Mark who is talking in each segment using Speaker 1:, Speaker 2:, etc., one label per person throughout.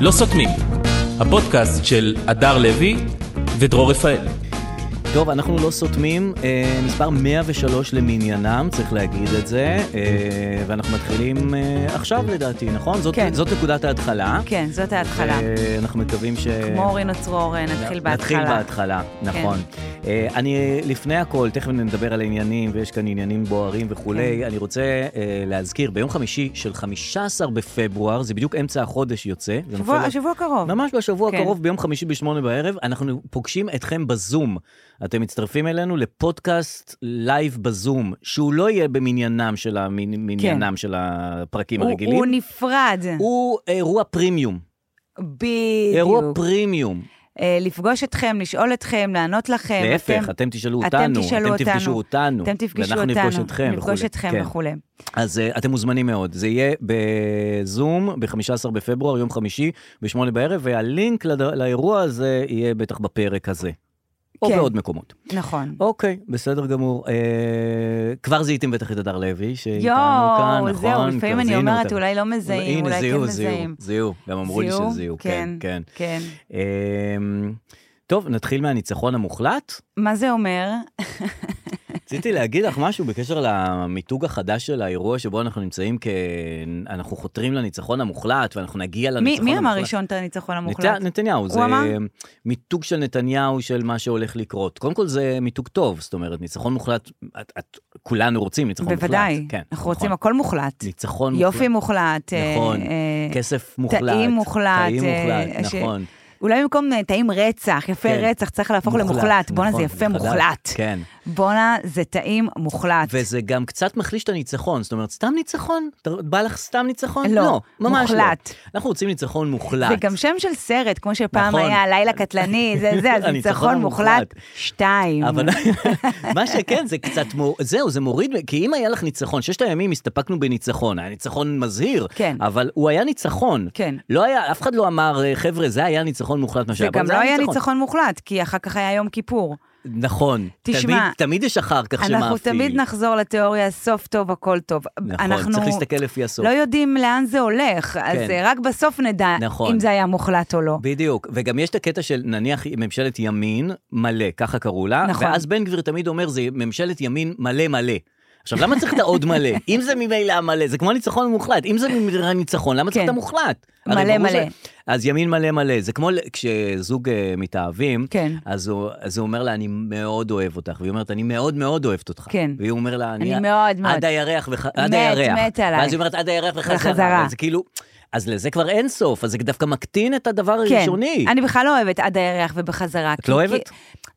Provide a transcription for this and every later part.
Speaker 1: לא סותמים, הפודקאסט של הדר לוי ודרור רפאל.
Speaker 2: טוב, אנחנו לא סותמים, אה, מספר 103 למניינם, צריך להגיד את זה, אה, ואנחנו מתחילים אה, עכשיו לדעתי, נכון? זאת,
Speaker 3: כן.
Speaker 2: זאת נקודת ההתחלה.
Speaker 3: כן, זאת ההתחלה.
Speaker 2: אה, אנחנו מקווים ש...
Speaker 3: כמו אורן עצרור, נתחיל בהתחלה. כן.
Speaker 2: נתחיל בהתחלה, נכון. אה, אני, לפני הכל, תכף נדבר על עניינים, ויש כאן עניינים בוערים
Speaker 3: כן.
Speaker 2: וכולי, אני רוצה אה, להזכיר, ביום חמישי של 15 בפברואר, זה בדיוק אמצע החודש יוצא. זה
Speaker 3: שבוע-
Speaker 2: נופל-
Speaker 3: השבוע קרוב.
Speaker 2: ממש בשבוע
Speaker 3: כן.
Speaker 2: הקרוב, ביום חמישי בשמונה בערב, אנחנו פוגשים אתכם בזום. אתם מצטרפים אלינו לפודקאסט לייב בזום, שהוא לא יהיה במניינם של, המנ... מניינם של הפרקים
Speaker 3: כן. הוא-
Speaker 2: הרגילים.
Speaker 3: הוא נפרד.
Speaker 2: הוא אירוע פרימיום. אירוע
Speaker 3: בדיוק.
Speaker 2: פרימיום.
Speaker 3: אה, לפגוש אתכם, לשאול אתכם, לענות לכם.
Speaker 2: להפך,
Speaker 3: כן, אתם-
Speaker 2: אתם תשאלו
Speaker 3: אתם
Speaker 2: אותנו,
Speaker 3: תשאלו
Speaker 2: אתם תפגשו אותנו,
Speaker 3: אתם תפגשו
Speaker 2: ואנחנו
Speaker 3: אותנו.
Speaker 2: נפגוש אתכם
Speaker 3: נפגוש
Speaker 2: וכולי.
Speaker 3: אתכם
Speaker 2: כן.
Speaker 3: וכולי.
Speaker 2: אז אה, אתם מוזמנים מאוד. זה יהיה בזום, ב-15 בפברואר, יום חמישי, ב-8 בערב, והלינק לד... לאירוע הזה יהיה בטח בפרק הזה. או
Speaker 3: כן.
Speaker 2: בעוד מקומות.
Speaker 3: נכון.
Speaker 2: אוקיי, בסדר גמור. אה, כבר זיהיתם בטח את הדר לוי, שאיתנו כאן, נכון?
Speaker 3: יואו, זהו,
Speaker 2: כבר
Speaker 3: לפעמים אני
Speaker 2: זיהינו
Speaker 3: אומרת,
Speaker 2: אותה.
Speaker 3: אולי לא מזהים,
Speaker 2: הנה,
Speaker 3: אולי כן
Speaker 2: זיהו, זיהו,
Speaker 3: מזהים.
Speaker 2: זיהו, גם אמרו לי
Speaker 3: זיהו?
Speaker 2: שזיהו, כן, כן.
Speaker 3: כן.
Speaker 2: אמ, טוב, נתחיל מהניצחון המוחלט.
Speaker 3: מה זה אומר?
Speaker 2: רציתי להגיד לך משהו בקשר למיתוג החדש של האירוע שבו אנחנו נמצאים, כ... אנחנו חותרים לניצחון המוחלט, ואנחנו נגיע
Speaker 3: מי-
Speaker 2: לניצחון
Speaker 3: מי
Speaker 2: המוחלט.
Speaker 3: אמר ראשון את הניצחון המוחלט?
Speaker 2: נת... נתניהו, זה
Speaker 3: אמר?
Speaker 2: מיתוג של נתניהו של מה שהולך לקרות. קודם כל זה מיתוג טוב, זאת אומרת, ניצחון מוחלט, את, את, כולנו רוצים ניצחון מוחלט.
Speaker 3: בוודאי.
Speaker 2: כן,
Speaker 3: אנחנו
Speaker 2: נכון.
Speaker 3: רוצים הכל מוחלט.
Speaker 2: ניצחון
Speaker 3: יופי
Speaker 2: מוחלט.
Speaker 3: מוחלט. אה,
Speaker 2: נכון,
Speaker 3: אה,
Speaker 2: כסף מוחלט.
Speaker 3: טעים מוחלט,
Speaker 2: טעים
Speaker 3: אה,
Speaker 2: מוחלט,
Speaker 3: ש-
Speaker 2: נכון.
Speaker 3: אולי במקום אה, טעים רצח, יפה
Speaker 2: כן.
Speaker 3: רצח, צריך להפוך למוחלט. בואנה,
Speaker 2: נכון,
Speaker 3: זה יפה
Speaker 2: מחדש,
Speaker 3: מוחלט.
Speaker 2: כן.
Speaker 3: בואנה, זה טעים מוחלט.
Speaker 2: וזה גם קצת מחליש את הניצחון, זאת אומרת, סתם ניצחון? אתה- בא לך סתם ניצחון?
Speaker 3: לא,
Speaker 2: ממש
Speaker 3: מוחלט.
Speaker 2: לא. אנחנו רוצים ניצחון מוחלט.
Speaker 3: זה גם שם של סרט, כמו שפעם
Speaker 2: נכון.
Speaker 3: היה הלילה קטלני, זה זה, אז
Speaker 2: הניצחון
Speaker 3: ניצחון מוחלט, שתיים.
Speaker 2: אבל מה שכן, זה קצת, מור... זהו, זה מוריד, כי אם היה לך ניצחון, ששת הימים הסתפקנו בניצחון, היה ניצחון מזהיר,
Speaker 3: כן.
Speaker 2: אבל הוא היה ניצחון.
Speaker 3: כן.
Speaker 2: לא היה, אף אחד לא אמר, חבר'ה, זה היה ניצחון מוחלט מה שהיה, אבל
Speaker 3: וגם
Speaker 2: זה
Speaker 3: לא היה ניצחון מוחלט, כי אחר כך היה יום כיפור.
Speaker 2: נכון.
Speaker 3: תשמע,
Speaker 2: תמיד, תמיד יש אחר כך שמאפיל.
Speaker 3: אנחנו תמיד נחזור לתיאוריה, סוף טוב, הכל טוב.
Speaker 2: נכון,
Speaker 3: אנחנו
Speaker 2: צריך להסתכל לפי הסוף.
Speaker 3: לא יודעים לאן זה הולך, אז
Speaker 2: כן.
Speaker 3: אה, רק בסוף נדע
Speaker 2: נכון.
Speaker 3: אם זה היה מוחלט או לא.
Speaker 2: בדיוק, וגם יש את הקטע של נניח ממשלת ימין מלא, ככה קראו לה,
Speaker 3: נכון.
Speaker 2: ואז בן גביר תמיד אומר זה ממשלת ימין מלא מלא. עכשיו, למה צריך את העוד מלא? אם זה ממילא מלא, זה כמו ניצחון מוחלט. אם זה ממילא ניצחון, למה צריך
Speaker 3: כן.
Speaker 2: את המוחלט?
Speaker 3: מלא
Speaker 2: הרי ברור
Speaker 3: מלא.
Speaker 2: ש- אז ימין מלא מלא, זה כמו ל- כשזוג אה, מתאהבים,
Speaker 3: כן.
Speaker 2: אז הוא אז הוא אומר לה, אני מאוד אוהב אותך, והיא אומרת, אני מאוד מאוד אוהבת אותך.
Speaker 3: כן.
Speaker 2: והיא אומרת לה,
Speaker 3: אני מאוד מאוד.
Speaker 2: עד הירח, וח- עד
Speaker 3: מת,
Speaker 2: הירח.
Speaker 3: מת עלייך.
Speaker 2: ואז היא אומרת, עד הירח
Speaker 3: וחזרה.
Speaker 2: וחזרה. זה כאילו, אז לזה כבר אין סוף, אז זה דווקא מקטין את הדבר
Speaker 3: כן.
Speaker 2: הראשוני.
Speaker 3: אני בכלל לא אוהבת עד הירח ובחזרה.
Speaker 2: את
Speaker 3: כי-
Speaker 2: לא
Speaker 3: כי-
Speaker 2: אוהבת?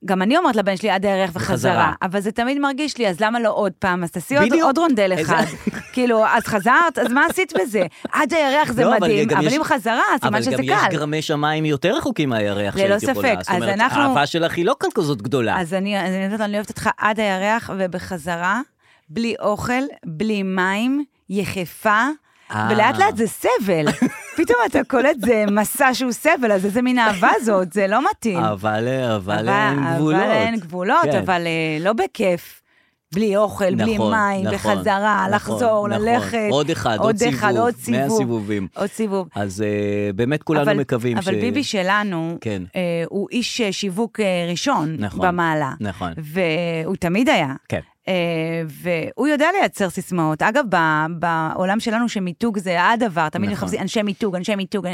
Speaker 3: גם אני אומרת לבן שלי עד הירח וחזרה,
Speaker 2: וחזרה.
Speaker 3: אבל זה תמיד מרגיש לי, אז למה לא עוד פעם? אז תעשי עוד-
Speaker 2: בדיוק.
Speaker 3: עוד רונדל
Speaker 2: איזה-
Speaker 3: אחד. כאילו, אז חזרת, אז מה עשית בזה? עד הירח זה
Speaker 2: לא, אבל
Speaker 3: מדהים,
Speaker 2: גם
Speaker 3: אבל
Speaker 2: יש-
Speaker 3: אם חזרה, סימן שזה
Speaker 2: אבל גם
Speaker 3: קל.
Speaker 2: יש גרמי שמיים יותר רחוקים מהירח
Speaker 3: ללא
Speaker 2: שהיית יכולה.
Speaker 3: ספק, אז
Speaker 2: זאת אומרת,
Speaker 3: אנחנו-
Speaker 2: האהבה שלך היא לא כאן כזאת גדולה.
Speaker 3: אז אני אז אני יודעת, אני אוהבת אותך עד הירח ובחזרה, בלי אוכל, בלי מים, יחפה.
Speaker 2: אה.
Speaker 3: ולאט לאט זה סבל, פתאום אתה קולט זה מסע שהוא סבל, אז איזה מין אהבה זאת, זה לא מתאים.
Speaker 2: אבל, אה, אבל אין גבולות.
Speaker 3: אבל אין גבולות,
Speaker 2: כן.
Speaker 3: אבל אה, לא בכיף. בלי אוכל, בלי
Speaker 2: נכון,
Speaker 3: מים,
Speaker 2: נכון,
Speaker 3: בחזרה,
Speaker 2: נכון,
Speaker 3: לחזור,
Speaker 2: נכון.
Speaker 3: ללכת.
Speaker 2: עוד אחד, עוד
Speaker 3: אחד,
Speaker 2: סיבוב,
Speaker 3: עוד
Speaker 2: מאה
Speaker 3: סיבוב,
Speaker 2: סיבובים.
Speaker 3: עוד סיבוב.
Speaker 2: אז אה, באמת כולנו
Speaker 3: אבל-
Speaker 2: מקווים ש...
Speaker 3: אבל ביבי שלנו,
Speaker 2: כן.
Speaker 3: אה, הוא איש אה, שיווק אה, ראשון
Speaker 2: נכון,
Speaker 3: במעלה.
Speaker 2: נכון.
Speaker 3: והוא תמיד היה.
Speaker 2: כן.
Speaker 3: אה, והוא יודע לייצר סיסמאות. אגב, ב- בעולם שלנו שמיתוג זה הדבר, תמיד
Speaker 2: נכון.
Speaker 3: מחפשים אנשי מיתוג, אנשי מיתוג.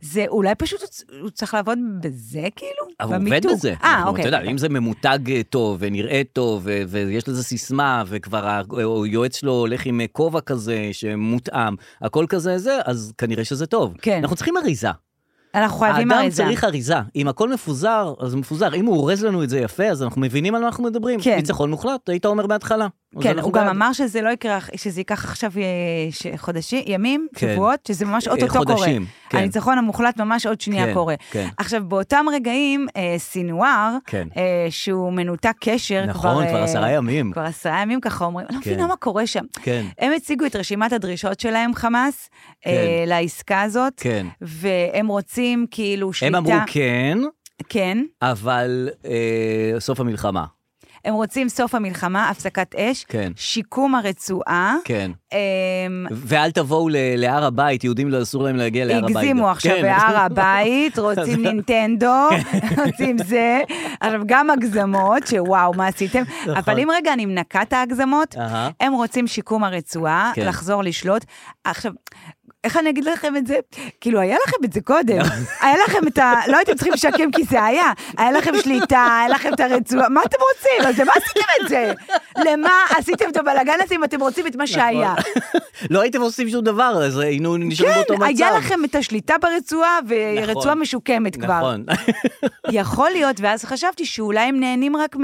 Speaker 3: זה אולי פשוט הוא צ- הוא צריך לעבוד בזה, כאילו?
Speaker 2: אבל הוא עובד
Speaker 3: במיתוג.
Speaker 2: בזה.
Speaker 3: אה,
Speaker 2: אנחנו,
Speaker 3: אוקיי.
Speaker 2: אתה יודע, אם זה ממותג אה, טוב ונראה טוב ו- ויש לזה סיסמה וכבר ה- היועץ שלו הולך עם אה, כובע כזה שמותאם, הכל כזה זה, אז כנראה שזה טוב.
Speaker 3: כן.
Speaker 2: אנחנו צריכים אריזה.
Speaker 3: אנחנו חייבים
Speaker 2: האדם
Speaker 3: אריזה.
Speaker 2: צריך אריזה. אם הכל מפוזר, אז זה מפוזר. אם הוא אורז לנו את זה יפה, אז אנחנו מבינים על מה אנחנו מדברים.
Speaker 3: כן.
Speaker 2: ניצחון מוחלט, היית אומר בהתחלה. אז
Speaker 3: כן,
Speaker 2: אנחנו
Speaker 3: הוא גם
Speaker 2: בעד.
Speaker 3: אמר שזה לא יקרה, שזה ייקח עכשיו אה, ש- חודשים, ימים,
Speaker 2: כן.
Speaker 3: שבועות, שזה ממש
Speaker 2: אה,
Speaker 3: אוטוטו קורה.
Speaker 2: חודשים, כן.
Speaker 3: הניצחון המוחלט ממש עוד שנייה
Speaker 2: כן,
Speaker 3: קורה.
Speaker 2: כן.
Speaker 3: עכשיו, באותם רגעים, אה, סינואר,
Speaker 2: כן.
Speaker 3: אה, שהוא מנותק קשר,
Speaker 2: נכון, כבר
Speaker 3: אה,
Speaker 2: עשרה ימים.
Speaker 3: כבר עשרה ימים ככה אומרים, אני לא
Speaker 2: כן.
Speaker 3: מבינה מה קורה שם.
Speaker 2: כן.
Speaker 3: הם הציגו את רשימת הדרישות שלהם, חמאס, אה,
Speaker 2: כן.
Speaker 3: לעסקה הזאת,
Speaker 2: כן.
Speaker 3: והם רוצים כאילו שליטה...
Speaker 2: הם אמרו כן,
Speaker 3: כן.
Speaker 2: אבל אה, סוף המלחמה.
Speaker 3: הם רוצים סוף המלחמה, הפסקת אש,
Speaker 2: כן.
Speaker 3: שיקום הרצועה.
Speaker 2: כן.
Speaker 3: אמ,
Speaker 2: ואל תבואו ל- להר הבית, יהודים לא אסור להם להגיע להר הבית.
Speaker 3: הגזימו עכשיו
Speaker 2: כן.
Speaker 3: בהר הבית, רוצים נינטנדו, רוצים זה. עכשיו, גם הגזמות, שוואו, מה עשיתם?
Speaker 2: נכון.
Speaker 3: אבל אם רגע אני מנקה את ההגזמות,
Speaker 2: אהה.
Speaker 3: הם רוצים שיקום הרצועה,
Speaker 2: כן.
Speaker 3: לחזור לשלוט. עכשיו... איך אני אגיד לכם את זה? כאילו, היה לכם את זה קודם. היה לכם את ה... לא הייתם צריכים לשקם כי זה היה. היה לכם שליטה, היה לכם את הרצועה. מה אתם רוצים? אז למה עשיתם את זה? למה עשיתם את הבלאגן הזה אם אתם רוצים את מה
Speaker 2: נכון.
Speaker 3: שהיה?
Speaker 2: לא הייתם עושים שום דבר, אז היינו נשארים באותו
Speaker 3: כן,
Speaker 2: מצב.
Speaker 3: היה לכם את השליטה ברצועה, ורצועה
Speaker 2: נכון.
Speaker 3: משוקמת כבר.
Speaker 2: נכון.
Speaker 3: יכול להיות, ואז חשבתי שאולי הם נהנים רק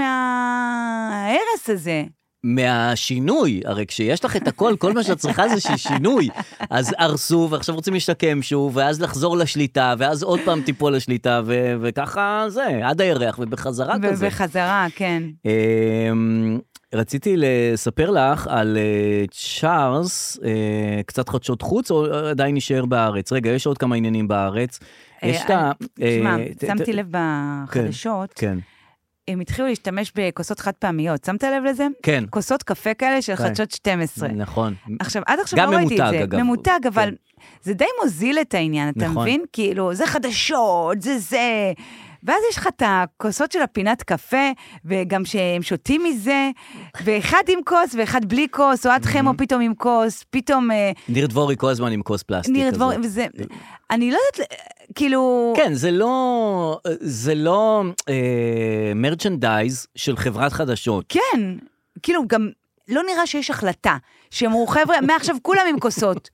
Speaker 3: מההרס הזה.
Speaker 2: מהשינוי, הרי כשיש לך את הכל, כל מה שאת צריכה זה ש- שינוי. אז הרסו, ועכשיו רוצים להשתקם שוב, ואז לחזור לשליטה, ואז עוד פעם תיפול לשליטה, ו- וככה זה, עד הירח, ובחזרה כזה.
Speaker 3: ובחזרה, כן.
Speaker 2: אמ, רציתי לספר לך על אה, צ'ארלס, אה, קצת חדשות חוץ, או אה, עדיין נשאר בארץ? רגע, יש עוד כמה עניינים בארץ.
Speaker 3: אה,
Speaker 2: יש את ה... אה,
Speaker 3: תשמע,
Speaker 2: ת- ת-
Speaker 3: שמתי לב בחדשות,
Speaker 2: כן.
Speaker 3: הם התחילו להשתמש בכוסות חד פעמיות. שמת לב לזה?
Speaker 2: כן,
Speaker 3: כוסות קפה כאלה של
Speaker 2: כן.
Speaker 3: חדשות 12.
Speaker 2: נכון.
Speaker 3: עכשיו, עד עכשיו
Speaker 2: גם
Speaker 3: לא ראיתי את
Speaker 2: ממותג,
Speaker 3: זה.
Speaker 2: אגב.
Speaker 3: ממותג, אבל
Speaker 2: כן.
Speaker 3: זה די מוזיל את העניין, אתה
Speaker 2: נכון.
Speaker 3: מבין? כאילו, זה חדשות, זה זה. ואז יש לך את הכוסות של הפינת קפה, וגם שהם שותים מזה, ואחד עם כוס ואחד בלי כוס, אוהד
Speaker 2: Mm-hmm.
Speaker 3: חמו פתאום עם כוס, פתאום אה,
Speaker 2: ניר דבורי כל הזמן עם כוס פלסטיק
Speaker 3: ניר
Speaker 2: כזאת.
Speaker 3: דבור, וזה, אני לא יודעת, אה, כאילו...
Speaker 2: כן, זה לא, זה לא אה, מרצ'נדייז של חברת חדשות.
Speaker 3: כן, כאילו, גם לא נראה שיש החלטה, שאמרו, חבר'ה, מעכשיו כולם עם כוסות.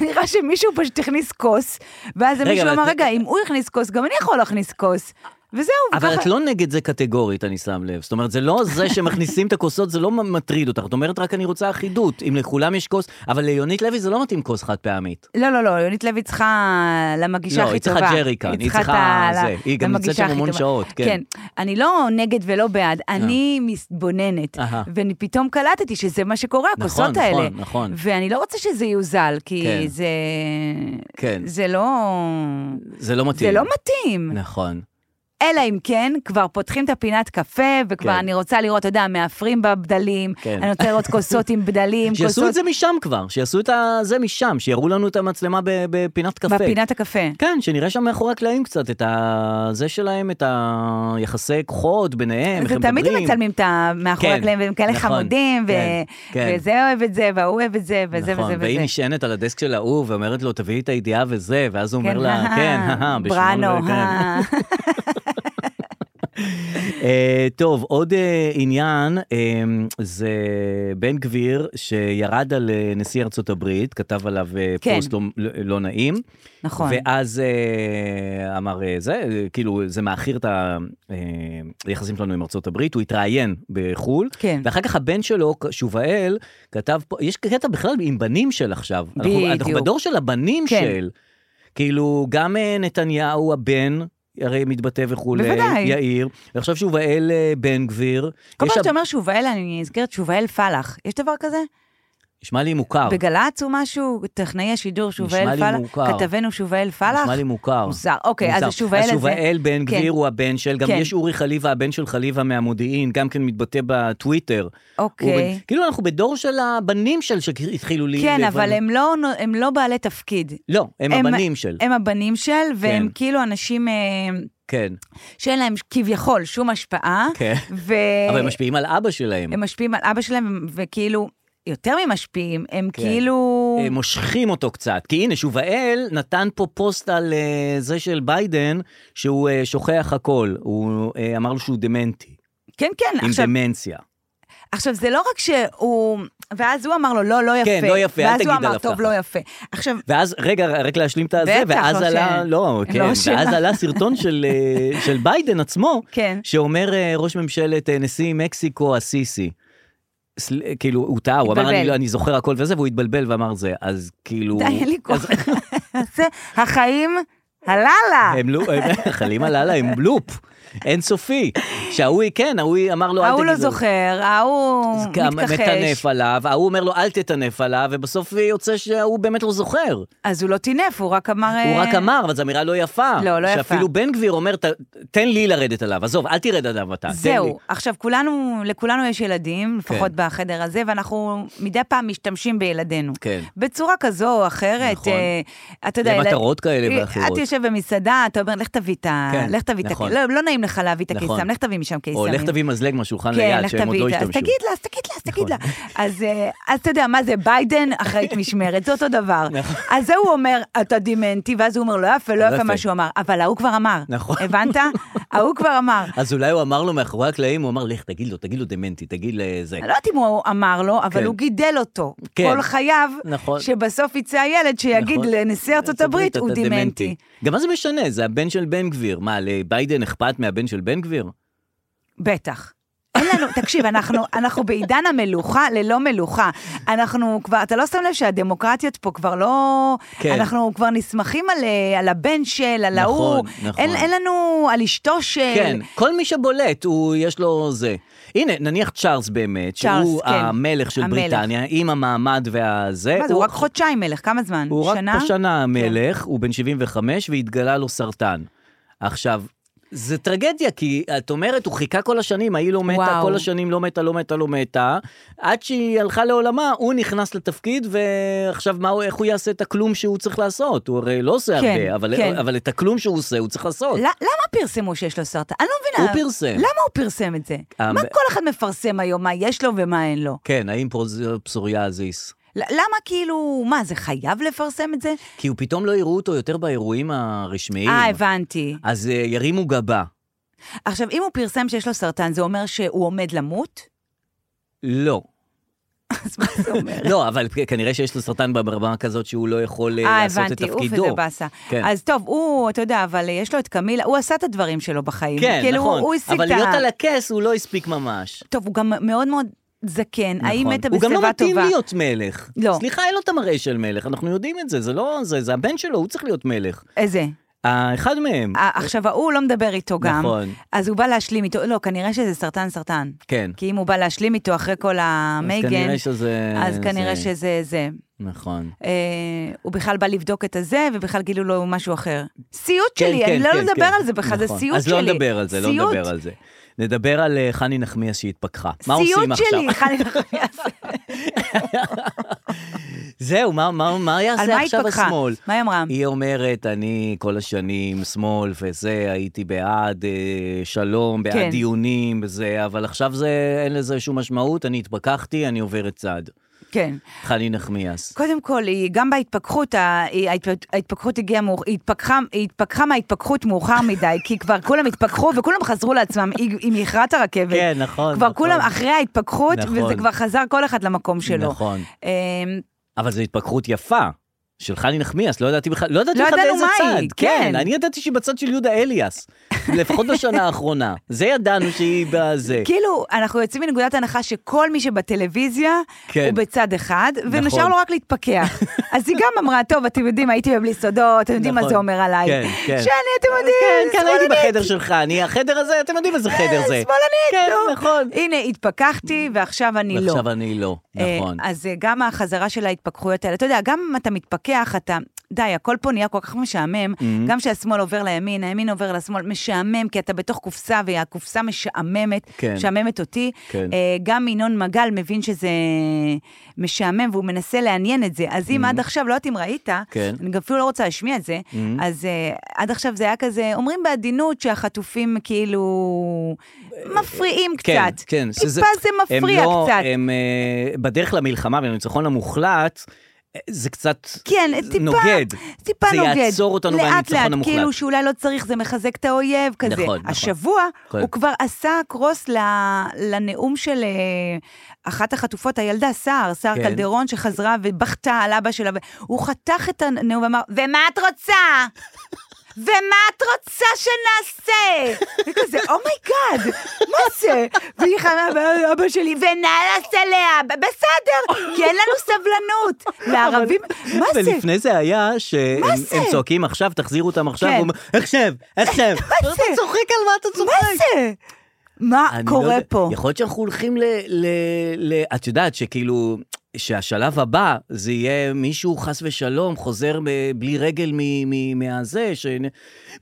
Speaker 3: נראה שמישהו פשוט הכניס כוס, ואז מישהו
Speaker 2: אבל
Speaker 3: אמר,
Speaker 2: את-
Speaker 3: רגע, אם הוא הכניס כוס, גם אני יכול להכניס כוס. וזהו,
Speaker 2: אבל את
Speaker 3: וככה...
Speaker 2: לא נגד זה קטגורית, אני שם לב. זאת אומרת, זה לא זה שמכניסים את הכוסות, זה לא מטריד אותך. את אומרת, רק אני רוצה אחידות. אם לכולם יש כוס, אבל ליונית לוי זה לא מתאים כוס חד פעמית.
Speaker 3: לא, לא, לא, יונית לוי צריכה למגישה
Speaker 2: לא,
Speaker 3: הכי
Speaker 2: היא
Speaker 3: טובה.
Speaker 2: צריכה ג'ריקן, היא
Speaker 3: את
Speaker 2: צריכה
Speaker 3: ה-
Speaker 2: זה. היא גם נמצאת
Speaker 3: למגישה
Speaker 2: שם
Speaker 3: הכי
Speaker 2: המון
Speaker 3: טובה.
Speaker 2: שעות, כן. אה.
Speaker 3: אני לא נגד ולא בעד, אני מתבוננת,
Speaker 2: אהה.
Speaker 3: ופתאום קלטתי שזה מה שקורה,
Speaker 2: נכון,
Speaker 3: הכוסות האלה.
Speaker 2: נכון, נכון.
Speaker 3: ואני לא רוצה שזה יוזל, כי
Speaker 2: כן.
Speaker 3: זה...
Speaker 2: כן.
Speaker 3: זה לא...
Speaker 2: זה לא מתאים.
Speaker 3: זה לא מתאים.
Speaker 2: נכון.
Speaker 3: אלא אם כן, כבר פותחים את הפינת קפה, וכבר
Speaker 2: כן.
Speaker 3: אני רוצה לראות, אתה יודע, מאפרים בבדלים,
Speaker 2: כן.
Speaker 3: אני רוצה לראות כוסות עם בדלים,
Speaker 2: שיעשו את
Speaker 3: כוסות
Speaker 2: זה משם כבר, שיעשו את ה- זה משם, שיראו לנו את המצלמה ב- בפינת קפה.
Speaker 3: בפינת הקפה.
Speaker 2: כן, שנראה שם מאחורי הקלעים קצת את ה... זה שלהם, את היחסי כוחות ביניהם, איך
Speaker 3: זה
Speaker 2: הם
Speaker 3: תמיד הם
Speaker 2: מדברים.
Speaker 3: מצלמים את ה- מאחורי
Speaker 2: כן,
Speaker 3: הקלעים, והם כאלה
Speaker 2: נכון,
Speaker 3: חמודים, ו-
Speaker 2: כן, כן.
Speaker 3: וזה אוהב את זה, וההוא אוהב את זה, וזה
Speaker 2: נכון,
Speaker 3: וזה
Speaker 2: והיא
Speaker 3: וזה.
Speaker 2: נשענת על הדסק של ההוא ואומרת לו, תביאי את הידיעה וזה, ואז הוא אומר לה, כן, הא, בשמאל
Speaker 3: בראנו,
Speaker 2: ו- כן.
Speaker 3: הא.
Speaker 2: אה, טוב, עוד אה, עניין, אה, זה בן גביר שירד על אה, נשיא ארצות הברית, כתב עליו אה,
Speaker 3: כן.
Speaker 2: פוסט לא- לא נעים.
Speaker 3: נכון.
Speaker 2: ואז אה, אמר אה, זה, אה, כאילו, זה מעכיר את ה- אה, היחסים שלנו עם ארה"ב, הוא התראיין בחו"ל,
Speaker 3: כן.
Speaker 2: ואחר כך הבן שלו, שובאל, כתב פה, יש קטע בכלל עם בנים של עכשיו. אנחנו, אנחנו
Speaker 3: בדיוק.
Speaker 2: בדור של הבנים
Speaker 3: כן.
Speaker 2: של. כאילו, גם אה, נתניהו הבן. הרי מתבטא וכולי,
Speaker 3: בוודאי.
Speaker 2: יאיר, ועכשיו שובאל אה, בן גביר.
Speaker 3: כל
Speaker 2: יש
Speaker 3: פעם
Speaker 2: שם-
Speaker 3: שאתה אומר שובאל, אני נזכרת שובאל פלח. יש דבר כזה?
Speaker 2: נשמע לי מוכר,
Speaker 3: בגל"צ או משהו? טכנאי השידור שובאל
Speaker 2: אה. לי
Speaker 3: פלח?
Speaker 2: מוכר.
Speaker 3: כתבנו שובאל פלח?
Speaker 2: נשמע לי מוכר.
Speaker 3: מוזר. אוקיי, אז
Speaker 2: מוזר.
Speaker 3: השובאל הזה...
Speaker 2: השובאל בן
Speaker 3: כן.
Speaker 2: גביר הוא הבן של, גם
Speaker 3: כן.
Speaker 2: יש אורי חליבה, הבן של חליבה מהמודיעין, גם כן מתבטא בטוויטר. הוא
Speaker 3: אוקיי.
Speaker 2: בן- כאילו אנחנו בדור של הבנים של שהתחילו ל...
Speaker 3: כן,
Speaker 2: לבנ-
Speaker 3: אבל הם לא נו- הם לא בעלי תפקיד.
Speaker 2: לא, הם
Speaker 3: הם-
Speaker 2: הבנים של,
Speaker 3: הם הבנים של, והם
Speaker 2: כן.
Speaker 3: כאילו אנשים אה,
Speaker 2: כן,
Speaker 3: שאין להם כביכול שום השפעה.
Speaker 2: כן.
Speaker 3: ו...
Speaker 2: אבל הם משפיעים על אבא שלהם.
Speaker 3: אה, הם משפיעים על אבא שלהם, וכאילו, יותר ממשפיעים, הם
Speaker 2: כן.
Speaker 3: כאילו...
Speaker 2: הם מושכים אותו קצת, כי הנה, שובאל נתן פה פוסט על אה, זה של ביידן, שהוא אה, שוכח הכל, הוא אה, אמר לו שהוא דמנטי,
Speaker 3: כן, כן,
Speaker 2: עם
Speaker 3: עכשיו,
Speaker 2: דמנציה.
Speaker 3: עכשיו, זה לא רק שהוא... ואז הוא אמר לו, לא, לא יפה.
Speaker 2: כן, לא יפה, אל תגיד
Speaker 3: ואז הוא אמר,
Speaker 2: עליו
Speaker 3: טוב,
Speaker 2: ככה."
Speaker 3: לא יפה. עכשיו,
Speaker 2: ואז, רגע, רק להשלים את הזה,
Speaker 3: בטח,
Speaker 2: ואז
Speaker 3: לא
Speaker 2: עלה,
Speaker 3: ש-
Speaker 2: לא,
Speaker 3: לא
Speaker 2: כן,
Speaker 3: שאלה.
Speaker 2: ואז עלה סרטון של, אה, של ביידן עצמו,
Speaker 3: כן.
Speaker 2: שאומר אה, ראש ממשלת אה, נשיא מקסיקו הסיסי. סל- אה, כאילו, הוא טעה, הוא אמר,
Speaker 3: התבלבל.
Speaker 2: אני, לא- אני זוכר הכל וזה, והוא התבלבל ואמר זה, אז כאילו...
Speaker 3: די, אין לי כוח.
Speaker 2: אז
Speaker 3: זה החיים הללה.
Speaker 2: הם לא, הם- חלימה לאללה, הם לופ. אינסופי. שההוא, כן, ההוא אמר לו, אל תגיד
Speaker 3: ההוא
Speaker 2: לו.
Speaker 3: לא זוכר, ההוא
Speaker 2: אז גם
Speaker 3: מתכחש.
Speaker 2: מטנף עליו, ההוא אומר לו, אל תטנף עליו, ובסוף יוצא שהוא באמת לא זוכר.
Speaker 3: אז הוא לא טינף, הוא רק אמר...
Speaker 2: הוא
Speaker 3: אה,
Speaker 2: רק אמר, אבל זו אמירה לא יפה.
Speaker 3: לא, לא יפה.
Speaker 2: שאפילו בן גביר אומר, "ת- תן לי לרדת עליו, עזוב, אל תרד עליו אתה, אה, תן לי.
Speaker 3: זהו, עכשיו כולנו, לכולנו יש ילדים, לפחות
Speaker 2: כן.
Speaker 3: בחדר הזה, ואנחנו מדי פעם משתמשים בילדינו.
Speaker 2: כן.
Speaker 3: בצורה כזו או אחרת,
Speaker 2: נכון.
Speaker 3: אה, אתה יודע... ילד-
Speaker 2: למטרות כאלה
Speaker 3: אה,
Speaker 2: ואחרות.
Speaker 3: את יושב במסעדה, אתה אומר, לך תביא את ה...
Speaker 2: כן,
Speaker 3: לך תביא את ה...
Speaker 2: נכון.
Speaker 3: לא, לא נעים לך להביא את
Speaker 2: נכון.
Speaker 3: הקיסם, לך תביא משם קיסמים.
Speaker 2: או לך תביא מזלג מהשולחן
Speaker 3: כן,
Speaker 2: ליד,
Speaker 3: לך
Speaker 2: שהם עוד
Speaker 3: תביא
Speaker 2: לא
Speaker 3: את ה- אז
Speaker 2: השתמשו. נכון.
Speaker 3: תגיד לה, אז תגיד לה, אז תגיד לה. אז, אה, אז אתה יודע, מה זה, ביידן אחראית משמרת, זה אותו דבר.
Speaker 2: נכון.
Speaker 3: אז זה הוא אומר, אתה דימנטי, ואז הוא אומר, לא יפה, לא
Speaker 2: לא
Speaker 3: יפה
Speaker 2: יפה.
Speaker 3: מה שהוא אמר. אבל ההוא כבר אמר.
Speaker 2: נכון.
Speaker 3: הבנת? ההוא כבר אמר.
Speaker 2: אז אולי הוא אמר לו מאחורי הקלעים, הוא אמר, לך תגיד לו, תגיד לו דמנטי, תגיד לזה.
Speaker 3: אני לא יודעת אם הוא אמר לו, אבל
Speaker 2: כן.
Speaker 3: הוא גידל אותו.
Speaker 2: כן.
Speaker 3: כל חייו,
Speaker 2: נכון.
Speaker 3: שבסוף יצא הילד שיגיד
Speaker 2: נכון.
Speaker 3: לנשיא ארצות הברית, הוא
Speaker 2: אתה
Speaker 3: דימנטי.
Speaker 2: גם מה זה משנה? זה הבן של בן גביר. מה, לביידן אכפת מהבן של בן גביר?
Speaker 3: בטח. אין לנו, תקשיב, אנחנו, אנחנו בעידן המלוכה ללא מלוכה. אנחנו כבר, אתה לא שם לב שהדמוקרטיות פה כבר לא...
Speaker 2: כן.
Speaker 3: אנחנו כבר נסמכים על, אה, על הבן של, על
Speaker 2: נכון,
Speaker 3: ההוא.
Speaker 2: נכון.
Speaker 3: אין, אין לנו, על אשתו של...
Speaker 2: כן, כל מי שבולט, הוא, יש לו זה. הנה, נניח צ'ארלס באמת,
Speaker 3: צ'ארלס,
Speaker 2: שהוא
Speaker 3: כן.
Speaker 2: המלך של
Speaker 3: המלך.
Speaker 2: בריטניה, עם המעמד והזה.
Speaker 3: מה זה, הוא רק חודשיים מלך, כמה זמן?
Speaker 2: הוא רק
Speaker 3: שנה? כן.
Speaker 2: פה שנה המלך, הוא בן 75 והתגלה לו סרטן. עכשיו, זה טרגדיה, כי את אומרת, הוא חיכה כל השנים, ההיא לא מתה,
Speaker 3: וואו.
Speaker 2: כל השנים לא מתה, לא מתה, לא מתה. עד שהיא הלכה לעולמה, הוא נכנס לתפקיד, ועכשיו מה, הוא- איך הוא יעשה את הכלום שהוא צריך לעשות? הוא הרי לא עושה
Speaker 3: כן,
Speaker 2: הרבה, אבל,
Speaker 3: כן.
Speaker 2: אבל את הכלום שהוא עושה, הוא צריך לעשות.
Speaker 3: ל- למה פרסמו שיש לו סרטן? אני לא
Speaker 2: הוא
Speaker 3: מבינה.
Speaker 2: פרסם.
Speaker 3: למה הוא פרסם את זה?
Speaker 2: כן. אה,
Speaker 3: מה
Speaker 2: ב-
Speaker 3: כל אחד מפרסם היום, מה יש לו ומה אין לו?
Speaker 2: כן, האם פרוז- פסוריאזיס.
Speaker 3: ל- למה כאילו, מה, זה חייב לפרסם את זה?
Speaker 2: כי הוא פתאום לא יראו אותו יותר באירועים הרשמיים.
Speaker 3: אה, הבנתי.
Speaker 2: אז אה, ירימו גבה.
Speaker 3: עכשיו, אם הוא פרסם שיש לו סרטן, זה אומר שהוא עומד למות?
Speaker 2: לא.
Speaker 3: אז מה זה אומר?
Speaker 2: לא, אבל כנראה שיש לו סרטן ברמה כזאת שהוא לא יכול אה,
Speaker 3: אה,
Speaker 2: לעשות את
Speaker 3: הבנתי,
Speaker 2: תפקידו.
Speaker 3: אוף איזה באסה.
Speaker 2: כן.
Speaker 3: אז טוב, הוא, אתה יודע, אבל יש לו את קמילה, הוא עשה את הדברים שלו בחיים.
Speaker 2: כן,
Speaker 3: כאילו,
Speaker 2: נכון.
Speaker 3: הוא השיג
Speaker 2: אבל
Speaker 3: את ה-
Speaker 2: להיות על הכס הוא לא הספיק ממש.
Speaker 3: טוב, הוא גם מאוד מאוד זקן, האם
Speaker 2: נכון.
Speaker 3: מתה
Speaker 2: הוא גם לא
Speaker 3: בשיבה
Speaker 2: מתאים
Speaker 3: טובה?
Speaker 2: להיות מלך.
Speaker 3: לא.
Speaker 2: סליחה, אין לו את המראה של מלך, אנחנו יודעים את זה, זה לא זה, זה הבן שלו, הוא צריך להיות מלך.
Speaker 3: איזה?
Speaker 2: האחד מהם,
Speaker 3: אה, עכשיו, ההוא לא מדבר איתו גם.
Speaker 2: נכון.
Speaker 3: אז הוא בא להשלים איתו, לא, כנראה שזה סרטן סרטן.
Speaker 2: כן.
Speaker 3: כי אם הוא בא להשלים איתו אחרי כל המייגן,
Speaker 2: כנראה שזה-
Speaker 3: אז כנראה
Speaker 2: זה-
Speaker 3: שזה זה.
Speaker 2: נכון.
Speaker 3: אה, הוא בכלל בא לבדוק את הזה, ובכלל גילו לו משהו אחר. סיוט שלי,
Speaker 2: כן, כן,
Speaker 3: אני לא
Speaker 2: כן,
Speaker 3: לדבר
Speaker 2: כן.
Speaker 3: על זה בכלל, זה
Speaker 2: נכון.
Speaker 3: סיוט שלי.
Speaker 2: אז לא נדבר על זה, לא
Speaker 3: סיוט.
Speaker 2: נדבר על זה. נדבר על אה, חני נחמיאס שהתפכחה. מה
Speaker 3: סיוט
Speaker 2: עושים עכשיו?
Speaker 3: שלי, חני נחמיאס.
Speaker 2: זהו, מה, מה, מה
Speaker 3: על מה
Speaker 2: יעשה עכשיו
Speaker 3: התפכחה?
Speaker 2: השמאל?
Speaker 3: מה היא אמרה?
Speaker 2: היא אומרת, אני כל השנים שמאל וזה, הייתי בעד אה, שלום, בעד
Speaker 3: כן.
Speaker 2: דיונים וזה, אבל עכשיו זה, אין לזה שום משמעות, אני התפכחתי, אני עוברת צד.
Speaker 3: כן.
Speaker 2: חני נחמיאס.
Speaker 3: קודם כל, היא גם בהתפכחות, ה- היא- ההתפ- ההתפכחות הגיעה, מאוח- היא התפכחה- היא התפכחה מההתפכחות מאוחר מדי, כי כבר כולם התפכחו וכולם חזרו לעצמם, היא היא מכרה את הרכבת.
Speaker 2: כן, נכון,
Speaker 3: כבר
Speaker 2: נכון.
Speaker 3: כולם אחרי ההתפכחות,
Speaker 2: נכון.
Speaker 3: וזה כבר חזר כל אחד למקום שלו.
Speaker 2: נכון.
Speaker 3: אמ,
Speaker 2: אבל זו התפכחות יפה. של חני נחמיאס, לא ידעתי בכלל, לא ידעתי
Speaker 3: לא
Speaker 2: בכלל
Speaker 3: ידענו
Speaker 2: באיזה
Speaker 3: מה
Speaker 2: צד.
Speaker 3: היא, כן.
Speaker 2: אני ידעתי שהיא בצד של יהודה אליאס, לפחות בשנה האחרונה. זה ידענו שהיא בזה.
Speaker 3: כאילו, אנחנו יוצאים מנקודת הנחה שכל מי שבטלוויזיה,
Speaker 2: כן.
Speaker 3: הוא בצד אחד, ונשאר
Speaker 2: נכון.
Speaker 3: לו רק להתפכח. אז היא גם אמרה, טוב, אתם יודעים, הייתי בבלי סודות, אתם יודעים מה
Speaker 2: נכון.
Speaker 3: זה אומר עליי.
Speaker 2: כן, כן.
Speaker 3: שאני, אתם
Speaker 2: כן,
Speaker 3: יודעים,
Speaker 2: כן, הייתי
Speaker 3: שמאלנית.
Speaker 2: בחדר שלך, אני, החדר הזה, אתם יודעים איזה חדר זה.
Speaker 3: שמאלנית,
Speaker 2: כן,
Speaker 3: נו.
Speaker 2: נכון.
Speaker 3: הנה, התפכחתי, ועכשיו אני לא.
Speaker 2: ועכשיו אני לא,
Speaker 3: אה,
Speaker 2: נכון.
Speaker 3: אז אה, גם החזרה של ההתפכחויות האלה, אתה יודע, גם אם אתה מתפכח, אתה... די, הכל פה נהיה כל כך משעמם, גם שהשמאל עובר לימין, הימין עובר לשמאל, משעמם, כי אתה בתוך קופסה, והקופסה משעממת,
Speaker 2: כן.
Speaker 3: משעממת אותי.
Speaker 2: כן.
Speaker 3: אה, גם ינון מגל מבין שזה משעמם, והוא מנסה לעניין את זה. אז אם עד עכשיו, לא יודעת אם ראית,
Speaker 2: כן.
Speaker 3: אני גם אפילו לא רוצה להשמיע את זה, אז אה, עד עכשיו זה היה כזה, אומרים בעדינות שהחטופים כאילו מפריעים
Speaker 2: כן,
Speaker 3: קצת.
Speaker 2: כן.
Speaker 3: טיפה
Speaker 2: שזה-
Speaker 3: זה מפריע
Speaker 2: הם לא,
Speaker 3: קצת.
Speaker 2: הם אה, בדרך למלחמה ולניצחון המוחלט, אה, זה קצת
Speaker 3: כן, טיפה,
Speaker 2: נוגד.
Speaker 3: טיפה
Speaker 2: זה
Speaker 3: נוגד.
Speaker 2: יעצור אותנו
Speaker 3: לאט
Speaker 2: מהניצחון
Speaker 3: לאט,
Speaker 2: המוחלט.
Speaker 3: כאילו שאולי לא צריך, זה מחזק את האויב כזה.
Speaker 2: נכון, נכון.
Speaker 3: השבוע
Speaker 2: כן.
Speaker 3: הוא כבר עשה קרוס ל- לנאום של אה, אחת החטופות, הילדה סער, סער
Speaker 2: כן.
Speaker 3: קלדרון, שחזרה ובכתה על אבא שלה, והוא חתך את הנאום ואמר, ומה את רוצה? ומה את רוצה שנעשה? וכזה, אומייגאד, מה זה? והיא חנה, אבא שלי, ונאלס עליה, "ב- בסדר, כי אין לנו סבלנות. לערבים, מה זה?
Speaker 2: ולפני זה היה שהם
Speaker 3: מה זה?
Speaker 2: הם צועקים עכשיו, תחזירו אותם עכשיו,
Speaker 3: כן.
Speaker 2: והוא אומר, עכשיו, עכשיו.
Speaker 3: מה זה?
Speaker 2: אתה צוחק על מה אתה צוחק?
Speaker 3: מה זה? מה
Speaker 2: אני לא
Speaker 3: קורה
Speaker 2: יודע,
Speaker 3: פה?
Speaker 2: יכול להיות שאנחנו הולכים ל... ל, ל את יודעת שכאילו, שהשלב הבא זה יהיה מישהו חס ושלום חוזר מ- בלי רגל מ, מ, מהזה, ש...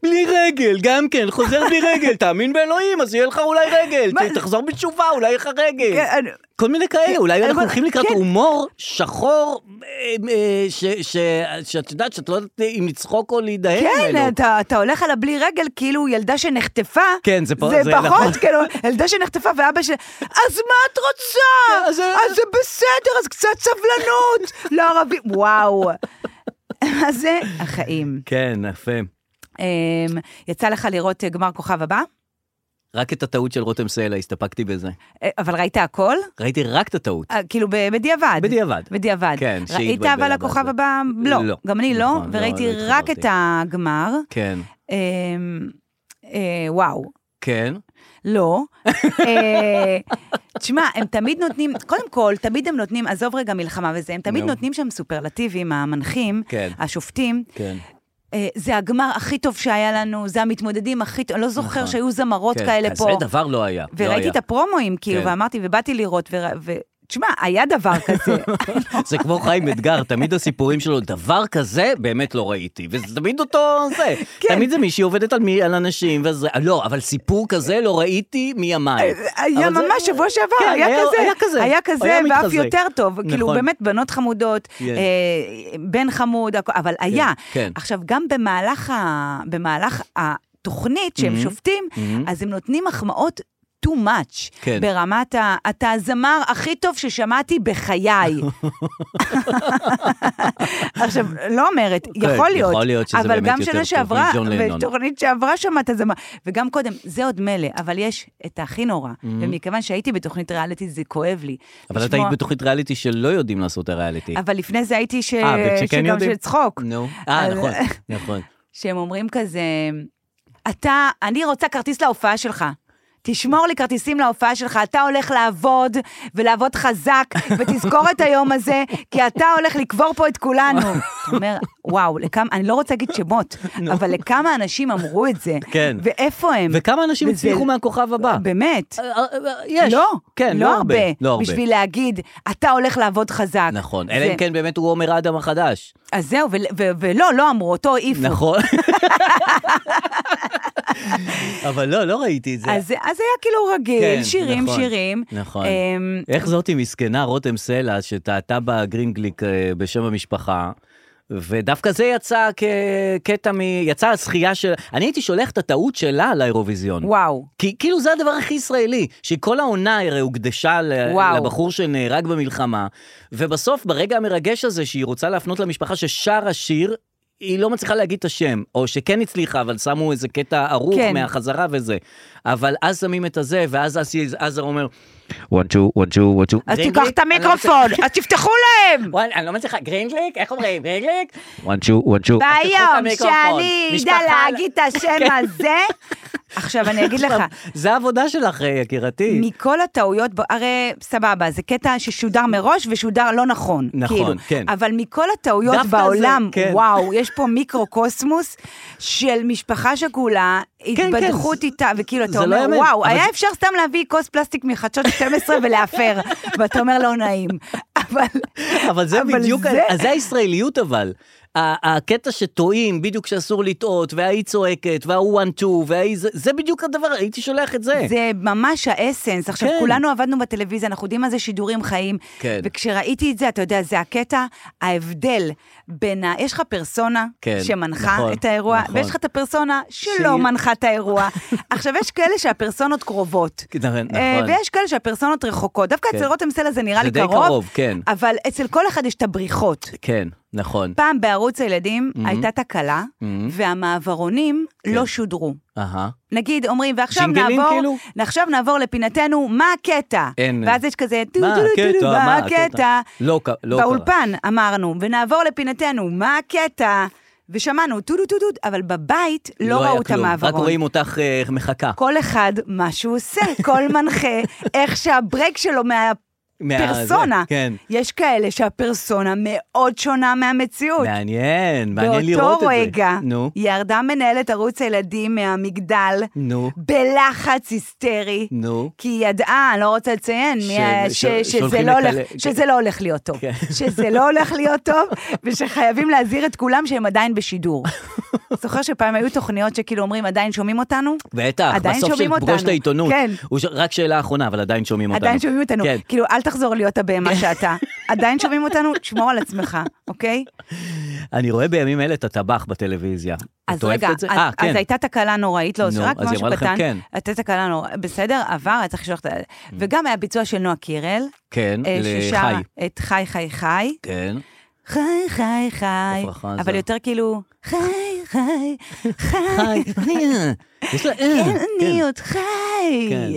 Speaker 2: בלי רגל, גם כן, חוזר בלי רגל, תאמין באלוהים, אז יהיה לך אולי רגל,
Speaker 3: מה-
Speaker 2: ת- תחזור בתשובה, אולי יהיה לך רגל.
Speaker 3: כן, אני-
Speaker 2: כל מיני כאלה, אולי
Speaker 3: אני
Speaker 2: אנחנו
Speaker 3: אומר,
Speaker 2: הולכים לקראת
Speaker 3: כן.
Speaker 2: הומור שחור, אה, אה, ש- ש- שאת יודעת שאת לא יודעת אם לצחוק או להידהר ממנו.
Speaker 3: כן, אתה, אתה הולך על הבלי רגל כאילו ילדה שנחטפה.
Speaker 2: כן, זה פ-
Speaker 3: זה,
Speaker 2: זה נכון.
Speaker 3: פחות, כאילו, ילדה שנחטפה ואבא שלה, אז מה את רוצה?
Speaker 2: אז
Speaker 3: אז,
Speaker 2: זה-
Speaker 3: זה בסדר, אז קצת סבלנות. לערבים, וואו. אז זה החיים.
Speaker 2: כן, יפה.
Speaker 3: אמ, יצא לך לראות אה, גמר כוכב הבא?
Speaker 2: רק את הטעות של רותם סלע, הסתפקתי בזה.
Speaker 3: אה, אבל ראית הכל?
Speaker 2: ראיתי רק את הטעות.
Speaker 3: אה, כאילו ב- בדיעבד.
Speaker 2: בדיעבד.
Speaker 3: בדיעבד.
Speaker 2: כן, שהיא
Speaker 3: ראית
Speaker 2: התבלבלה
Speaker 3: אבל הכוכב
Speaker 2: בזה.
Speaker 3: הבא? לא.
Speaker 2: לא.
Speaker 3: גם אני לא,
Speaker 2: נכון, לא,
Speaker 3: וראיתי
Speaker 2: לא
Speaker 3: רק
Speaker 2: התחברתי.
Speaker 3: את הגמר.
Speaker 2: כן.
Speaker 3: אמ, אה, וואו.
Speaker 2: כן.
Speaker 3: לא. אה, תשמע, הם תמיד נותנים, קודם כל, תמיד הם נותנים, עזוב רגע מלחמה וזה, הם תמיד
Speaker 2: נו.
Speaker 3: נותנים שם סופרלטיבים, המנחים,
Speaker 2: כן.
Speaker 3: השופטים.
Speaker 2: כן.
Speaker 3: אה, זה הגמר הכי טוב שהיה לנו, זה המתמודדים הכי טוב, אני לא זוכר
Speaker 2: נכון.
Speaker 3: שהיו זמרות
Speaker 2: כן.
Speaker 3: כאלה פה.
Speaker 2: כזה דבר לא היה. לא
Speaker 3: וראיתי
Speaker 2: היה.
Speaker 3: את הפרומואים, כאילו,
Speaker 2: כן.
Speaker 3: ואמרתי, ובאתי לראות, ו... ו- תשמע, היה דבר כזה.
Speaker 2: זה כמו חיים אתגר, תמיד הסיפורים שלו, דבר כזה באמת לא ראיתי. וזה תמיד אותו זה.
Speaker 3: כן.
Speaker 2: תמיד זה מישהי עובדת על מי- על אנשים, וזה... לא, אבל סיפור כזה לא ראיתי מימיי.
Speaker 3: אה, היה
Speaker 2: אבל זה-
Speaker 3: ממש שבוע שעבר,
Speaker 2: כן,
Speaker 3: היה
Speaker 2: היה-
Speaker 3: כזה,
Speaker 2: היה כזה.
Speaker 3: היה כזה,
Speaker 2: היה
Speaker 3: ואף
Speaker 2: מתחזה.
Speaker 3: יותר טוב, כאילו
Speaker 2: נכון.
Speaker 3: באמת בנות חמודות,
Speaker 2: כן.
Speaker 3: אה, בן חמוד, הכ- אבל היה.
Speaker 2: כן.
Speaker 3: עכשיו, גם במהלך ה- במהלך התוכנית שהם
Speaker 2: מהמם,
Speaker 3: שופטים,
Speaker 2: מהמם.
Speaker 3: אז הם נותנים מחמאות. too much,
Speaker 2: Mm-hmm. כן.
Speaker 3: ברמת ה... אתה הזמר הכי טוב ששמעתי בחיי. עכשיו, לא אומרת, יכול להיות,
Speaker 2: כן, יכול להיות שזה
Speaker 3: אבל
Speaker 2: באמת
Speaker 3: גם
Speaker 2: יותר
Speaker 3: שנה
Speaker 2: טוב
Speaker 3: שעברה,
Speaker 2: מג'ון לנון.
Speaker 3: ותוכנית שעברה שמעת זמר, וגם קודם, זה עוד מילא, אבל יש את הכי נורא, ומכיוון שהייתי בתוכנית ריאליטי, זה כואב לי.
Speaker 2: Mm-hmm. אבל את
Speaker 3: לשמוע-
Speaker 2: היית בתוכנית ריאליטי שלא יודעים לעשות את הריאליטי.
Speaker 3: אבל לפני זה הייתי ש...
Speaker 2: אה, וכשכן
Speaker 3: שגם
Speaker 2: יודעים?
Speaker 3: של צחוק,
Speaker 2: נו. אה,
Speaker 3: אז-
Speaker 2: נכון, נכון.
Speaker 3: שהם אומרים כזה, אתה, אני רוצה כרטיס להופעה שלך. תשמור לי כרטיסים להופעה שלך, אתה הולך לעבוד, ולעבוד חזק, ותזכור את היום הזה, כי אתה הולך לקבור פה את כולנו. אתה אומר, וואו, לכמה, אני לא רוצה להגיד שמות, אבל לכמה אנשים אמרו את זה,
Speaker 2: כן.
Speaker 3: ואיפה הם?
Speaker 2: וכמה אנשים
Speaker 3: וזה-
Speaker 2: הצליחו מהכוכב הבא?
Speaker 3: באמת.
Speaker 2: אה, אה, אה, יש.
Speaker 3: לא,
Speaker 2: כן,
Speaker 3: לא הרבה.
Speaker 2: לא הרבה.
Speaker 3: בשביל להגיד, אתה הולך לעבוד חזק.
Speaker 2: נכון, אלא
Speaker 3: זה-
Speaker 2: אם כן באמת הוא עומר אדם החדש.
Speaker 3: אז זהו, ול- ו- ולא, לא אמרו, אותו העיפו.
Speaker 2: נכון. אבל לא, לא ראיתי את זה.
Speaker 3: אז, אז היה כאילו רגיל,
Speaker 2: כן,
Speaker 3: שירים,
Speaker 2: נכון,
Speaker 3: שירים.
Speaker 2: נכון.
Speaker 3: אמ,
Speaker 2: איך זאתי מסכנה, רותם סלע, שטעתה בגרינגליק אה, בשם המשפחה, ודווקא זה יצא כקטע מ... יצא הזכייה של... אני הייתי שולח את הטעות שלה לאירוויזיון.
Speaker 3: וואו.
Speaker 2: כי כאילו זה הדבר הכי ישראלי, שכל העונה הרי הוקדשה ל-
Speaker 3: וואו.
Speaker 2: לבחור שנהרג במלחמה, ובסוף, ברגע המרגש הזה שהיא רוצה להפנות למשפחה ששרה שיר, היא לא מצליחה להגיד את השם, או שכן הצליחה, אבל שמו איזה קטע ערוך
Speaker 3: כן.
Speaker 2: מהחזרה וזה. אבל אז שמים את הזה, ואז אסי עזר אומר,
Speaker 4: one two one two one two
Speaker 3: אז
Speaker 2: גרינגליק,
Speaker 3: תיקח את
Speaker 2: אני לא
Speaker 3: המיקרופון, אז תפתחו להם!
Speaker 2: וואי, אני לא מצליחה, גרינגליק? איך אומרים, גרינגליק?
Speaker 4: one two one two
Speaker 3: ביום
Speaker 2: המיקרופון.
Speaker 3: שאני אדע
Speaker 2: משפחה- כן.
Speaker 3: להגיד את השם הזה, עכשיו אני אגיד לך,
Speaker 2: זה העבודה שלך, אה, יקירתי.
Speaker 3: מכל הטעויות, ב- הרי סבבה, זה קטע ששודר מראש ושודר לא נכון.
Speaker 2: נכון,
Speaker 3: כאילו.
Speaker 2: כן.
Speaker 3: אבל מכל הטעויות
Speaker 2: דווקא זה,
Speaker 3: בעולם,
Speaker 2: כן.
Speaker 3: וואו, יש פה מיקרוקוסמוס של משפחה שכולה,
Speaker 2: כן,
Speaker 3: התבדחות
Speaker 2: זה-
Speaker 3: איתה, וכאילו,
Speaker 2: זה
Speaker 3: אתה
Speaker 2: לא
Speaker 3: אומר,
Speaker 2: יאמן,
Speaker 3: וואו,
Speaker 2: אבל
Speaker 3: היה
Speaker 2: זה-
Speaker 3: אפשר סתם להביא כוס פלסטיק מחדשות 12 ולהפר, ואתה אומר, לא נעים. אבל...
Speaker 2: אבל זה
Speaker 3: אבל
Speaker 2: בדיוק,
Speaker 3: זה-
Speaker 2: אז זה הישראליות אבל. ה- הקטע שטועים, בדיוק שאסור לטעות, וההיא צועקת, וההוא one two, וההיא זה, זה בדיוק הדבר, הייתי שולח את זה.
Speaker 3: זה ממש האסנס. עכשיו,
Speaker 2: כן.
Speaker 3: כולנו עבדנו בטלוויזיה, אנחנו יודעים מה זה שידורים חיים.
Speaker 2: כן.
Speaker 3: וכשראיתי את זה, אתה יודע, זה הקטע, ההבדל בין ה... יש לך פרסונה
Speaker 2: כן,
Speaker 3: שמנחה
Speaker 2: נכון,
Speaker 3: את האירוע,
Speaker 2: נכון.
Speaker 3: ויש לך את הפרסונה שלא
Speaker 2: שהיא-
Speaker 3: מנחה את האירוע. עכשיו, יש כאלה שהפרסונות קרובות.
Speaker 2: כן, נכון.
Speaker 3: אה, ויש כאלה שהפרסונות רחוקות. דווקא
Speaker 2: כן.
Speaker 3: אצל רותם סלע זה נראה
Speaker 2: זה
Speaker 3: לי
Speaker 2: די
Speaker 3: קרוב.
Speaker 2: קרוב, כן.
Speaker 3: אבל אצל כל אחד יש את הבריחות.
Speaker 2: כן, נכון.
Speaker 3: פעם בערוץ הילדים
Speaker 2: Mm-hmm.
Speaker 3: הייתה תקלה, והמעברונים
Speaker 2: כן.
Speaker 3: לא שודרו.
Speaker 2: אהה.
Speaker 3: נגיד, אומרים, ועכשיו
Speaker 2: ג'ינגלים
Speaker 3: נעבור,
Speaker 2: כאילו?
Speaker 3: כאילו? עכשיו נעבור לפינתנו, מה הקטע?
Speaker 2: אין.
Speaker 3: ואז יש כזה, טו
Speaker 2: מה
Speaker 3: טו טו
Speaker 2: הקטע?
Speaker 3: טו,
Speaker 2: מה
Speaker 3: מה
Speaker 2: הקטע?
Speaker 3: הקטע?
Speaker 2: לא ק- לא קרה.
Speaker 3: באולפן אמרנו, ונעבור לפינתנו, מה הקטע? ושמענו טודו טודו, אבל בבית לא
Speaker 2: היה
Speaker 3: ראו את
Speaker 2: כלום. רק
Speaker 3: המעברון.
Speaker 2: רואים אותך אה, מחכה.
Speaker 3: כל אחד מה שהוא עושה, כל מנחה, איך שהברק שלו מהפרסונה.
Speaker 2: מה- כן.
Speaker 3: יש כאלה שהפרסונה מאוד שונה מהמציאות.
Speaker 2: מעניין, מעניין לראות את זה.
Speaker 3: באותו רגע,
Speaker 2: נו,
Speaker 3: ירדה מנהלת ערוץ הילדים מהמגדל,
Speaker 2: נו,
Speaker 3: בלחץ היסטרי.
Speaker 2: נו.
Speaker 3: כי היא ידעה, אני לא רוצה לציין, מי
Speaker 2: ש-
Speaker 3: ה-
Speaker 2: ש-
Speaker 3: ש- שזה
Speaker 2: שהולכים
Speaker 3: לא הולך-
Speaker 2: לקלל-
Speaker 3: שזה לא הולך להיות טוב.
Speaker 2: כן.
Speaker 3: שזה לא הולך להיות טוב, ושחייבים להזהיר את כולם שהם עדיין בשידור. זוכר שפעם היו תוכניות שכאילו אומרים, עדיין שומעים אותנו?
Speaker 2: בטח,
Speaker 3: עדיין
Speaker 2: בסוף
Speaker 3: שומעים
Speaker 2: שפגוש
Speaker 3: אותנו.
Speaker 2: את העיתונות.
Speaker 3: כן.
Speaker 2: הוא ש- רק שאלה אחרונה, אבל עדיין שומעים אותנו.
Speaker 3: עדיין שומעים אותנו.
Speaker 2: כן.
Speaker 3: כאילו, אל תחזור להיות הבהמה שאתה. עדיין שומעים אותנו, תשמור על עצמך, אוקיי?
Speaker 2: אני רואה בימים אלה את הטבח בטלוויזיה. את
Speaker 3: אז
Speaker 2: אוהבת
Speaker 3: רגע,
Speaker 2: את זה?
Speaker 3: אז-
Speaker 2: אה, כן.
Speaker 3: אז הייתה תקלה נוראית, לא, זה
Speaker 2: נו,
Speaker 3: רק
Speaker 2: אז היא
Speaker 3: משהו
Speaker 2: אמרה לכם
Speaker 3: קטן.
Speaker 2: כן. Mm.
Speaker 3: הייתה תקלה נוראית, בסדר, עבר, היה צריך לשלוח את ה... וגם היה ביצוע של נועה קירל,
Speaker 2: כן,
Speaker 3: אה,
Speaker 2: לחי.
Speaker 3: את חי חי חי.
Speaker 2: כן.
Speaker 3: חי, חי, חי,
Speaker 2: עפרה חזה.
Speaker 3: אבל יותר כאילו, חי, חי, חי,
Speaker 2: חי. יש לה... אה,
Speaker 3: כן, אני עוד חי.
Speaker 2: כן.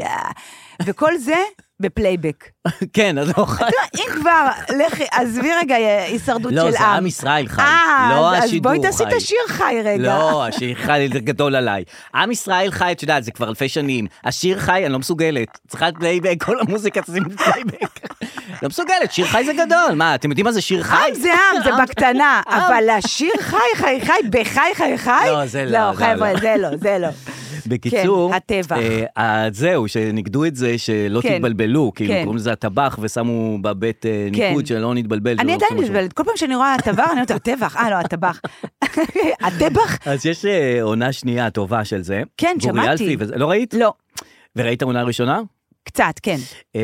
Speaker 3: וכל זה בפלייבק.
Speaker 2: כן. כן, אז לא חי.
Speaker 3: אם כבר, לכי, עזבי רגע הישרדות של עם.
Speaker 2: לא, זה עם ישראל חי.
Speaker 3: אה,
Speaker 2: לא
Speaker 3: אז-
Speaker 2: השידור
Speaker 3: אז בואי תעשי
Speaker 2: חי.
Speaker 3: את השיר חי רגע.
Speaker 2: לא, השיר חי זה גדול עליי. עם ישראל חי, את יודעת, זה כבר אלפי שנים. השיר חי, אני לא מסוגלת. צריכה פלייבק, כל המוזיקה צריכים פלייבק. לא מסוגלת, שיר חי זה גדול. מה, אתם יודעים מה זה שיר חי?
Speaker 3: עם זה עם, זה בקטנה, אבל לשיר חי חי חי בחי חי חי?
Speaker 2: לא, זה לא,
Speaker 3: לא,
Speaker 2: זה
Speaker 3: חבר'ה,
Speaker 2: לא.
Speaker 3: זה לא, זה לא.
Speaker 2: בקיצור,
Speaker 3: כן, הטבח.
Speaker 2: אה, אז זהו, שנגדו את זה, שלא
Speaker 3: כן.
Speaker 2: תתבלבלו, כאילו
Speaker 3: כן.
Speaker 2: קוראים לזה הטבח ושמו בבית אה,
Speaker 3: כן.
Speaker 2: ניקוד שלא נתבלבל.
Speaker 3: אני
Speaker 2: שלא
Speaker 3: עדיין
Speaker 2: עושים משהו.
Speaker 3: מתבלבלת, כל פעם שאני רואה הטבח, אני אומרת, הטבח, אה, לא, הטבח. הטבח?
Speaker 2: אז יש אה, עונה שנייה טובה של זה.
Speaker 3: כן,
Speaker 2: גורי
Speaker 3: שמעתי.
Speaker 2: אלפי וזה- לא ראית?
Speaker 3: לא,
Speaker 2: וראית עונה ראשונה?
Speaker 3: קצת, כן.
Speaker 2: אה,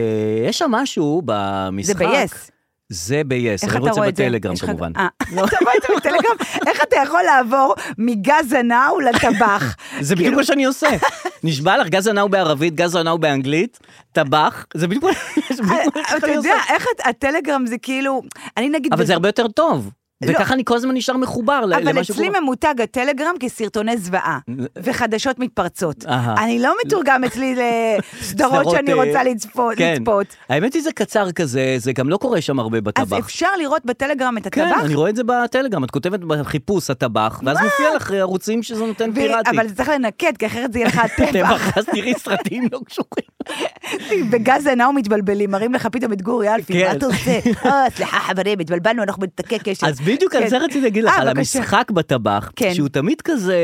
Speaker 2: יש שם משהו
Speaker 3: זה
Speaker 2: במשחק.
Speaker 3: ב-yes.
Speaker 2: זה ב-yes,
Speaker 3: איך
Speaker 2: אני
Speaker 3: אתה
Speaker 2: רוצה
Speaker 3: רואה את זה?
Speaker 2: בטלגרם
Speaker 3: יש לך-
Speaker 2: כמובן. לא.
Speaker 3: אה, אתה רואה את זה בטלגרם? איך אתה יכול לעבור מגז הנאו לטבח? כאילו,
Speaker 2: זה בדיוק מה שאני עושה. נשבע לך, גז הנאו בערבית, גז הנאו באנגלית, טבח, זה בדיוק מה זה בדיוק מה
Speaker 3: אה, אתה
Speaker 2: שאני
Speaker 3: יודע,
Speaker 2: עושה.
Speaker 3: איך את- הטלגרם זה כאילו, אני נגיד...
Speaker 2: אבל זה הרבה יותר טוב.
Speaker 3: לא.
Speaker 2: וככה אני כל הזמן נשאר מחובר ל-
Speaker 3: אבל
Speaker 2: למה
Speaker 3: אצלי
Speaker 2: שקורה.
Speaker 3: ממותג הטלגרם כסרטוני זוועה, וחדשות מתפרצות.
Speaker 2: אהה.
Speaker 3: אני לא מתורגם אצלי לסדרות
Speaker 2: סדרות,
Speaker 3: שאני
Speaker 2: אה,
Speaker 3: רוצה לצפות.
Speaker 2: כן.
Speaker 3: לצפות.
Speaker 2: האמת היא זה קצר כזה, זה גם לא קורה שם הרבה
Speaker 3: אז
Speaker 2: בטבח.
Speaker 3: אפשר לראות בטלגרם את
Speaker 2: כן,
Speaker 3: הטבח?
Speaker 2: אני רואה את זה בטלגרם, את כותבת בחיפוש הטבח, ואז מופיע לך ערוצים שזה נותן
Speaker 3: ו-
Speaker 2: פיראטי.
Speaker 3: אבל צריך לנקד, כי אחרת זה יהיה לך הטבח.
Speaker 2: טבח, אז תראי סרטים לא קשורים.
Speaker 3: בגז הנאו מתבלבלים, מראים לך פתאום את גורי אלפי, מה
Speaker 2: כן.
Speaker 3: אתה עושה? אה, סליחה חברים, התבלבלנו, אנחנו בנתקי קשר.
Speaker 2: אז בדיוק על
Speaker 3: כן.
Speaker 2: זה רציתי להגיד לך,
Speaker 3: אה,
Speaker 2: על
Speaker 3: בבקשה.
Speaker 2: המשחק בטבח,
Speaker 3: כן.
Speaker 2: שהוא תמיד כזה,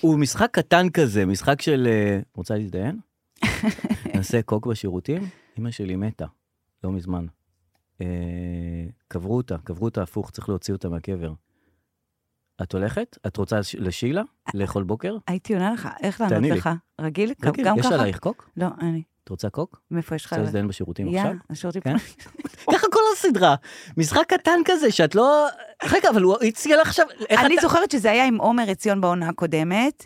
Speaker 2: הוא משחק קטן כזה, משחק של... אה, רוצה להתדיין? נעשה קוק בשירותים? אמא שלי מתה, לא מזמן. אה, קברו אותה, קברו אותה הפוך, צריך להוציא אותה מהקבר. את הולכת? את רוצה ש- לשילה? לאכול בוקר?
Speaker 3: הייתי עונה לך, איך לענות
Speaker 2: תעני לי.
Speaker 3: לך? רגיל? גם
Speaker 2: רגע,
Speaker 3: גם
Speaker 2: יש
Speaker 3: ככה?
Speaker 2: עלייך קוק?
Speaker 3: לא, אני.
Speaker 2: את רוצה קוק?
Speaker 3: מאיפה יש לך?
Speaker 2: רוצה להתדיין בשירותים
Speaker 3: יאללה,
Speaker 2: עכשיו?
Speaker 3: השירותים.
Speaker 2: כן? ככה כל הסדרה. משחק קטן כזה שאת לא... רגע, אבל הוא הציע לך עכשיו... איך
Speaker 3: אני
Speaker 2: אתה-
Speaker 3: זוכרת שזה היה עם עומר עציון בעונה הקודמת.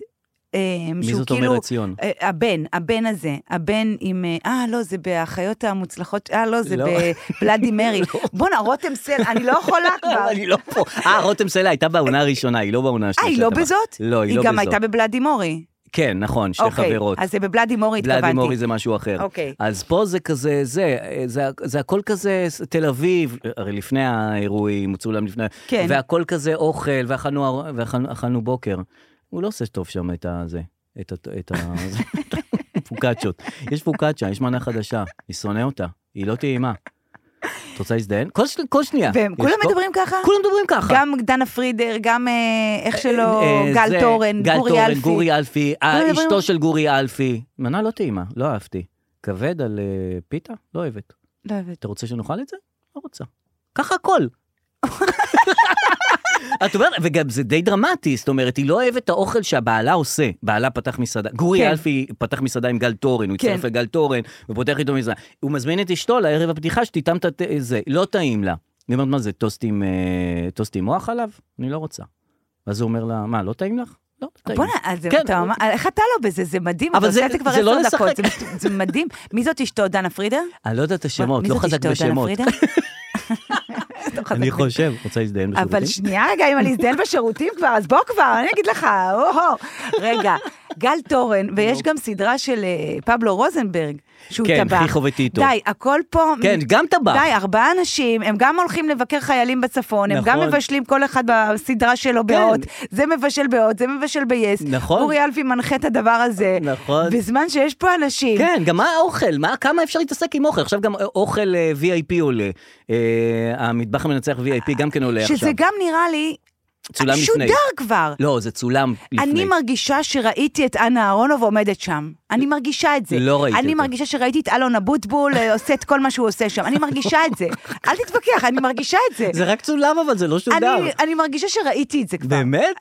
Speaker 3: אמ,
Speaker 2: מי
Speaker 3: שהוא
Speaker 2: זאת
Speaker 3: כאילו-
Speaker 2: אומרת ציון?
Speaker 3: אה, הבן, הבן הזה, הבן עם, אה, אה, לא, זה באחיות המוצלחות, אה, לא, זה
Speaker 2: לא.
Speaker 3: בבלאדי מרי. בואנה, רותם סל, אני לא יכולה כבר.
Speaker 2: אני לא פה. אה, רותם סלע הייתה בעונה הראשונה, היא לא בעונה
Speaker 3: אה,
Speaker 2: השנייה.
Speaker 3: היא
Speaker 2: של
Speaker 3: לא
Speaker 2: הטבח.
Speaker 3: בזאת?
Speaker 2: לא, היא לא
Speaker 3: היא גם
Speaker 2: בזאת.
Speaker 3: הייתה בבלאדי מורי.
Speaker 2: כן, נכון, שתי
Speaker 3: אוקיי,
Speaker 2: חברות.
Speaker 3: אז זה בבלאדי מורי
Speaker 2: בלאדי
Speaker 3: התכוונתי.
Speaker 2: מורי זה משהו אחר.
Speaker 3: אוקיי.
Speaker 2: אז פה זה כזה, זה, זה, זה הכל כזה ס- תל אביב, הרי לפני האירועים, צולם לפני,
Speaker 3: כן.
Speaker 2: והכל כזה אוכל, ואכלנו, ואכלנו, אכלנו בוקר. הוא לא עושה טוב שם את הזה, את, ה- את ה... זה, את הפוקצ'ות. יש פוקצ'ה, יש מנה חדשה, אני שונא אותה, היא לא טעימה. את רוצה להזדיין? כל, ש- כל שנייה.
Speaker 3: והם
Speaker 2: יש
Speaker 3: כולם
Speaker 2: פה-
Speaker 3: מדברים ככה?
Speaker 2: כולם מדברים ככה.
Speaker 3: גם דנה פרידר, גם אה, איך שלא,
Speaker 2: אה, זה,
Speaker 3: גל תורן, גורי אלפי.
Speaker 2: גל תורן, גורי אלפי, אה,
Speaker 3: מדברים-
Speaker 2: אשתו של גורי אלפי. מנה לא טעימה, לא אהבתי. כבד על אה, פיתה? לא אוהבת.
Speaker 3: לא הבנתי.
Speaker 2: אתה רוצה שנאכל את זה? לא רוצה. ככה הכל. את אומרת, וגם זה די דרמטי, זאת אומרת, היא לא אוהבת את האוכל שהבעלה עושה. בעלה פתח מסעדה, גורי
Speaker 3: כן.
Speaker 2: אלפי פתח מסעדה עם גל תורן, הוא
Speaker 3: כן.
Speaker 2: הצטרף לגל תורן, הוא פותח איתו מסעדה. הוא מזמין את אשתו לערב הפתיחה שתטעם את הת- זה, לא טעים לה. היא אומרת, מה זה, טוסט עם, אה, טוסט עם מוח עליו? אני לא רוצה. ואז הוא אומר לה, מה, לא טעים לך? לא, לא טעים.
Speaker 3: בוא'נה, אז זה-
Speaker 2: כן.
Speaker 3: אתה ממש- איך אתה לא בזה? זה מדהים,
Speaker 2: אבל
Speaker 3: אתה
Speaker 2: זה-
Speaker 3: עושה את זה כבר
Speaker 2: זה לא
Speaker 3: עשר דקות,
Speaker 2: לשחק.
Speaker 3: זה- זה מדהים. מי זאת אשתו, דנה פרידר?
Speaker 2: אני לא יודע את השמות,
Speaker 3: מי
Speaker 2: לא
Speaker 3: זאת
Speaker 2: חזק
Speaker 3: אשתו, דנה
Speaker 2: בשמות.
Speaker 3: פרידר? לא חזק
Speaker 2: אני חושב, רוצה להזדיין בשירותים?
Speaker 3: אבל שנייה רגע, אם אני אזדהן בשירותים כבר, אז בוא כבר, אני אגיד לך, או-הו. רגע, גל תורן, ויש גם סדרה של אה, פבלו רוזנברג, שהוא
Speaker 2: כן,
Speaker 3: טבח.
Speaker 2: חיכו וטיטו.
Speaker 3: די, הכל פה...
Speaker 2: כן, גם טבח.
Speaker 3: די, ארבעה אנשים, הם גם הולכים לבקר חיילים בצפון, הם גם
Speaker 2: נכון.
Speaker 3: מבשלים כל אחד בסדרה שלו
Speaker 2: כן.
Speaker 3: באות. זה מבשל באות, זה מבשל ביס.
Speaker 2: נכון.
Speaker 3: אורי אלפי מנחה את הדבר הזה.
Speaker 2: נכון.
Speaker 3: בזמן שיש פה אנשים.
Speaker 2: כן, גם מה האוכל? מה, כמה אפשר להתעסק עם אוכל? עכשיו גם אה, אוכל אה, VIP עולה. אה, המטבח המנצח VIP גם כן עולה עכשיו.
Speaker 3: שזה גם נראה לי...
Speaker 2: צולם לפני.
Speaker 3: שודר כבר.
Speaker 2: לא, זה צולם לפני.
Speaker 3: אני מרגישה שראיתי את אנה אהרונוב עומדת שם. אני מרגישה את זה.
Speaker 2: לא ראית
Speaker 3: אני
Speaker 2: אותה.
Speaker 3: מרגישה שראיתי את אלון אבוטבול אה, עושה את כל מה שהוא עושה שם. אני מרגישה את זה. אל תתווכח, אני מרגישה את זה.
Speaker 2: זה רק צולם, אבל זה לא שודר.
Speaker 3: אני, אני מרגישה שראיתי את זה כבר.
Speaker 2: באמת?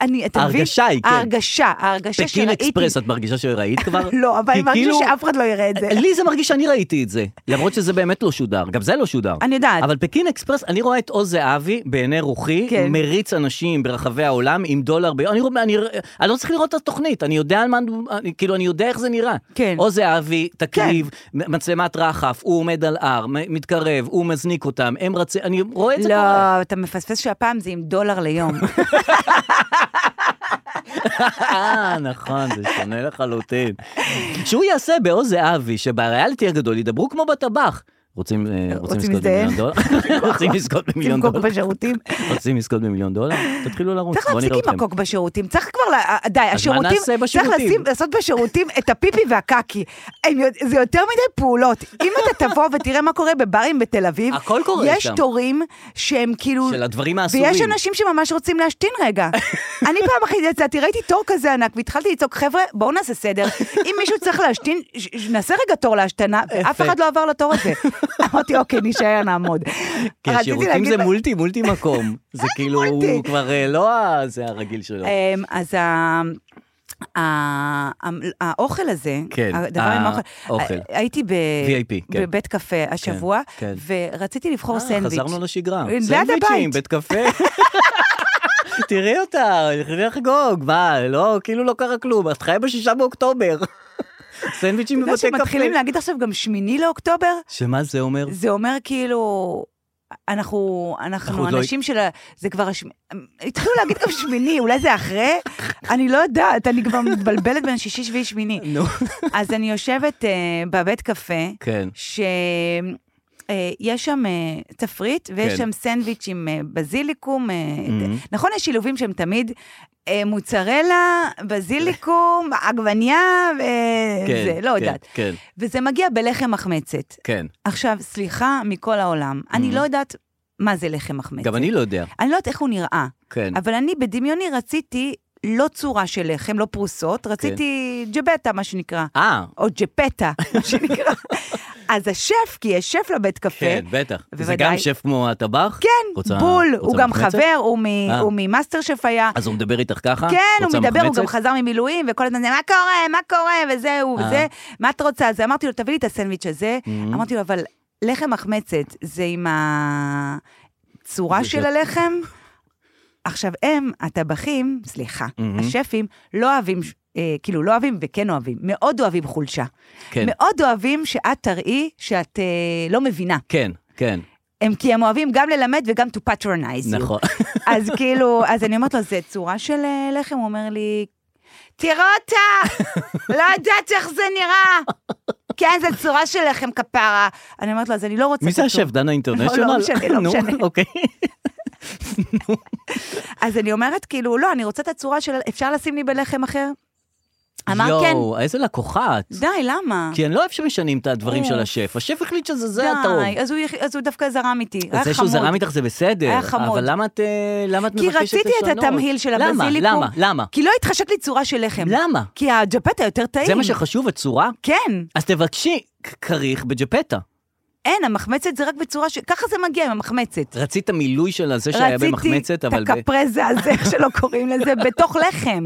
Speaker 3: אני, אתה מבין?
Speaker 2: ההרגשה היא, כן.
Speaker 3: ההרגשה, ההרגשה
Speaker 2: פקין
Speaker 3: שראיתי.
Speaker 2: אקספרס, את מרגישה שראית כבר?
Speaker 3: לא,
Speaker 2: כי
Speaker 3: אבל אני מרגישה
Speaker 2: כאילו-
Speaker 3: שאף אחד לא יראה את זה.
Speaker 2: לי זה מרגיש שאני ראיתי את זה, למרות שזה באמת לא שודר, גם זה לא שודר.
Speaker 3: אני יודעת.
Speaker 2: אבל פקין אקספרס, אני רואה את עוז זהבי בעיני רוחי,
Speaker 3: כן.
Speaker 2: מריץ אנשים ברחבי העולם עם דולר ביום, אני, רוא- אני, אני לא צריך לראות את התוכנית, אני יודע על מה, אני, כאילו, אני יודע איך זה נראה.
Speaker 3: כן.
Speaker 2: עוז זהבי, תקריב, מ- מצלמת רחף, הוא עומד על הר, מ- מתקרב, הוא מזניק אותם, הם רצים, אני רואה את זה קורה.
Speaker 3: לא, אתה מפספס שהפעם זה עם דולר ליום.
Speaker 2: אה, נכון, זה שונה לחלוטין. שהוא יעשה בעוז זהבי, שבריאליטי הגדול ידברו כמו בטבח. רוצים, אה, רוצים
Speaker 3: רוצים
Speaker 2: לזכות
Speaker 3: להזדהן?
Speaker 2: במיליון דולר? רוצים לזכות במיליון
Speaker 3: מקוק
Speaker 2: דולר?
Speaker 3: בשירותים.
Speaker 2: רוצים לזכות במיליון דולר? תתחילו לרוץ,
Speaker 3: צריך
Speaker 2: בואו
Speaker 3: להפסיק
Speaker 2: נראה
Speaker 3: עם
Speaker 2: אתכם.
Speaker 3: הקוק בשירותים, צריך כבר, ל- די, השירותים,
Speaker 2: נעשה בשירותים?
Speaker 3: צריך לשים, לעשות בשירותים את הפיפי והקקי. הם יודע- זה יותר מדי פעולות. אם אתה תבוא ותראה מה קורה בברים בתל אביב,
Speaker 2: הכל קורה
Speaker 3: יש
Speaker 2: שם.
Speaker 3: תורים שהם כאילו...
Speaker 2: של הדברים האסורים.
Speaker 3: ויש אנשים שממש רוצים להשתין רגע. אני פעם אחת יצאתי, ראיתי תור כזה ענק, והתחלתי לצעוק, חבר'ה, בואו נעשה סדר. אם מישהו צריך להשתין, ש- ש- נעשה רגע תור להשתנה, ואף
Speaker 2: יפה.
Speaker 3: אחד לא עבר לתור הזה. אמרתי, אוקיי, נישאר, נעמוד.
Speaker 2: כי
Speaker 3: רציתי
Speaker 2: השירותים
Speaker 3: להגיד
Speaker 2: זה
Speaker 3: לה-
Speaker 2: מולטי, מולטי מקום. זה כאילו,
Speaker 3: מולטי.
Speaker 2: הוא כבר אה, לא ה- זה הרגיל שלו.
Speaker 3: אמ, אז ה... ה- ה- האוכל הזה,
Speaker 2: כן,
Speaker 3: הדבר עם האוכל, אה,
Speaker 2: האוכל.
Speaker 3: הייתי ב-
Speaker 2: VIP, כן.
Speaker 3: בבית קפה השבוע,
Speaker 2: כן,
Speaker 3: ורציתי לבחור
Speaker 2: אה,
Speaker 3: סנדוויץ'. לא אה,
Speaker 2: חזרנו לשגרה.
Speaker 3: ליד
Speaker 2: סנדוויצ'ים,
Speaker 3: הבית.
Speaker 2: בית קפה. תראי אותה, לכי לחגוג, מה, לא, כאילו לא קרה כלום, את חיה בשישה באוקטובר. סנדוויצ'ים
Speaker 3: אתה יודע
Speaker 2: בבתי קפה.
Speaker 3: שמתחילים להגיד עכשיו גם שמיני לאוקטובר?
Speaker 2: שמה זה אומר?
Speaker 3: זה אומר כאילו... אנחנו, אנחנו
Speaker 2: עוד לא-
Speaker 3: אנשים של ה... זה כבר השמ... התחילו להגיד גם שמיני, אולי זה אחרי? אני לא יודעת, אני כבר מתבלבלת בין שישי, שביעי, שמיני.
Speaker 2: נו.
Speaker 3: אז אני יושבת אה, בבית קפה,
Speaker 2: כן.
Speaker 3: שיש שם אה, תפריט ויש
Speaker 2: כן. Mm-hmm.
Speaker 3: שם סנדוויץ' עם אה, בזיליקום. אה, ת- נכון, יש שילובים שהם תמיד אה, מוצרלה, בזיליקום, עגבניה, אה,
Speaker 2: כן,
Speaker 3: זה, לא
Speaker 2: כן,
Speaker 3: יודעת.
Speaker 2: כן.
Speaker 3: וזה מגיע בלחם מחמצת.
Speaker 2: כן.
Speaker 3: עכשיו, סליחה מכל העולם, אני לא יודעת מה זה לחם מחמצת.
Speaker 2: Mm-hmm. גם אני לא יודע.
Speaker 3: אני לא יודעת איך הוא נראה,
Speaker 2: כן.
Speaker 3: אבל אני בדמיוני רציתי לא צורה של לחם, לא
Speaker 2: כן.
Speaker 3: פרוסות, רציתי ג'בטה, מה שנקרא.
Speaker 2: אה,
Speaker 3: או ג'פטה, מה שנקרא. אז השף, כי יש שף לבית קפה.
Speaker 2: כן, בטח. זה
Speaker 3: בוודאי.
Speaker 2: גם שף כמו הטבח?
Speaker 3: כן,
Speaker 2: רוצה-
Speaker 3: בול,
Speaker 2: רוצה
Speaker 3: הוא גם
Speaker 2: מחמצת?
Speaker 3: חבר, הוא מ-
Speaker 2: אה.
Speaker 3: הוא ממאסטר שף היה.
Speaker 2: אז הוא מדבר איתך ככה?
Speaker 3: כן, הוא
Speaker 2: רוצה
Speaker 3: מדבר, הוא
Speaker 2: מחמצת?
Speaker 3: גם חזר ממילואים, וכל הזמן זה, מה קורה, מה קורה, וזהו,
Speaker 2: אה. Mm-hmm.
Speaker 3: וזה, מה את רוצה? אז אמרתי לו, תביא לי את הסנדוויץ' הזה. אמרתי לו, אבל לחם מחמצת זה עם הצורה
Speaker 2: זה
Speaker 3: של
Speaker 2: ש-
Speaker 3: הלחם? עכשיו, הם, הטבחים, סליחה,
Speaker 2: Mm-hmm.
Speaker 3: השפים, לא אוהבים, אה, כאילו, לא אוהבים וכן אוהבים, מאוד אוהבים חולשה.
Speaker 2: כן.
Speaker 3: מאוד אוהבים שאת תראי שאת אה, לא מבינה.
Speaker 2: כן, כן,
Speaker 3: הם כי הם אוהבים גם ללמד וגם to patronize you.
Speaker 2: נכון.
Speaker 3: אז כאילו, אז אני אומרת לו, זה צורה של אה, לחם? הוא אומר לי, תראה אותה, לא יודעת איך זה נראה. כן, זו צורה של לחם כפרה. אני אומרת לו, אז אני לא רוצה...
Speaker 2: מי זה
Speaker 3: את הצורה."
Speaker 2: השף? דנה אינטרנשיונל?
Speaker 3: לא, לא משנה, לא
Speaker 2: נו,
Speaker 3: משנה.
Speaker 2: אוקיי.
Speaker 3: אז אני אומרת, כאילו, לא, אני רוצה את הצורה של... אפשר לשים לי בלחם אחר? אמר, כן.
Speaker 2: יואו, איזה לקוחה את.
Speaker 3: די, למה?
Speaker 2: כי אני לא אוהב שמשנים את הדברים
Speaker 3: אה. אוף.
Speaker 2: של השף. השף החליט שזה זה הטוב.
Speaker 3: די, אז הוא יח- אז הוא דווקא זרם איתי. היה
Speaker 2: אז זה שהוא
Speaker 3: חמוד.
Speaker 2: זרם איתך זה בסדר.
Speaker 3: היה חמוד.
Speaker 2: אבל למה את אה, למה את
Speaker 3: כי
Speaker 2: מבקשת לשנות?
Speaker 3: רציתי את התמהיל של הבזיליקום.
Speaker 2: למה? למה?
Speaker 3: כי לא התחשק לי צורה של לחם.
Speaker 2: למה?
Speaker 3: כי הג'פטה יותר טעים.
Speaker 2: למה? זה מה שחשוב, הצורה?
Speaker 3: כן.
Speaker 2: אז תבקשי כ- כריך בג'פטה.
Speaker 3: אין, המחמצת זה רק בצורה ש... ככה זה מגיע עם המחמצת.
Speaker 2: רצית מילוי של הזה שהיה
Speaker 3: רציתי
Speaker 2: במחמצת,
Speaker 3: את
Speaker 2: אבל... ב-
Speaker 3: הקפרזה הזה, איך שלא קוראים לזה, בתוך לחם.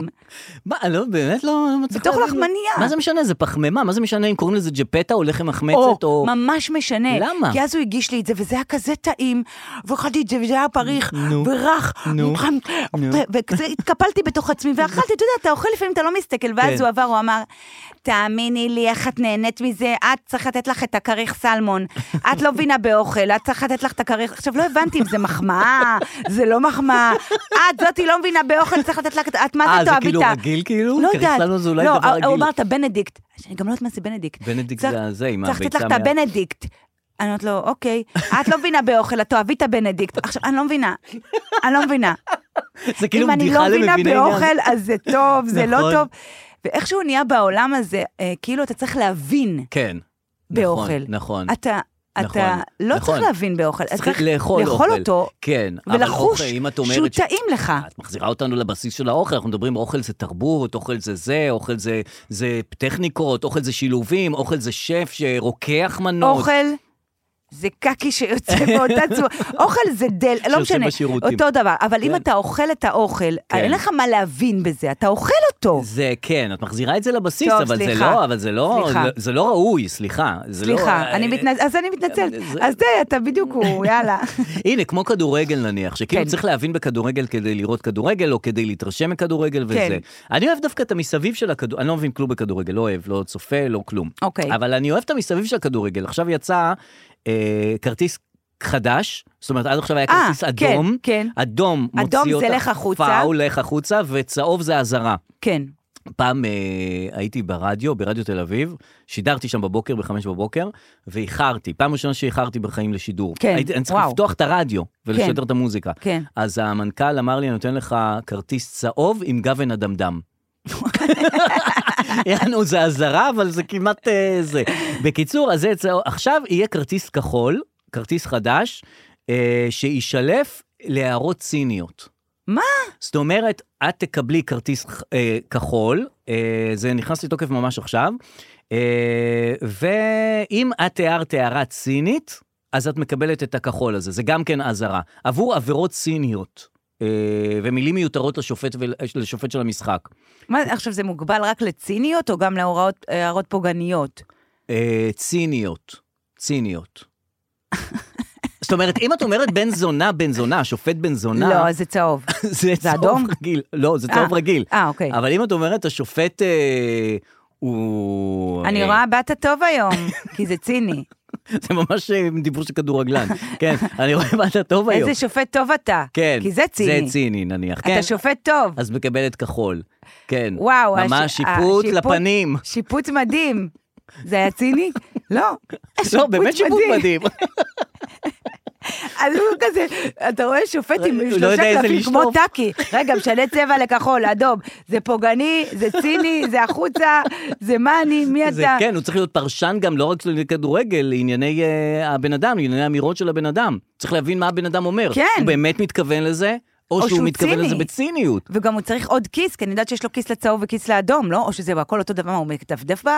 Speaker 2: מה, לא, באמת לא לא מצליח
Speaker 3: בתוך
Speaker 2: להבין.
Speaker 3: לחמנייה.
Speaker 2: מה זה משנה? זה פחמימה, מה זה משנה אם קוראים לזה ג'פטה או לחם מחמצת
Speaker 3: או,
Speaker 2: או...
Speaker 3: ממש משנה.
Speaker 2: למה?
Speaker 3: כי אז הוא הגיש לי את זה, וזה היה כזה טעים, ואכלתי את זה, וזה היה פריך,
Speaker 2: נו.
Speaker 3: ורך,
Speaker 2: נו.
Speaker 3: וחם,
Speaker 2: נו.
Speaker 3: ו- וכזה התקפלתי בתוך עצמי, ואכלתי, אתה יודע, אתה אוכל לפעמים, אתה לא מסתכל, ואז
Speaker 2: כן.
Speaker 3: הוא עבר, הוא אמר, תאמיני לי, איך את נהנית מזה, את צריך לתת לך את הכריך סלמון. את לא מבינה באוכל, את צריכה לתת לך את הכריך. עכשיו, לא הבנתי אם זה מחמאה, זה לא מחמאה. את זאתי לא מבינה באוכל, צריך לתת לה... את מה
Speaker 2: אה, זה
Speaker 3: זה תאהב
Speaker 2: כאילו
Speaker 3: איתה?
Speaker 2: רגיל כאילו?
Speaker 3: לא
Speaker 2: כריך
Speaker 3: יודעת.
Speaker 2: סלמון זה אולי
Speaker 3: לא,
Speaker 2: דבר
Speaker 3: הוא-
Speaker 2: רגיל.
Speaker 3: הוא אמר את הבנדיקט, שאני גם לא יודעת מה זה בנדיקט.
Speaker 2: בנדיקט
Speaker 3: צריך-
Speaker 2: זה הזה עם
Speaker 3: צריך לתת לך
Speaker 2: הביצה
Speaker 3: את
Speaker 2: מה-
Speaker 3: הבנדיקט. אני אומרת לו, אוקיי, את לא מבינה באוכל, את תאהבי את הבנדיקט. עכשיו, אני לא מבינה, אני לא מבינה.
Speaker 2: זה כאילו
Speaker 3: אם אני
Speaker 2: בדיחה
Speaker 3: לא מבינה
Speaker 2: למביני עניין.
Speaker 3: באוכל, אז זה טוב, זה
Speaker 2: נכון.
Speaker 3: לא טוב. ואיכשהו נהיה בעולם הזה, אה, כאילו אתה צריך להבין
Speaker 2: כן.
Speaker 3: באוכל.
Speaker 2: נכון.
Speaker 3: אתה,
Speaker 2: נכון,
Speaker 3: אתה לא
Speaker 2: נכון.
Speaker 3: צריך להבין באוכל, אתה
Speaker 2: צריך
Speaker 3: צריך
Speaker 2: לאכול
Speaker 3: לאכול
Speaker 2: אוכל.
Speaker 3: אותו,
Speaker 2: כן, אבל
Speaker 3: ולחוש
Speaker 2: אוכל, אם את
Speaker 3: שהוא
Speaker 2: אומרת... ש-
Speaker 3: טעים לך.
Speaker 2: את מחזירה אותנו לבסיס של האוכל, אנחנו מדברים אוכל זה תרבות, אוכל זה זה, אוכל זה, זה טכניקות, אוכל זה שילובים, אוכל זה שף שרוקח מנות.
Speaker 3: אוכל זה קקי שיוצא באותה צורה. אוכל זה דל, לא
Speaker 2: שיוצא
Speaker 3: משנה,
Speaker 2: בשירותים.
Speaker 3: אותו דבר. אבל
Speaker 2: כן.
Speaker 3: אם אתה אוכל את האוכל, אין לך מה להבין בזה, אתה אוכל אותו.
Speaker 2: זה כן, את מחזירה את זה לבסיס,
Speaker 3: טוב,
Speaker 2: אבל זה
Speaker 3: סליחה.
Speaker 2: לא, אבל זה לא,
Speaker 3: סליחה.
Speaker 2: זה לא ראוי, סליחה. זה לא-
Speaker 3: סליחה, אני
Speaker 2: אה,
Speaker 3: מתנצ- אז אני מתנצלת.
Speaker 2: זה-
Speaker 3: אז זה, אתה בדיוק הוא, יאללה.
Speaker 2: הנה, כמו כדורגל נניח, שכאילו
Speaker 3: כן.
Speaker 2: צריך להבין בכדורגל כדי לראות כדורגל, או כדי להתרשם מכדורגל וזה.
Speaker 3: כן.
Speaker 2: אני אוהב דווקא את המסביב של הכדורגל, אני לא מבין כלום בכדורגל, לא אוהב, לא צופה, לא כלום.
Speaker 3: אוקיי.
Speaker 2: אבל אני אוהב את המסביב של הכדורגל. עכשיו יצא אה, כרטיס חדש, זאת אומרת, עד עכשיו היה
Speaker 3: אה,
Speaker 2: כרטיס
Speaker 3: כן,
Speaker 2: אדום.
Speaker 3: כן.
Speaker 2: אדום מוציא
Speaker 3: אדום זה
Speaker 2: אותך,
Speaker 3: לך החוצה.
Speaker 2: פאול לך החוצה, וצהוב זה אזהרה.
Speaker 3: כן.
Speaker 2: פעם אה, הייתי ברדיו, ברדיו תל אביב, שידרתי שם בבוקר, בחמש בבוקר, ואיחרתי. פעם ראשונה שאיחרתי בחיים לשידור.
Speaker 3: כן,
Speaker 2: הייתי, אני צריך
Speaker 3: וואו.
Speaker 2: לפתוח את הרדיו ולשדר
Speaker 3: כן.
Speaker 2: את המוזיקה.
Speaker 3: כן.
Speaker 2: אז המנכ"ל אמר לי, אני נותן לך כרטיס צהוב עם גוון אדמדם. יענו, זה אזהרה, אבל זה כמעט אה, זה. בקיצור, אז זה צהוב. עכשיו יהיה כרטיס כחול, כרטיס חדש, אה, שישלף להערות ציניות.
Speaker 3: מה?
Speaker 2: זאת אומרת, את תקבלי כרטיס אה, כחול, אה, זה נכנס לתוקף ממש עכשיו, אה, ואם את הערת הערה צינית, אז את מקבלת את הכחול הזה, זה גם כן אזהרה. עבור עבירות ציניות אה, ומילים מיותרות לשופט, ול, לשופט של המשחק.
Speaker 3: מה, עכשיו זה מוגבל רק לציניות או גם להוראות- הערות פוגעניות?
Speaker 2: אה, ציניות, ציניות. זאת אומרת, אם את אומרת בן זונה, בן זונה, שופט בן זונה,
Speaker 3: לא, זה צהוב.
Speaker 2: זה צהוב
Speaker 3: אדום?
Speaker 2: רגיל. לא, זה צהוב
Speaker 3: אה,
Speaker 2: רגיל.
Speaker 3: אה, אוקיי.
Speaker 2: אבל אם את אומרת, השופט אה, הוא...
Speaker 3: אני
Speaker 2: אה,
Speaker 3: רואה באת טוב היום, כי זה ציני.
Speaker 2: זה ממש אה, דיבור של כדורגלן. כן, אני רואה מה אתה טוב היום.
Speaker 3: איזה שופט טוב אתה.
Speaker 2: כן.
Speaker 3: כי זה ציני.
Speaker 2: זה ציני נניח. כן.
Speaker 3: אתה שופט טוב.
Speaker 2: אז מקבלת כחול. כן.
Speaker 3: וואו.
Speaker 2: ממש
Speaker 3: הש-
Speaker 2: שיפוט
Speaker 3: השיפוט-
Speaker 2: לפנים.
Speaker 3: שיפוט מדהים. זה היה ציני? לא.
Speaker 2: לא, באמת שיפוט מדהים.
Speaker 3: אז הוא כזה, אתה רואה שופט עם
Speaker 2: הוא לא
Speaker 3: שלושה
Speaker 2: יודע איזה
Speaker 3: קלפים כמו
Speaker 2: לשלוף.
Speaker 3: טאקי. רגע, משנה צבע לכחול, אדום. זה פוגעני, זה ציני, זה החוצה, זה מה אני, מי
Speaker 2: זה
Speaker 3: אתה.
Speaker 2: כן, הוא צריך להיות פרשן גם לא רק לכדורגל, לענייני אה, הבן אדם, לענייני אמירות של הבן אדם. צריך להבין מה הבן אדם אומר.
Speaker 3: כן.
Speaker 2: הוא באמת מתכוון לזה, או
Speaker 3: או
Speaker 2: שהוא
Speaker 3: שהוא
Speaker 2: מתכוון
Speaker 3: ציני.
Speaker 2: לזה בציניות.
Speaker 3: וגם הוא צריך עוד כיס, כי אני יודעת שיש לו כיס לצהוב וכיס לאדום, לא? או שזה הכל אותו דבר, מה, הוא מדפדף ב-
Speaker 2: הוא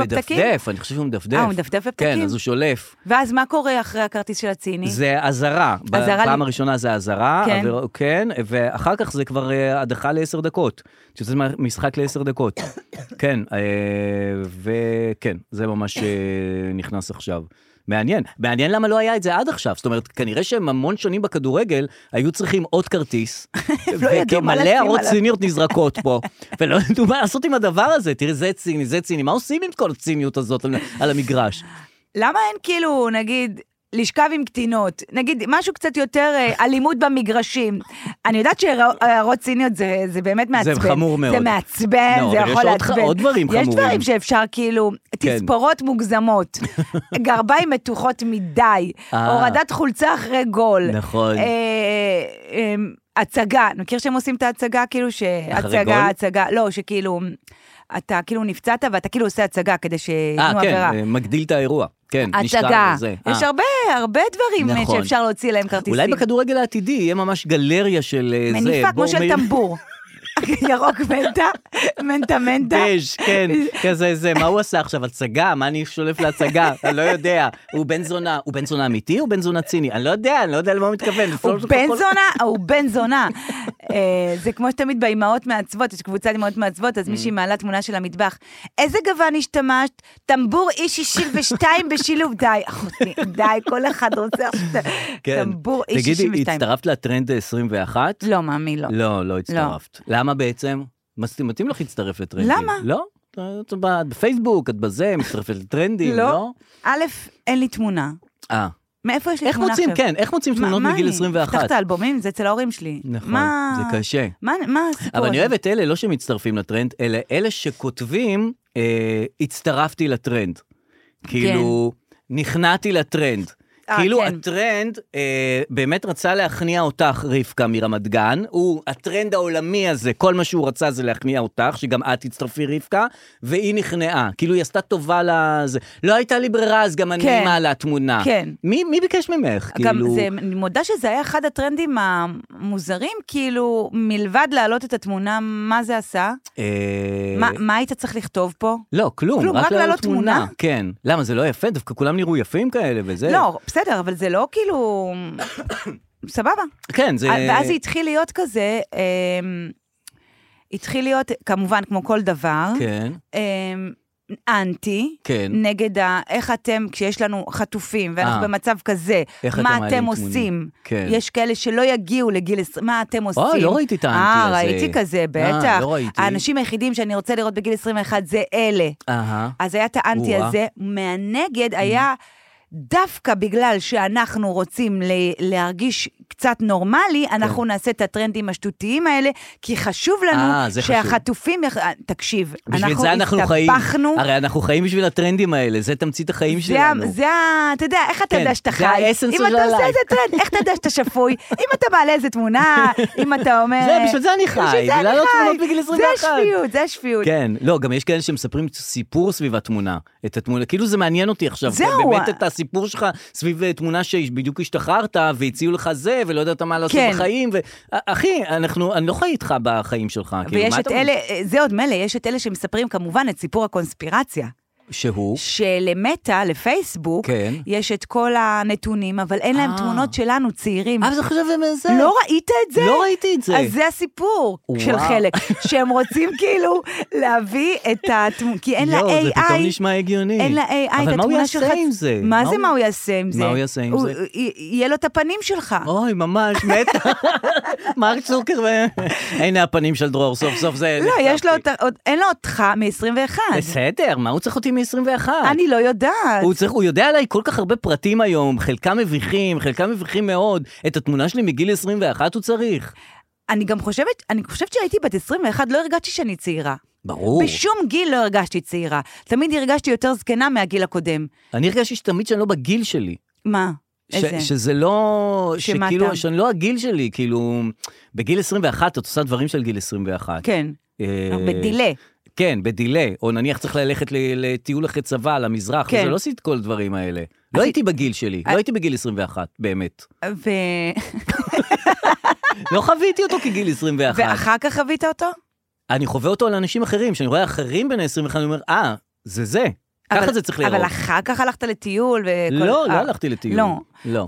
Speaker 3: אה, בפתקים?
Speaker 2: מדפדף, אני חושב שהוא מדפדף.
Speaker 3: אה, הוא מדפדף
Speaker 2: כן,
Speaker 3: בפתקים?
Speaker 2: אז הוא שולף.
Speaker 3: ואז מה קורה אחרי הכרטיס של הציני?
Speaker 2: זה אזהרה.
Speaker 3: אזהרה
Speaker 2: בפעם
Speaker 3: ל-
Speaker 2: הראשונה זה אזהרה,
Speaker 3: כן.
Speaker 2: עביר- כן, ואחר כך זה כבר אה, הדחה לעשר דקות. שזה משחק לעשר דקות. כן, אה, וכן, זה ממש אה, נכנס עכשיו. מעניין, מעניין למה לא היה את זה עד עכשיו, זאת אומרת, כנראה שהם המון שנים בכדורגל, היו צריכים עוד כרטיס,
Speaker 3: לא ידעו מה
Speaker 2: וכמלא
Speaker 3: לשים
Speaker 2: הערות
Speaker 3: עליו.
Speaker 2: ציניות נזרקות פה, ולא ידעו מה לעשות עם הדבר הזה, תראי, זה ציני, זה ציני, מה עושים עם כל הציניות הזאת על- על המגרש?
Speaker 3: למה אין כאילו, נגיד, לשכב עם קטינות? נגיד, משהו קצת יותר אה, אלימות במגרשים. אני יודעת שהערות ציניות זה, זה באמת מעצבן.
Speaker 2: חמור מאוד.
Speaker 3: זה מעצבן,
Speaker 2: לא,
Speaker 3: זה
Speaker 2: אבל יש
Speaker 3: יכול
Speaker 2: עוד ח-
Speaker 3: לעצבן.
Speaker 2: עוד דברים
Speaker 3: יש
Speaker 2: חמורים. כן.
Speaker 3: דברים שאפשר כאילו, תספורות מוגזמות, גרביים מתוחות מדי,
Speaker 2: אה.
Speaker 3: הורדת חולצה אחרי גול.
Speaker 2: נכון.
Speaker 3: אה, אה, הצגה, מכיר שהם עושים את ההצגה כאילו ש...
Speaker 2: אחרי גול?
Speaker 3: הצגה, הצגה, לא, שכאילו, אתה כאילו נפצעת ואתה כאילו עושה הצגה כדי שייתנו
Speaker 2: אה,
Speaker 3: עבירה.
Speaker 2: כן, אה, מגדיל את האירוע. כן, משקל
Speaker 3: הצגה.
Speaker 2: וזה.
Speaker 3: יש
Speaker 2: אה,
Speaker 3: הרבה, הרבה דברים אה,
Speaker 2: נכון.
Speaker 3: שאפשר להוציא להם כרטיסים.
Speaker 2: אולי בכדורגל העתידי יהיה ממש גלריה של אה, זה.
Speaker 3: מניפה כמו
Speaker 2: בואו
Speaker 3: של
Speaker 2: מ-
Speaker 3: טמבור. ירוק מנטה, מנטה מנטה.
Speaker 2: דש, כן, כזה זה, מה הוא עשה עכשיו, הצגה? מה אני שולף להצגה? אני לא יודע. הוא בן זונה, הוא בן זונה אמיתי או בן זונה ציני? אני לא יודע, אני לא יודע למה הוא מתכוון.
Speaker 3: הוא
Speaker 2: לפעול-
Speaker 3: בן
Speaker 2: כל-
Speaker 3: זונה, הוא בן זונה. אה, זה כמו שתמיד באימהות מעצבות, יש קבוצת אימהות מעצבות, אז
Speaker 2: Mm.
Speaker 3: מישהי מעלה תמונה של המטבח. איזה גוון השתמשת? טמבור אי 62 בשילוב. די, אחותי, די, כל אחד רוצה עכשיו
Speaker 2: כן.
Speaker 3: טמבור אי
Speaker 2: תגידי,
Speaker 3: 62.
Speaker 2: הצטרפת לטרנד 21?
Speaker 3: לא, מאמי, לא.
Speaker 2: לא, לא הצטרפת. למה בעצם? מס- מתאים לך להצטרף לטרנדים.
Speaker 3: למה?
Speaker 2: לא? את ב- בפייסבוק, את בזה, מצטרפת לטרנדים, לא?
Speaker 3: לא. א', אין לי תמונה.
Speaker 2: אה.
Speaker 3: מאיפה יש לי
Speaker 2: איך
Speaker 3: תמונה עכשיו?
Speaker 2: מוצאים, כן, איך מוצאים
Speaker 3: מה-
Speaker 2: תמונות
Speaker 3: מה
Speaker 2: מגיל
Speaker 3: אני?
Speaker 2: 21?
Speaker 3: פתח את האלבומים, זה אצל ההורים שלי.
Speaker 2: נכון,
Speaker 3: מה-
Speaker 2: זה קשה.
Speaker 3: מה מה הסיפור?
Speaker 2: אבל אני
Speaker 3: הזה?
Speaker 2: אוהב את אלה, לא שמצטרפים לטרנד, אלא אלה שכותבים, אה, הצטרפתי לטרנד. כאילו, נכנעתי לטרנד.
Speaker 3: כן. אה,
Speaker 2: כאילו
Speaker 3: כן.
Speaker 2: הטרנד אה, באמת רצה להכניע אותך, רבקה מרמת גן. הוא, הטרנד העולמי הזה, כל מה שהוא רצה זה להכניע אותך, שגם את תצטרפי, רבקה, והיא נכנעה. כאילו, היא עשתה טובה לזה. לא הייתה לי ברירה, אז גם אני
Speaker 3: כן.
Speaker 2: מעלה תמונה.
Speaker 3: כן.
Speaker 2: מי, מי ביקש ממך?
Speaker 3: גם
Speaker 2: כאילו...
Speaker 3: זה, אני מודה שזה היה אחד הטרנדים המוזרים, כאילו, מלבד להעלות את התמונה, מה זה עשה?
Speaker 2: אה,
Speaker 3: מה- מה היית צריך לכתוב פה?
Speaker 2: לא, כלום,
Speaker 3: כלום, רק
Speaker 2: להעלות
Speaker 3: להעלות תמונה?
Speaker 2: כן. למה, זה לא יפה? דווקא כולם נראו יפים כאלה וזה.
Speaker 3: לא, בסדר, אבל זה לא כאילו... סבבה. אה,
Speaker 2: כן, זה...
Speaker 3: ואז זה התחיל להיות כזה, אמ, התחיל להיות, כמובן, כמו כל דבר,
Speaker 2: כן,
Speaker 3: אמ, אנטי.
Speaker 2: כן.
Speaker 3: נגד ה... איך אתם, כשיש לנו חטופים, ואנחנו
Speaker 2: אה.
Speaker 3: במצב כזה,
Speaker 2: איך אתם
Speaker 3: מה
Speaker 2: מעלים
Speaker 3: אתם
Speaker 2: תמונים?
Speaker 3: עושים?
Speaker 2: כן.
Speaker 3: יש כאלה שלא יגיעו לגיל 20, מה אתם עושים?
Speaker 2: לא ראיתי את האנטי הזה.
Speaker 3: אה, ראיתי כזה, בטח.
Speaker 2: לא ראיתי.
Speaker 3: האנשים היחידים שאני רוצה לראות בגיל 21 זה אלה.
Speaker 2: אהה.
Speaker 3: אז היה את האנטי
Speaker 2: או-אה.
Speaker 3: הזה, מהנגד היה דווקא בגלל שאנחנו רוצים ל- להרגיש קצת נורמלי,
Speaker 2: כן.
Speaker 3: אנחנו נעשה את הטרנדים השטותיים האלה, כי חשוב
Speaker 2: אה,
Speaker 3: לנו
Speaker 2: זה חשוב.
Speaker 3: שהחטופים... יח- אה, תקשיב,
Speaker 2: בשביל זה אנחנו חיים.
Speaker 3: הסתבכנו.
Speaker 2: הרי אנחנו חיים בשביל הטרנדים האלה, זה תמצית החיים
Speaker 3: זה ה-
Speaker 2: שלנו.
Speaker 3: זה ה... אתה יודע, איך אתה
Speaker 2: כן,
Speaker 3: יודע שאתה
Speaker 2: זה
Speaker 3: חי?
Speaker 2: האסנס של
Speaker 3: אם אתה עושה
Speaker 2: הלייב.
Speaker 3: איזה טרנד, איך אתה יודע שאתה שפוי? אם אתה מעלה איזה תמונה, אם אתה אומר...
Speaker 2: זה, בשביל זה אני חי,
Speaker 3: בשביל זה אני
Speaker 2: ולהעלות
Speaker 3: חי.
Speaker 2: תמונות בגיל 21.
Speaker 3: זה השפיות, זה השפיות.
Speaker 2: כן, לא, גם יש כאלה שמספרים סיפור סביב התמונה. את התמונה, כאילו זה מעניין אותי עכשיו.
Speaker 3: זהו.
Speaker 2: באמת את הסיפור שלך סביב אה, תמונה שבדיוק השתחררת, והציעו לך זה, ולא ידעת מה לעשות
Speaker 3: כן.
Speaker 2: בחיים. ו... אה, אחי, אנחנו, אני לא חי איתך בחיים שלך. כאילו,
Speaker 3: ויש
Speaker 2: מה
Speaker 3: את
Speaker 2: אתה-
Speaker 3: אלה, אה, זה עוד מילא, יש את אלה שמספרים כמובן את סיפור הקונספירציה.
Speaker 2: שהוא?
Speaker 3: שלמטא, לפייסבוק,
Speaker 2: כן.
Speaker 3: יש את כל הנתונים, אבל אין להם
Speaker 2: אה.
Speaker 3: תמונות שלנו, צעירים.
Speaker 2: אבל זה חושב אה, זה.
Speaker 3: לא ראית את זה?
Speaker 2: לא ראיתי את זה.
Speaker 3: אז זה הסיפור
Speaker 2: וואו.
Speaker 3: של חלק, שהם רוצים כאילו להביא את התמונה, כי אין לה
Speaker 2: יואו, זה
Speaker 3: AI,
Speaker 2: פתאום נשמע הגיוני.
Speaker 3: אין לה AI את
Speaker 2: אבל מה הוא
Speaker 3: התמונה שלך.
Speaker 2: יעשה עם זה?
Speaker 3: מה זה מה הוא יעשה עם זה?
Speaker 2: הוא יעשה עם
Speaker 3: הוא-
Speaker 2: זה? אוקיי,
Speaker 3: י- יהיה לו את הפנים שלך.
Speaker 2: אוי, ממש, מתה. מרק צוקר, ו- הנה הפנים של דרור, סוף סוף זה...
Speaker 3: לא, יש לו,
Speaker 2: נחשפתי.
Speaker 3: את ה- עוד- אין לו אותך מ-21.
Speaker 2: אוקיי. בסדר, מה הוא צריך אותי מ-21?
Speaker 3: אני לא יודעת.
Speaker 2: הוא, צריך, הוא יודע עליי כל כך הרבה פרטים היום, חלקם מביכים, חלקם מביכים מאוד. את התמונה שלי מגיל 21 הוא צריך.
Speaker 3: אני גם חושבת, אני חושבת שהייתי בת 21, לא הרגשתי שאני צעירה.
Speaker 2: ברור.
Speaker 3: בשום גיל לא הרגשתי צעירה. תמיד הרגשתי יותר זקנה מהגיל הקודם.
Speaker 2: אני הרגשתי שתמיד שאני לא בגיל שלי.
Speaker 3: מה?
Speaker 2: ש-
Speaker 3: איזה?
Speaker 2: שזה לא,
Speaker 3: שמה
Speaker 2: שכאילו,
Speaker 3: אתה?
Speaker 2: שאני לא הגיל שלי, כאילו, בגיל 21 את עושה דברים של גיל 21.
Speaker 3: כן,
Speaker 2: אה,
Speaker 3: בדילה.
Speaker 2: כן, בדיליי, או נניח צריך ללכת ל- לטיול אחרי צבא, למזרח,
Speaker 3: כן. אה-
Speaker 2: וזה לא עשית את כל הדברים האלה. לא הייתי בגיל שלי, לא
Speaker 3: אז-
Speaker 2: הייתי בגיל 21, באמת.
Speaker 3: ו...
Speaker 2: לא חוויתי אותו כגיל 21.
Speaker 3: ואחר כך חווית אותו?
Speaker 2: אני חווה אותו על אנשים אחרים, כשאני רואה אחרים בני 21, אני אומר, אה, זה זה. ככה
Speaker 3: אבל-
Speaker 2: זה צריך
Speaker 3: אבל
Speaker 2: להיראות.
Speaker 3: אחר כך הלכת לטיול וכל...
Speaker 2: לא, לא
Speaker 3: אה,
Speaker 2: הלכתי לטיול.
Speaker 3: לא.
Speaker 2: לא.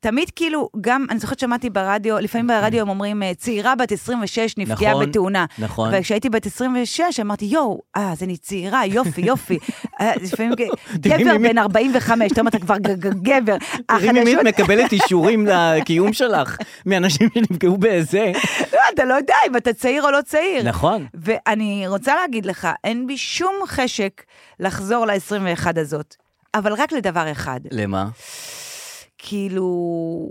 Speaker 3: תמיד כאילו, גם, אני זוכרת שמעתי ברדיו, לפעמים ברדיו הם אומרים, אה, צעירה בת 26 נפגעה
Speaker 2: נכון,
Speaker 3: בתאונה.
Speaker 2: נכון.
Speaker 3: וכשהייתי בת 26, אמרתי, יואו, אה, אז אני צעירה, יופי, יופי. אה, לפעמים ג-
Speaker 2: תראי
Speaker 3: גבר
Speaker 2: ממי-
Speaker 3: בן 45, אתה אומר, אתה כבר ג- ג- גבר.
Speaker 2: תראי ממי את
Speaker 3: החדשות-
Speaker 2: מקבלת אישורים לקיום שלך, מאנשים שנפגעו בזה.
Speaker 3: לא, אתה לא יודע אם אתה צעיר או לא צעיר.
Speaker 2: נכון.
Speaker 3: ואני רוצה להגיד לך, אין בי שום חשק לחזור ל-21 הזאת, אבל רק לדבר אחד.
Speaker 2: למה?
Speaker 3: כאילו,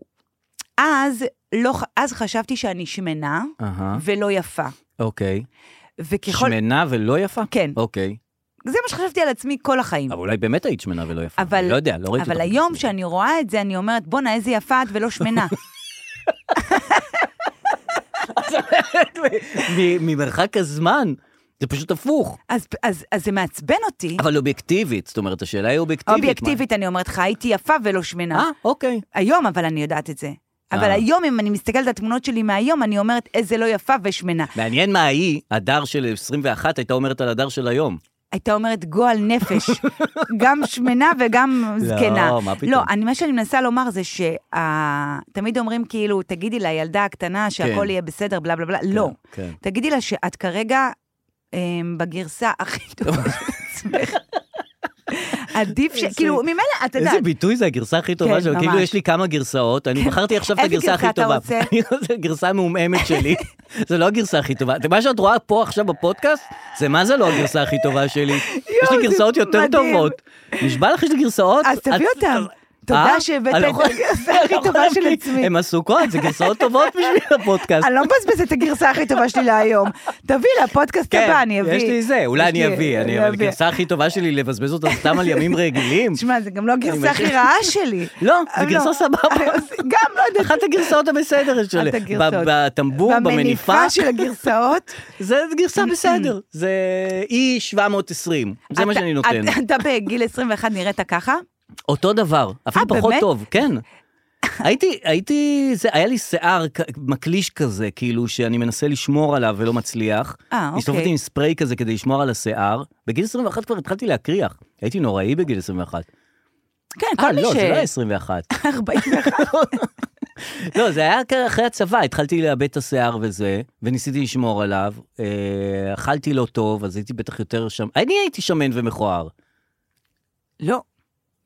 Speaker 3: אז, לא, ח- אז חשבתי שאני שמנה
Speaker 2: אהה,
Speaker 3: ולא יפה.
Speaker 2: אוקיי.
Speaker 3: וככל...
Speaker 2: שמנה ולא יפה?
Speaker 3: כן.
Speaker 2: אוקיי.
Speaker 3: זה מה שחשבתי על עצמי כל החיים.
Speaker 2: אבל אולי באמת היית שמנה ולא יפה.
Speaker 3: אבל,
Speaker 2: אני לא יודע, לא ראיתי
Speaker 3: אבל
Speaker 2: אותך
Speaker 3: היום
Speaker 2: בסרט.
Speaker 3: שאני רואה את זה, אני אומרת, בואנה, איזה יפה את ולא שמנה.
Speaker 2: מ- ממרחק הזמן, זה פשוט הפוך.
Speaker 3: אז, אז, אז זה מעצבן אותי.
Speaker 2: אבל אובייקטיבית, זאת אומרת, השאלה היא אובייקטיבית.
Speaker 3: אובייקטיבית, אני אומרת לך, הייתי יפה ולא
Speaker 2: מה-
Speaker 3: שמנה.
Speaker 2: אה, אוקיי.
Speaker 3: היום, אבל אני יודעת את זה. אבל
Speaker 2: אה.
Speaker 3: היום, אם אני מסתכלת על התמונות שלי מהיום, אני אומרת, איזה לא יפה ושמנה.
Speaker 2: מעניין מה היא, הדר של 21 הייתה אומרת על הדר של היום.
Speaker 3: הייתה אומרת גועל נפש, גם שמנה וגם זקנה.
Speaker 2: לא, מה פתאום.
Speaker 3: לא, אני, מה שאני מנסה לומר זה שתמיד אומרים כאילו, תגידי לילדה הקטנה שהכל
Speaker 2: כן.
Speaker 3: יהיה בסדר, בלה בלה בלה, לא.
Speaker 2: כן.
Speaker 3: תגידי לה שאת כרגע אמ, בגרסה הכי טובה של עצמך. עדיף ש... כאילו, ממילא, אתה יודע,
Speaker 2: איזה ביטוי זה הגרסה הכי טובה
Speaker 3: כן,
Speaker 2: שלו, כאילו
Speaker 3: ממש. כן.
Speaker 2: יש לי כמה גרסאות, אני בחרתי עכשיו את
Speaker 3: איזה
Speaker 2: הגרסה הכי
Speaker 3: גרסה אתה
Speaker 2: טובה.
Speaker 3: רוצה?
Speaker 2: אני רוצה גרסה מהומהמת שלי, זה לא הגרסה הכי טובה. מה שאת רואה פה עכשיו בפודקאסט, זה מה זה לא הגרסה הכי טובה שלי. יש לי
Speaker 3: זה
Speaker 2: גרסאות יותר
Speaker 3: מדהים.
Speaker 2: טובות. נשבע לך יש לי גרסאות?
Speaker 3: אז תביא
Speaker 2: את-
Speaker 3: אותם.
Speaker 2: אה?
Speaker 3: תודה שהבאת
Speaker 2: אני
Speaker 3: את
Speaker 2: לא יכול-
Speaker 3: הגרסה הכי
Speaker 2: אני לא
Speaker 3: טובה
Speaker 2: יכול
Speaker 3: של
Speaker 2: להביא.
Speaker 3: עצמי.
Speaker 2: הן עסוקות, זה גרסאות טובות בשביל הפודקאסט.
Speaker 3: אני לא מבזבז את הגרסה הכי טובה שלי להיום. תביא לפודקאסט הבא, אני אביא.
Speaker 2: כן, יש לי זה, אולי
Speaker 3: יש
Speaker 2: אני
Speaker 3: לי-
Speaker 2: אביא, אני- אבל הגרסה הכי טובה שלי לבזבז אותה סתם על ימים רגילים.
Speaker 3: תשמע, זה גם לא הגרסה הכי
Speaker 2: מכיר.
Speaker 3: רעה שלי.
Speaker 2: לא, זה
Speaker 3: אבל
Speaker 2: גרסה סבבה.
Speaker 3: גם, לא יודעת.
Speaker 2: אחת הגרסאות הבסדרת שלי.
Speaker 3: אחת הגרסאות.
Speaker 2: ב- בטמבור, במניפה.
Speaker 3: במניפה של הגרסאות.
Speaker 2: זה גרסה בסדר. זה אי 720. זה מה
Speaker 3: אתה-
Speaker 2: שאני נותן.
Speaker 3: אתה- אתה בגיל 21 נראית ככה?
Speaker 2: אותו דבר, אפילו
Speaker 3: אה,
Speaker 2: פחות
Speaker 3: באמת?
Speaker 2: טוב, כן. הייתי, הייתי, זה, היה לי שיער כ- מקליש כזה, כאילו, שאני מנסה לשמור עליו ולא מצליח.
Speaker 3: אה, אוקיי.
Speaker 2: הסתובבתי עם ספרי כזה כדי לשמור על השיער. בגיל 21 כבר התחלתי להקריח. הייתי נוראי בגיל 21.
Speaker 3: כן,
Speaker 2: אה,
Speaker 3: כל מי ש...
Speaker 2: לא, זה לא היה 21.
Speaker 3: 41.
Speaker 2: לא, זה היה כ- אחרי הצבא, התחלתי לאבד את השיער וזה, וניסיתי לשמור עליו. אה, אכלתי לא טוב, אז הייתי בטח יותר שם... אני הייתי שמן ומכוער.
Speaker 3: לא,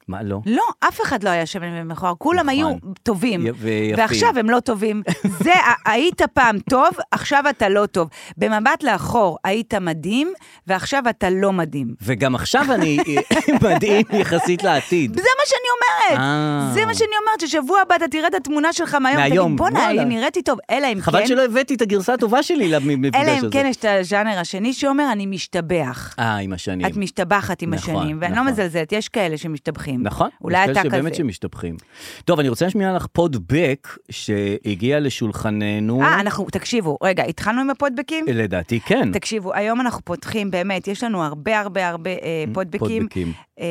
Speaker 2: מה, לא?
Speaker 3: לא, אף אחד לא היה שמן ומכוער, כולם היו
Speaker 2: נכון.
Speaker 3: טובים.
Speaker 2: י- ויפים.
Speaker 3: ועכשיו הם לא טובים. זה, ה- היית פעם טוב, עכשיו אתה לא טוב. במבט לאחור, היית מדהים, ועכשיו אתה לא מדהים.
Speaker 2: וגם עכשיו אני מדהים יחסית לעתיד.
Speaker 3: זה מה שאני אומרת.
Speaker 2: אה.
Speaker 3: זה מה שאני אומרת, ששבוע הבא אתה תראה את התמונה שלך מהיום.
Speaker 2: מהיום,
Speaker 3: תגיד, בואנה,
Speaker 2: וואלה."
Speaker 3: היא נראיתי טוב. אלא אם
Speaker 2: חבל
Speaker 3: כן...
Speaker 2: שלא הבאתי את הגרסה הטובה שלי למפגש
Speaker 3: אלא
Speaker 2: הזה.
Speaker 3: אם כן יש את הז'אנר השני שאומר, אני משתבח.
Speaker 2: אה, עם השנים.
Speaker 3: את משתבחת עם
Speaker 2: נכון,
Speaker 3: השנים, ואני לא
Speaker 2: נכון.
Speaker 3: מזלזלת, יש כאלה שמשתבחים.
Speaker 2: נכון.
Speaker 3: אולי
Speaker 2: יש כאלה
Speaker 3: אתה כזה.
Speaker 2: שבאמת שמשתבחים. טוב, אני רוצה להשמיע לך פודבק שהגיע לשולחננו.
Speaker 3: אה, אנחנו, תקשיבו, רגע, התחלנו עם הפודבקים?
Speaker 2: לדעתי כן.
Speaker 3: תקשיבו, היום אנחנו פותחים, באמת, יש לנו הרבה הרבה הרבה אה, פודבקים,
Speaker 2: פודבקים,
Speaker 3: אה,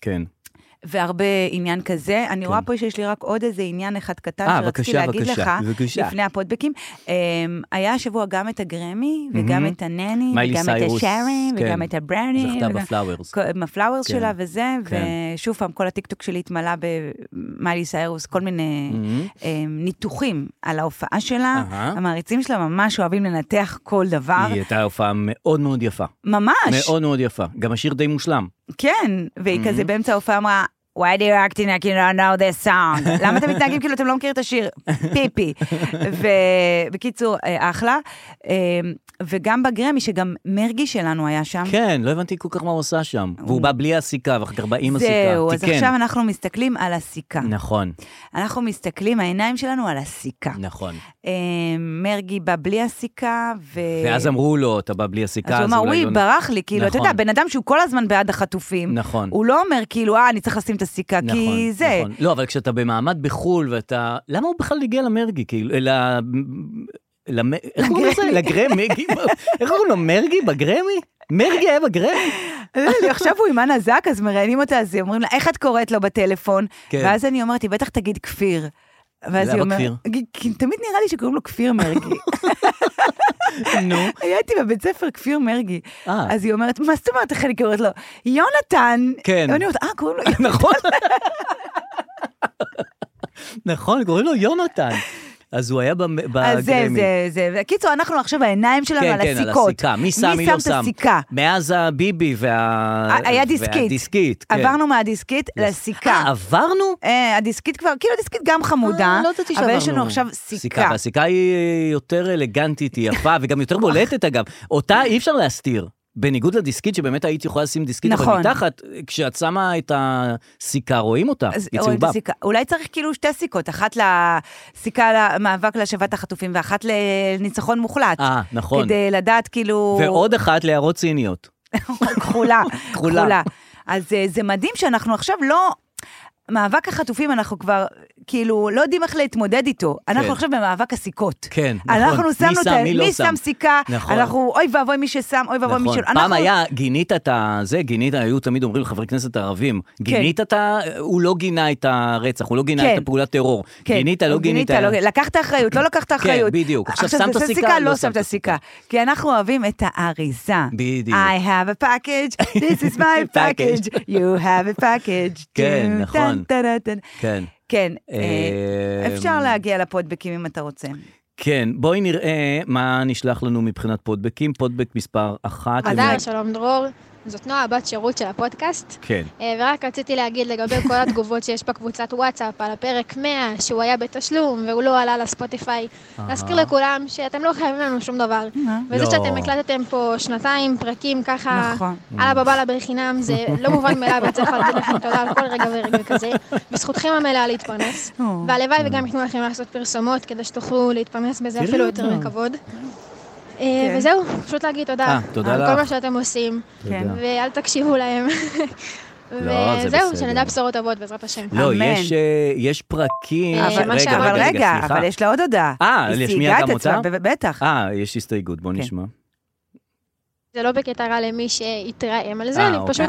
Speaker 2: כן.
Speaker 3: והרבה עניין כזה. אני רואה פה שיש לי רק עוד איזה עניין אחד קטן
Speaker 2: אה,
Speaker 3: שרציתי
Speaker 2: בבקשה,
Speaker 3: להגיד
Speaker 2: בבקשה,
Speaker 3: לך,
Speaker 2: בבקשה.
Speaker 3: לפני הפודבקים. אה, היה השבוע גם את הגרמי, וגם
Speaker 2: מהמם.
Speaker 3: את הנני,
Speaker 2: מיילי
Speaker 3: וגם את
Speaker 2: סיירוס,
Speaker 3: השרי,
Speaker 2: כן.
Speaker 3: וגם את הברני.
Speaker 2: זכתה
Speaker 3: וגם-
Speaker 2: בפלאוורס.
Speaker 3: כל- עם הפלאוורס
Speaker 2: כן,
Speaker 3: שלה וזה,
Speaker 2: כן.
Speaker 3: ושוב פעם, כל הטיקטוק שלי התמלא במאלי סיירוס, כל מיני אה, ניתוחים על ההופעה שלה.
Speaker 2: Mm-hmm. אהה.
Speaker 3: המעריצים שלה ממש אוהבים לנתח כל דבר.
Speaker 2: היא הייתה הופעה מאוד מאוד יפה.
Speaker 3: ממש,
Speaker 2: מאוד Mm-hmm. מאוד יפה. גם השיר די מושלם.
Speaker 3: כן. והיא כזה באמצע ההופעה אמרה... Why do you acting like you don't know this song? למה אתם מתנהגים כאילו אתם לא מכירים את השיר? פיפי. ובקיצור, אה, אחלה. אה, וגם בגרמי, שגם מרגי שלנו היה שם.
Speaker 2: כן, לא הבנתי כל כך מה הוא עשה שם. והוא בא בלי הסיכה, ואחר כך בא עם הסיכה.
Speaker 3: אה.
Speaker 2: כן.
Speaker 3: זהו, אז
Speaker 2: תיקן.
Speaker 3: עכשיו אנחנו מסתכלים על הסיכה.
Speaker 2: נכון,
Speaker 3: אנחנו מסתכלים, העיניים שלנו על הסיכה.
Speaker 2: נכון.
Speaker 3: אה, מרגי בא בלי הסיכה, ו...
Speaker 2: ואז אמרו לו, אתה בא בלי
Speaker 3: אז
Speaker 2: הסיכה,
Speaker 3: הוא
Speaker 2: אז
Speaker 3: אמר,
Speaker 2: אולי
Speaker 3: וואי,
Speaker 2: לא...
Speaker 3: ברח לי, כאילו, אתה
Speaker 2: נכון.
Speaker 3: יודע, בן אדם שהוא כל הזמן בעד החטופים,
Speaker 2: נכון.
Speaker 3: הוא לא אומר כאילו, אה, אני צריך לשים את הסיכה,
Speaker 2: נכון,
Speaker 3: כי זה...
Speaker 2: נכון. לא, אבל כשאתה במעמד בחו"ל ואתה... למה הוא בכלל הגיע למרגי? כאילו, ל... למ... איך קוראים לזה? לגרמי? איך קוראים לו? מרגי? בגרמי? מרגי היה בגרמי?
Speaker 3: לא, לא, עכשיו הוא עם אנה זק, אז מראיינים אותה, אז היא אומרים לה, איך את קוראת לו בטלפון?
Speaker 2: כן.
Speaker 3: ואז אני אומרת, היא בטח תגיד כפיר. ואז
Speaker 2: למה
Speaker 3: היא אומרת,
Speaker 2: כפיר?
Speaker 3: כי תמיד נראה לי שקוראים לו כפיר מרגי.
Speaker 2: נו.
Speaker 3: הייתי בבית ספר כפיר מרגי.
Speaker 2: אה.
Speaker 3: אז היא אומרת, מה זאת אומרת, איך אני קוראת לו? יונתן.
Speaker 2: כן.
Speaker 3: ואני אומרת, אה, קוראים לו
Speaker 2: נכון. נכון, קוראים לו יונתן. אז הוא היה במ-
Speaker 3: אז אה, זה,
Speaker 2: בגרמי.
Speaker 3: זה, זה. בקיצור, אנחנו עכשיו, העיניים שלנו
Speaker 2: כן,
Speaker 3: על
Speaker 2: כן,
Speaker 3: הסיכות.
Speaker 2: על הסיכה. מי שם, מי לא
Speaker 3: את
Speaker 2: שם.
Speaker 3: הסיכה? אה,
Speaker 2: מאז הביבי וה...
Speaker 3: היה דיסקית.
Speaker 2: והדיסקית, כן.
Speaker 3: עברנו מהדיסקית
Speaker 2: אה,
Speaker 3: לסיכה.
Speaker 2: עברנו?
Speaker 3: אה, הדיסקית כבר, כאילו הדיסקית גם חמודה,
Speaker 2: אה, לא ידעתי
Speaker 3: אבל
Speaker 2: שעברנו.
Speaker 3: יש לנו עכשיו סיכה.
Speaker 2: והסיכה היא יותר אלגנטית, היא יפה, וגם יותר בולטת אגב. אותה אי אפשר להסתיר. בניגוד לדיסקית, שבאמת היית יכולה לשים דיסקית,
Speaker 3: נכון.
Speaker 2: אבל מתחת, כשאת שמה את הסיכה, רואים אותה,
Speaker 3: אז
Speaker 2: היא
Speaker 3: אוי,
Speaker 2: צהובה.
Speaker 3: הסיכה. אולי צריך כאילו שתי סיכות, אחת לסיכה למאבק להשבת החטופים ואחת לניצחון מוחלט.
Speaker 2: אה, נכון.
Speaker 3: כדי לדעת כאילו...
Speaker 2: ועוד אחת להערות ציניות.
Speaker 3: כחולה,
Speaker 2: כחולה.
Speaker 3: כחולה. אז אה, זה מדהים שאנחנו עכשיו לא... מאבק החטופים, אנחנו כבר כאילו לא יודעים איך להתמודד איתו. אנחנו
Speaker 2: כן.
Speaker 3: עכשיו במאבק הסיכות.
Speaker 2: כן, נכון.
Speaker 3: אנחנו
Speaker 2: מי
Speaker 3: שמנו את
Speaker 2: שם,
Speaker 3: ה...
Speaker 2: מי לא
Speaker 3: מי
Speaker 2: שם.
Speaker 3: שם סיכה,
Speaker 2: נכון.
Speaker 3: אנחנו, אוי ואבוי מי ששם, אוי ואבוי מי
Speaker 2: נכון.
Speaker 3: שלא.
Speaker 2: פעם
Speaker 3: אנחנו-
Speaker 2: היה, גינית את ה... זה, גינית, היו תמיד אומרים לחברי כנסת ערבים, גינית את ה... הוא לא גינה את הרצח, הוא לא גינה
Speaker 3: כן.
Speaker 2: את הפעולת טרור.
Speaker 3: כן,
Speaker 2: גינית, לא גינית. כן,
Speaker 3: לא... לקחת אחריות, לא לקחת אחריות.
Speaker 2: בדיוק. עכשיו שמת
Speaker 3: תעשה
Speaker 2: סיכה, לא
Speaker 3: לא
Speaker 2: שמת
Speaker 3: שמת סיכה. כי אנחנו אוהבים את האריזה.
Speaker 2: בדיוק.
Speaker 3: I have a package, this is my package, you have a package.
Speaker 2: כן,
Speaker 3: טן,
Speaker 2: נכון.
Speaker 3: טן, טן, טן.
Speaker 2: כן.
Speaker 3: כן,
Speaker 2: אה,
Speaker 3: אה, אפשר להגיע לפודבקים אם אתה רוצה.
Speaker 5: אה,
Speaker 2: כן, בואי נראה מה נשלח לנו מבחינת פודבקים. פודבק מספר אחת.
Speaker 5: אדר, שלום דרור. זאת נועה, בת שירות של הפודקאסט.
Speaker 2: כן.
Speaker 5: אה, ורק רציתי להגיד לגבי כל התגובות שיש בקבוצת וואטסאפ על הפרק 100, שהוא היה בתשלום והוא לא עלה לספוטיפיי. להזכיר לכולם שאתם לא חייבים לנו שום דבר. וזה
Speaker 2: לא.
Speaker 5: שאתם הקלטתם פה שנתיים פרקים ככה,
Speaker 3: נכון.
Speaker 5: על הבבלה בחינם, זה לא מובן מאליו, וצריך להגיד לכם תודה על כל רגע ורגע כזה. בזכותכם המלאה להתפרנס,
Speaker 3: או.
Speaker 5: והלוואי
Speaker 2: Mm.
Speaker 5: וגם ייתנו לכם לעשות פרסומות, כדי שתוכלו להתפרנס
Speaker 2: כן,
Speaker 5: בזה אפילו יותר בכבוד.
Speaker 3: כן.
Speaker 5: אה, וזהו, פשוט להגיד תודה.
Speaker 2: אה, תודה
Speaker 5: על
Speaker 2: לך.
Speaker 5: כל מה שאתם עושים.
Speaker 3: כן.
Speaker 5: ואל תקשיבו להם.
Speaker 2: לא, זה
Speaker 5: וזהו,
Speaker 2: בסדר.
Speaker 5: שנדע בשורות טובות בעזרת השם.
Speaker 2: לא,
Speaker 3: אמן.
Speaker 2: יש, אה, יש פרקים...
Speaker 5: אבל-
Speaker 2: רגע,
Speaker 5: מה
Speaker 2: רגע,
Speaker 5: שאמרת-
Speaker 3: אה, אבל רגע,
Speaker 2: סליחה.
Speaker 3: אבל יש לה עוד הודעה.
Speaker 2: אה,
Speaker 3: היא
Speaker 2: להשמיע
Speaker 3: סייגה
Speaker 2: גם
Speaker 3: את עצמה,
Speaker 2: אותה?
Speaker 3: ב- בטח.
Speaker 2: אה, יש הסתייגות,
Speaker 3: כן.
Speaker 2: בוא נשמע.
Speaker 5: זה לא בקטע רע למי שהתרעם על
Speaker 2: אה,
Speaker 5: זה, אני
Speaker 2: אוקיי.
Speaker 5: פשוט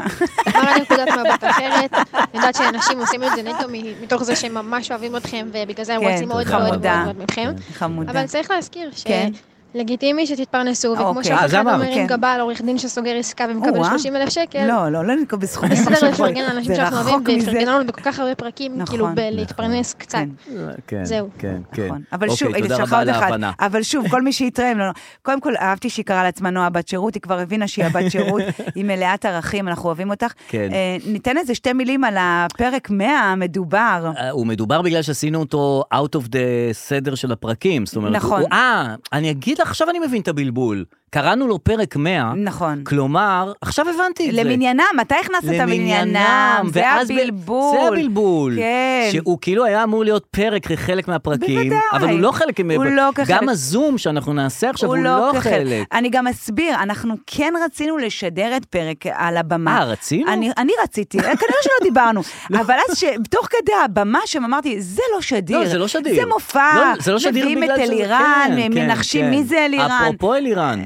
Speaker 5: אמרה נקודת מבט אחרת. אני יודעת שאנשים עושים את זה נטו מ- מתוך זה שהם ממש אוהבים אתכם, ובגלל זה הם
Speaker 3: כן,
Speaker 5: רוצים מאוד
Speaker 2: תודה.
Speaker 5: מאוד מאוד
Speaker 3: חמודה.
Speaker 5: מאוד מכם.
Speaker 2: כן.
Speaker 3: חמודה.
Speaker 5: אבל צריך להזכיר
Speaker 3: כן.
Speaker 5: שלגיטימי שתתפרנסו, וכמו
Speaker 3: אוקיי.
Speaker 2: אה,
Speaker 5: שאף
Speaker 2: זה
Speaker 5: אחד
Speaker 2: אמרת,
Speaker 5: אומר עם
Speaker 3: כן.
Speaker 5: גבה על עורך דין שסוגר עסקה
Speaker 3: או,
Speaker 5: ומקבל
Speaker 3: וואו.
Speaker 5: 30 אלף שקל,
Speaker 3: לא, לא, לא ננקוב בסכומים.
Speaker 5: בסדר
Speaker 3: עכשיו.
Speaker 5: לפרגן לאנשים
Speaker 3: זה
Speaker 5: כן, שאנחנו אוהבים,
Speaker 3: רחוק מזה.
Speaker 5: ופרגנו לנו בכל כך הרבה פרקים, כאילו
Speaker 3: נכון.
Speaker 5: בלהתפרנס קצת.
Speaker 3: כן.
Speaker 2: כן,
Speaker 5: זהו.
Speaker 2: כן, כן.
Speaker 3: נכון. אבל
Speaker 2: אוקיי,
Speaker 3: שוב, הנה,
Speaker 2: תודה
Speaker 3: שלחה
Speaker 2: רבה על
Speaker 3: עוד אחד.
Speaker 2: ההבנה.
Speaker 3: אבל שוב, כל מי שיתרם לנו. קודם כל, אהבתי שהיא קראה לעצמה נועה בת שירות, היא כבר הבינה שהיא הבת שירות, היא מלאת ערכים, אנחנו אוהבים אותך.
Speaker 2: כן.
Speaker 3: אה, ניתן איזה שתי מילים על הפרק 100 המדובר.
Speaker 2: אה, הוא מדובר בגלל שעשינו אותו out of the סדר של הפרקים, זאת אומרת,
Speaker 3: נכון.
Speaker 2: הוא- אה, אני אגיד לך, עכשיו אני מבין את הבלבול. קראנו לו פרק 100,
Speaker 3: נכון.
Speaker 2: כלומר, עכשיו הבנתי את זה.
Speaker 3: למניינם, אתה הכנסת את המניינם, זה
Speaker 2: ואז ב-
Speaker 3: הבלבול.
Speaker 2: זה הבלבול.
Speaker 3: כן.
Speaker 2: שהוא כאילו היה אמור להיות פרק כחלק מהפרקים,
Speaker 3: בוודאי.
Speaker 2: אבל הוא לא חלק,
Speaker 3: הוא לא כחלק.
Speaker 2: גם הזום שאנחנו נעשה עכשיו הוא, לא
Speaker 3: כחלק.
Speaker 2: חלק.
Speaker 3: אני גם אסביר, אנחנו כן רצינו לשדר את פרק על הבמה.
Speaker 2: אה, רצינו?
Speaker 3: אני, אני רציתי, אה, כנראה שלא דיברנו. אבל אז ש- תוך כדי הבמה שם אמרתי, זה לא שדיר.
Speaker 2: לא, זה לא שדיר.
Speaker 3: זה מופע,
Speaker 2: לא, זה לא שדיר
Speaker 3: אה, מביאים
Speaker 2: בגלל
Speaker 3: את
Speaker 2: שזה-
Speaker 3: אלירן,
Speaker 2: כן, כן,
Speaker 3: מנחשים
Speaker 2: כן.
Speaker 3: מי זה אלירן.
Speaker 2: אפרופו אלירן.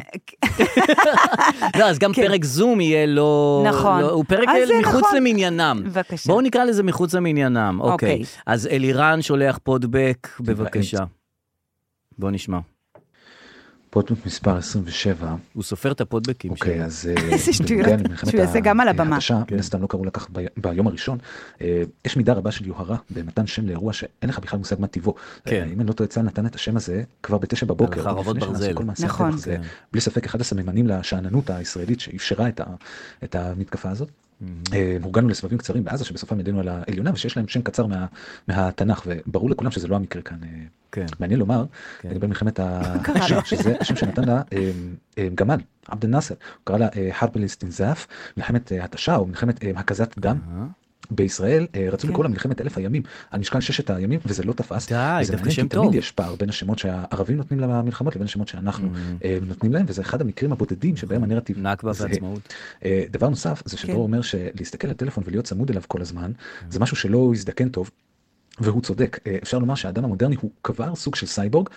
Speaker 2: לא, אז גם
Speaker 3: כן.
Speaker 2: פרק זום יהיה לא...
Speaker 3: נכון.
Speaker 2: לא- הוא פרק
Speaker 3: אז זה
Speaker 2: מחוץ
Speaker 3: נכון.
Speaker 2: למניינם.
Speaker 3: בבקשה.
Speaker 2: בואו נקרא לזה מחוץ למניינם. אוקיי.
Speaker 3: אוקיי.
Speaker 2: אז אלירן שולח פודבק, בבקשה. בואו נשמע.
Speaker 6: פודקאסט מספר 27.
Speaker 2: הוא סופר את הפודבקים
Speaker 6: אוקיי,
Speaker 2: שלו.
Speaker 6: אז... כן,
Speaker 3: איזה שטויות. שהוא יעשה גם על הבמה. כן.
Speaker 6: חדשה, מן הסתם לא קראו לכך ב- ביום הראשון. אה, יש מידה רבה של יוהרה במתן שם לאירוע שאין לך בכלל מושג מה טיבו.
Speaker 2: כן.
Speaker 6: אה, אם אני לא טועה, צה"ל נתן את השם הזה כבר בתשע בבוקר.
Speaker 2: על חרבות
Speaker 6: לפני שנעשו
Speaker 2: ברזל.
Speaker 6: כל מעשי
Speaker 3: נכון.
Speaker 6: הטבח. זה בלי ספק אחד הסממנים לשאננות הישראלית שאפשרה את ה- את המתקפה הזאת. אה, הורגלנו לסבבים קצרים בעזה שבסופם ידענו על העליונה ושיש להם שם קצר מה- מהתנ"ך וברור לכולם שזה לא המקרה כאן. אה,
Speaker 2: כן.
Speaker 6: מעניין לומר,
Speaker 2: כן.
Speaker 6: לגבי מלחמת האש"ף, שזה השם שנתן לה אה, אה, גמל, עבד אל-נאסר, הוא קרא לה אה, חרב אל-אסטינזאף, מלחמת אה, התשה או מלחמת אה, הקזת דם. בישראל אה,
Speaker 2: כן.
Speaker 6: רצו לקרוא לה מלחמת אלף הימים, על משקל ששת הימים, וזה לא תפס.
Speaker 2: די,
Speaker 6: וזה
Speaker 2: דווקא
Speaker 6: מעניין, כי
Speaker 2: שם טוב.
Speaker 6: תמיד יש פער בין השמות שהערבים נותנים למלחמות לבין השמות שאנחנו אה, נותנים להם, וזה אחד המקרים הבודדים שבהם הנרטיב
Speaker 2: Mm. נכון. נכבה
Speaker 6: זהה.
Speaker 2: ועצמאות.
Speaker 6: אה, דבר נוסף זה שדרור
Speaker 3: כן.
Speaker 6: אומר שלהסתכל על טלפון ולהיות צמוד אליו כל הזמן זה משהו שלא הזדקן טוב. והוא צודק אה, אפשר לומר שהאדם המודרני הוא כבר סוג של סייבורג.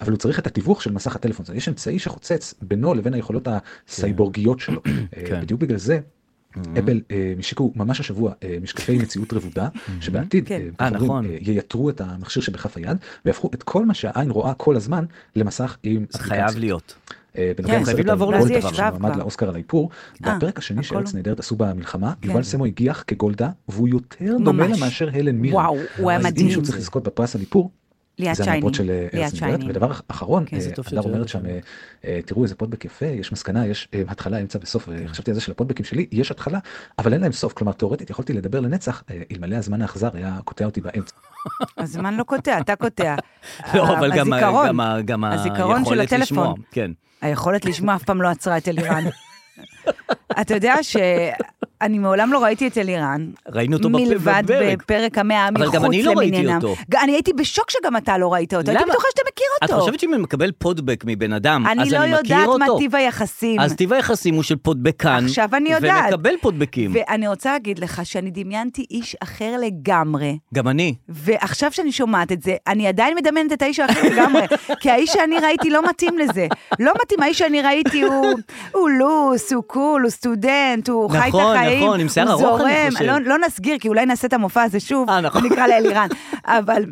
Speaker 6: אבל הוא צריך את התיווך של מסך הטלפון, זה יש אמצעי שחוצץ בינו לבין היכולות הסייבורגיות שלו. אה,
Speaker 2: כן.
Speaker 6: בדיוק בגלל זה אפל אה, השיקו ממש השבוע אה, משקפי מציאות רבודה, שבעתיד
Speaker 3: כן.
Speaker 6: אה,
Speaker 2: אה,
Speaker 6: כך אומרים,
Speaker 2: נכון.
Speaker 6: אה, ייתרו את המכשיר שבכף היד, ויהפכו את כל מה שהעין רואה כל הזמן למסך עם
Speaker 2: חייב להיות.
Speaker 6: אה,
Speaker 3: כן.
Speaker 6: בנוגע
Speaker 2: חייבים
Speaker 6: לסרט
Speaker 2: לעבור
Speaker 6: על
Speaker 2: לזה,
Speaker 6: גולדה
Speaker 3: יש שבב
Speaker 6: שמועמד
Speaker 3: כבר.
Speaker 6: לאוסקר על האיפור.
Speaker 3: אה,
Speaker 6: בפרק השני של
Speaker 3: הכל.
Speaker 6: ארץ נהדרת עשו במלחמה,
Speaker 3: כן.
Speaker 6: יובל סמו הגיח כגולדה, והוא יותר דומה
Speaker 3: ממש.
Speaker 6: לה מאשר הלן מירן.
Speaker 3: וואו, הוא היה
Speaker 6: אז אם
Speaker 3: מדהים.
Speaker 6: מישהו צריך לזכות בפרס על איפור,
Speaker 3: ליאת
Speaker 6: זה
Speaker 3: שייני.
Speaker 6: המפות של אה,
Speaker 3: ליאת
Speaker 6: ארץ נהדרת.
Speaker 3: שייני.
Speaker 6: ודבר אחרון,
Speaker 3: כן,
Speaker 6: אה,
Speaker 2: זה טוב שאת
Speaker 6: הדר אומרת
Speaker 2: שואלת.
Speaker 6: שם, אה, אה, תראו איזה פודבק יפה, יש מסקנה, יש אה, התחלה, אמצע וסוף,
Speaker 2: כן.
Speaker 6: אה, חשבתי על זה של הפודבקים שלי, יש התחלה, אבל אין להם סוף, כלומר תאורטית יכולתי לדבר לנצח, אה, אלמלא הזמן האכזר היה קוטע אותי באמצע.
Speaker 3: הזמן לא קוטע, אתה קוטע.
Speaker 2: לא, אבל גם ה-
Speaker 3: אה, הזיכרון,
Speaker 2: גם ה- גם
Speaker 3: הזיכרון של
Speaker 2: היכולת לשמוע.
Speaker 3: הטלפון.
Speaker 2: כן.
Speaker 3: היכולת לשמוע אף פעם לא עצרה את אלירן. אתה יודע שאני מעולם לא ראיתי את אלירן.
Speaker 2: ראינו אותו בפ-
Speaker 3: מלבד
Speaker 2: בפרק.
Speaker 3: בפרק המאה
Speaker 2: אבל
Speaker 3: מחוץ
Speaker 2: גם
Speaker 3: למניינם.
Speaker 2: אני לא ראיתי אותו.
Speaker 3: ג- אני הייתי בשוק שגם אתה לא ראית אותו. הייתי
Speaker 2: למה?
Speaker 3: בטוחה שאתה מכיר
Speaker 2: את
Speaker 3: אותו.
Speaker 2: חושבת שאם אני מקבל פודבק מבן אדם, אז אני
Speaker 3: אני
Speaker 2: מכיר
Speaker 3: לא
Speaker 2: אותו?
Speaker 3: יודעת מה טיב היחסים.
Speaker 2: אז טיב היחסים הוא של פודבקן.
Speaker 3: עכשיו אני יודעת.
Speaker 2: ומקבל פודבקים.
Speaker 3: ואני רוצה להגיד לך שאני דמיינתי איש אחר לגמרי.
Speaker 2: גם אני.
Speaker 3: ועכשיו שאני שומעת את זה, אני עדיין מדמיינת את האיש האחר לגמרי, כי האיש שאני ראיתי לא מתאים לזה. לא מתאים, האיש שאני ראיתי הוא, הוא לוס, הוא קול, הוא סטודנט, הוא חי את
Speaker 2: נכון,
Speaker 3: החיים,
Speaker 2: נכון, עם שיער
Speaker 3: הוא
Speaker 2: ארוך, אני
Speaker 3: זורם.
Speaker 2: חושב.
Speaker 3: לא, לא נסגיר, כי אולי נעשה את המופע הזה שוב,
Speaker 2: אה, נכון.
Speaker 3: ונקרא לאלירן. אבל...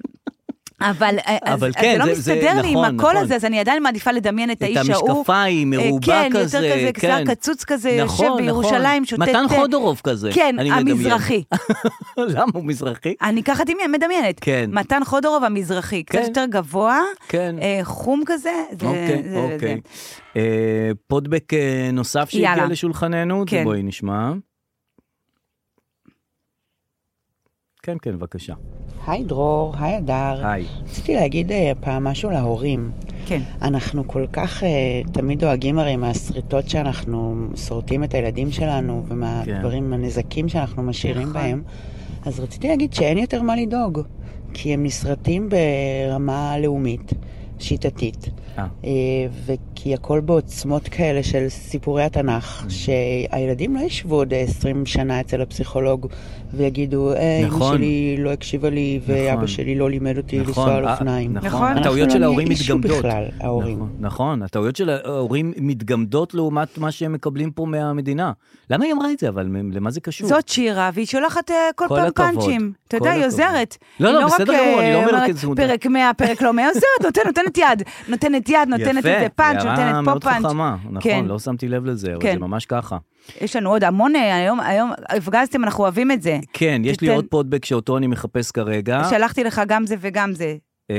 Speaker 3: אבל, אה, אז,
Speaker 2: אבל
Speaker 3: אז
Speaker 2: כן,
Speaker 3: זה לא
Speaker 2: זה- זה-
Speaker 3: מסתדר לי
Speaker 2: נכון,
Speaker 3: עם הקול
Speaker 2: נכון.
Speaker 3: הזה, אז אני עדיין מעדיפה לדמיין את
Speaker 2: את
Speaker 3: האיש ההוא.
Speaker 2: המשקפיים,
Speaker 3: אה,
Speaker 2: מרובע כזה,
Speaker 3: כן, יותר כזה,
Speaker 2: כן.
Speaker 3: שיער קצוץ כזה,
Speaker 2: נכון, נכון.
Speaker 3: יושב בירושלים, שותה...
Speaker 2: מתן
Speaker 3: תה.
Speaker 2: חודורוב כזה,
Speaker 3: כן,
Speaker 2: אני מדמיין.
Speaker 3: המזרחי.
Speaker 2: למה הוא מזרחי?
Speaker 3: אני ככה דמיין, מדמיינת.
Speaker 2: כן.
Speaker 3: מתן חודורוב המזרחי, קצת
Speaker 2: כן.
Speaker 3: יותר גבוה,
Speaker 2: כן.
Speaker 3: אה, חום כזה. זה-
Speaker 2: אוקיי,
Speaker 3: זה- זה-
Speaker 2: אוקיי. אה, פודבק אה, נוסף שהגיע
Speaker 3: יאללה.
Speaker 2: לשולחננו,
Speaker 3: כן.
Speaker 2: בואי נשמע. כן, כן, בבקשה.
Speaker 7: היי דרור, היי הדר.
Speaker 2: היי.
Speaker 7: רציתי להגיד אה, פעם משהו להורים.
Speaker 3: כן.
Speaker 7: אנחנו כל כך אה, תמיד דואגים הרי מהשריטות שאנחנו שורטים את הילדים שלנו
Speaker 2: כן.
Speaker 7: ומהדברים, הנזקים שאנחנו משאירים
Speaker 3: נכון.
Speaker 7: בהם. אז רציתי להגיד שאין יותר מה לדאוג, כי הם נסרטים ברמה לאומית, שיטתית.
Speaker 2: אה.
Speaker 7: אה, וכי הכל בעוצמות כאלה של סיפורי
Speaker 2: Mm.
Speaker 7: התנ"ך, שהילדים לא ישבו עוד אה, 20 שנה אצל הפסיכולוג ויגידו, אה,
Speaker 2: נכון.
Speaker 7: אמא שלי לא הקשיבה לי
Speaker 2: נכון.
Speaker 7: ואבא שלי לא לימד אותי לנסוע על
Speaker 2: אה,
Speaker 7: אופניים.
Speaker 3: נכון.
Speaker 2: נכון,
Speaker 7: אנחנו
Speaker 2: הטעויות
Speaker 7: לא
Speaker 2: של
Speaker 7: נהיה
Speaker 2: ההורים
Speaker 7: אישו
Speaker 2: מתגמדות.
Speaker 7: בכלל, ההורים.
Speaker 2: נכון, נכון, הטעויות של ההורים מתגמדות לעומת מה שהם מקבלים פה מהמדינה. למה היא אמרה את זה, אבל מ- למה זה קשור?
Speaker 3: זאת שירה, והיא שולחת אה, כל
Speaker 2: כל
Speaker 3: פעם
Speaker 2: הכבוד,
Speaker 3: פאנצ'ים. אתה
Speaker 2: כל
Speaker 3: יודע, היא
Speaker 2: הכבוד.
Speaker 3: עוזרת.
Speaker 2: לא,
Speaker 3: היא
Speaker 2: לא, בסדר
Speaker 3: רק,
Speaker 2: גמור, אני לא אומר
Speaker 3: אה,
Speaker 2: רק את זה.
Speaker 3: פרק 100, פרק לא 100, עוזרת, נותנת, נותנת יד. נותנת יד, נותנת
Speaker 2: יפה,
Speaker 3: איזה פאנץ',
Speaker 2: הערה
Speaker 3: נותנת פה
Speaker 2: מאוד
Speaker 3: פאנץ'.
Speaker 2: חכמה,
Speaker 3: כן.
Speaker 2: נכון, לא שמתי לב לזה, אבל
Speaker 3: כן.
Speaker 2: זה ממש ככה.
Speaker 3: יש לנו עוד המון, אה, היום, היום, הפגזתם, אנחנו אוהבים את זה.
Speaker 2: כן, יש לי
Speaker 3: תיתן-
Speaker 2: עוד פודבק שאותו אני מחפש כרגע.
Speaker 3: שלחתי לך גם זה וגם זה.
Speaker 2: אה,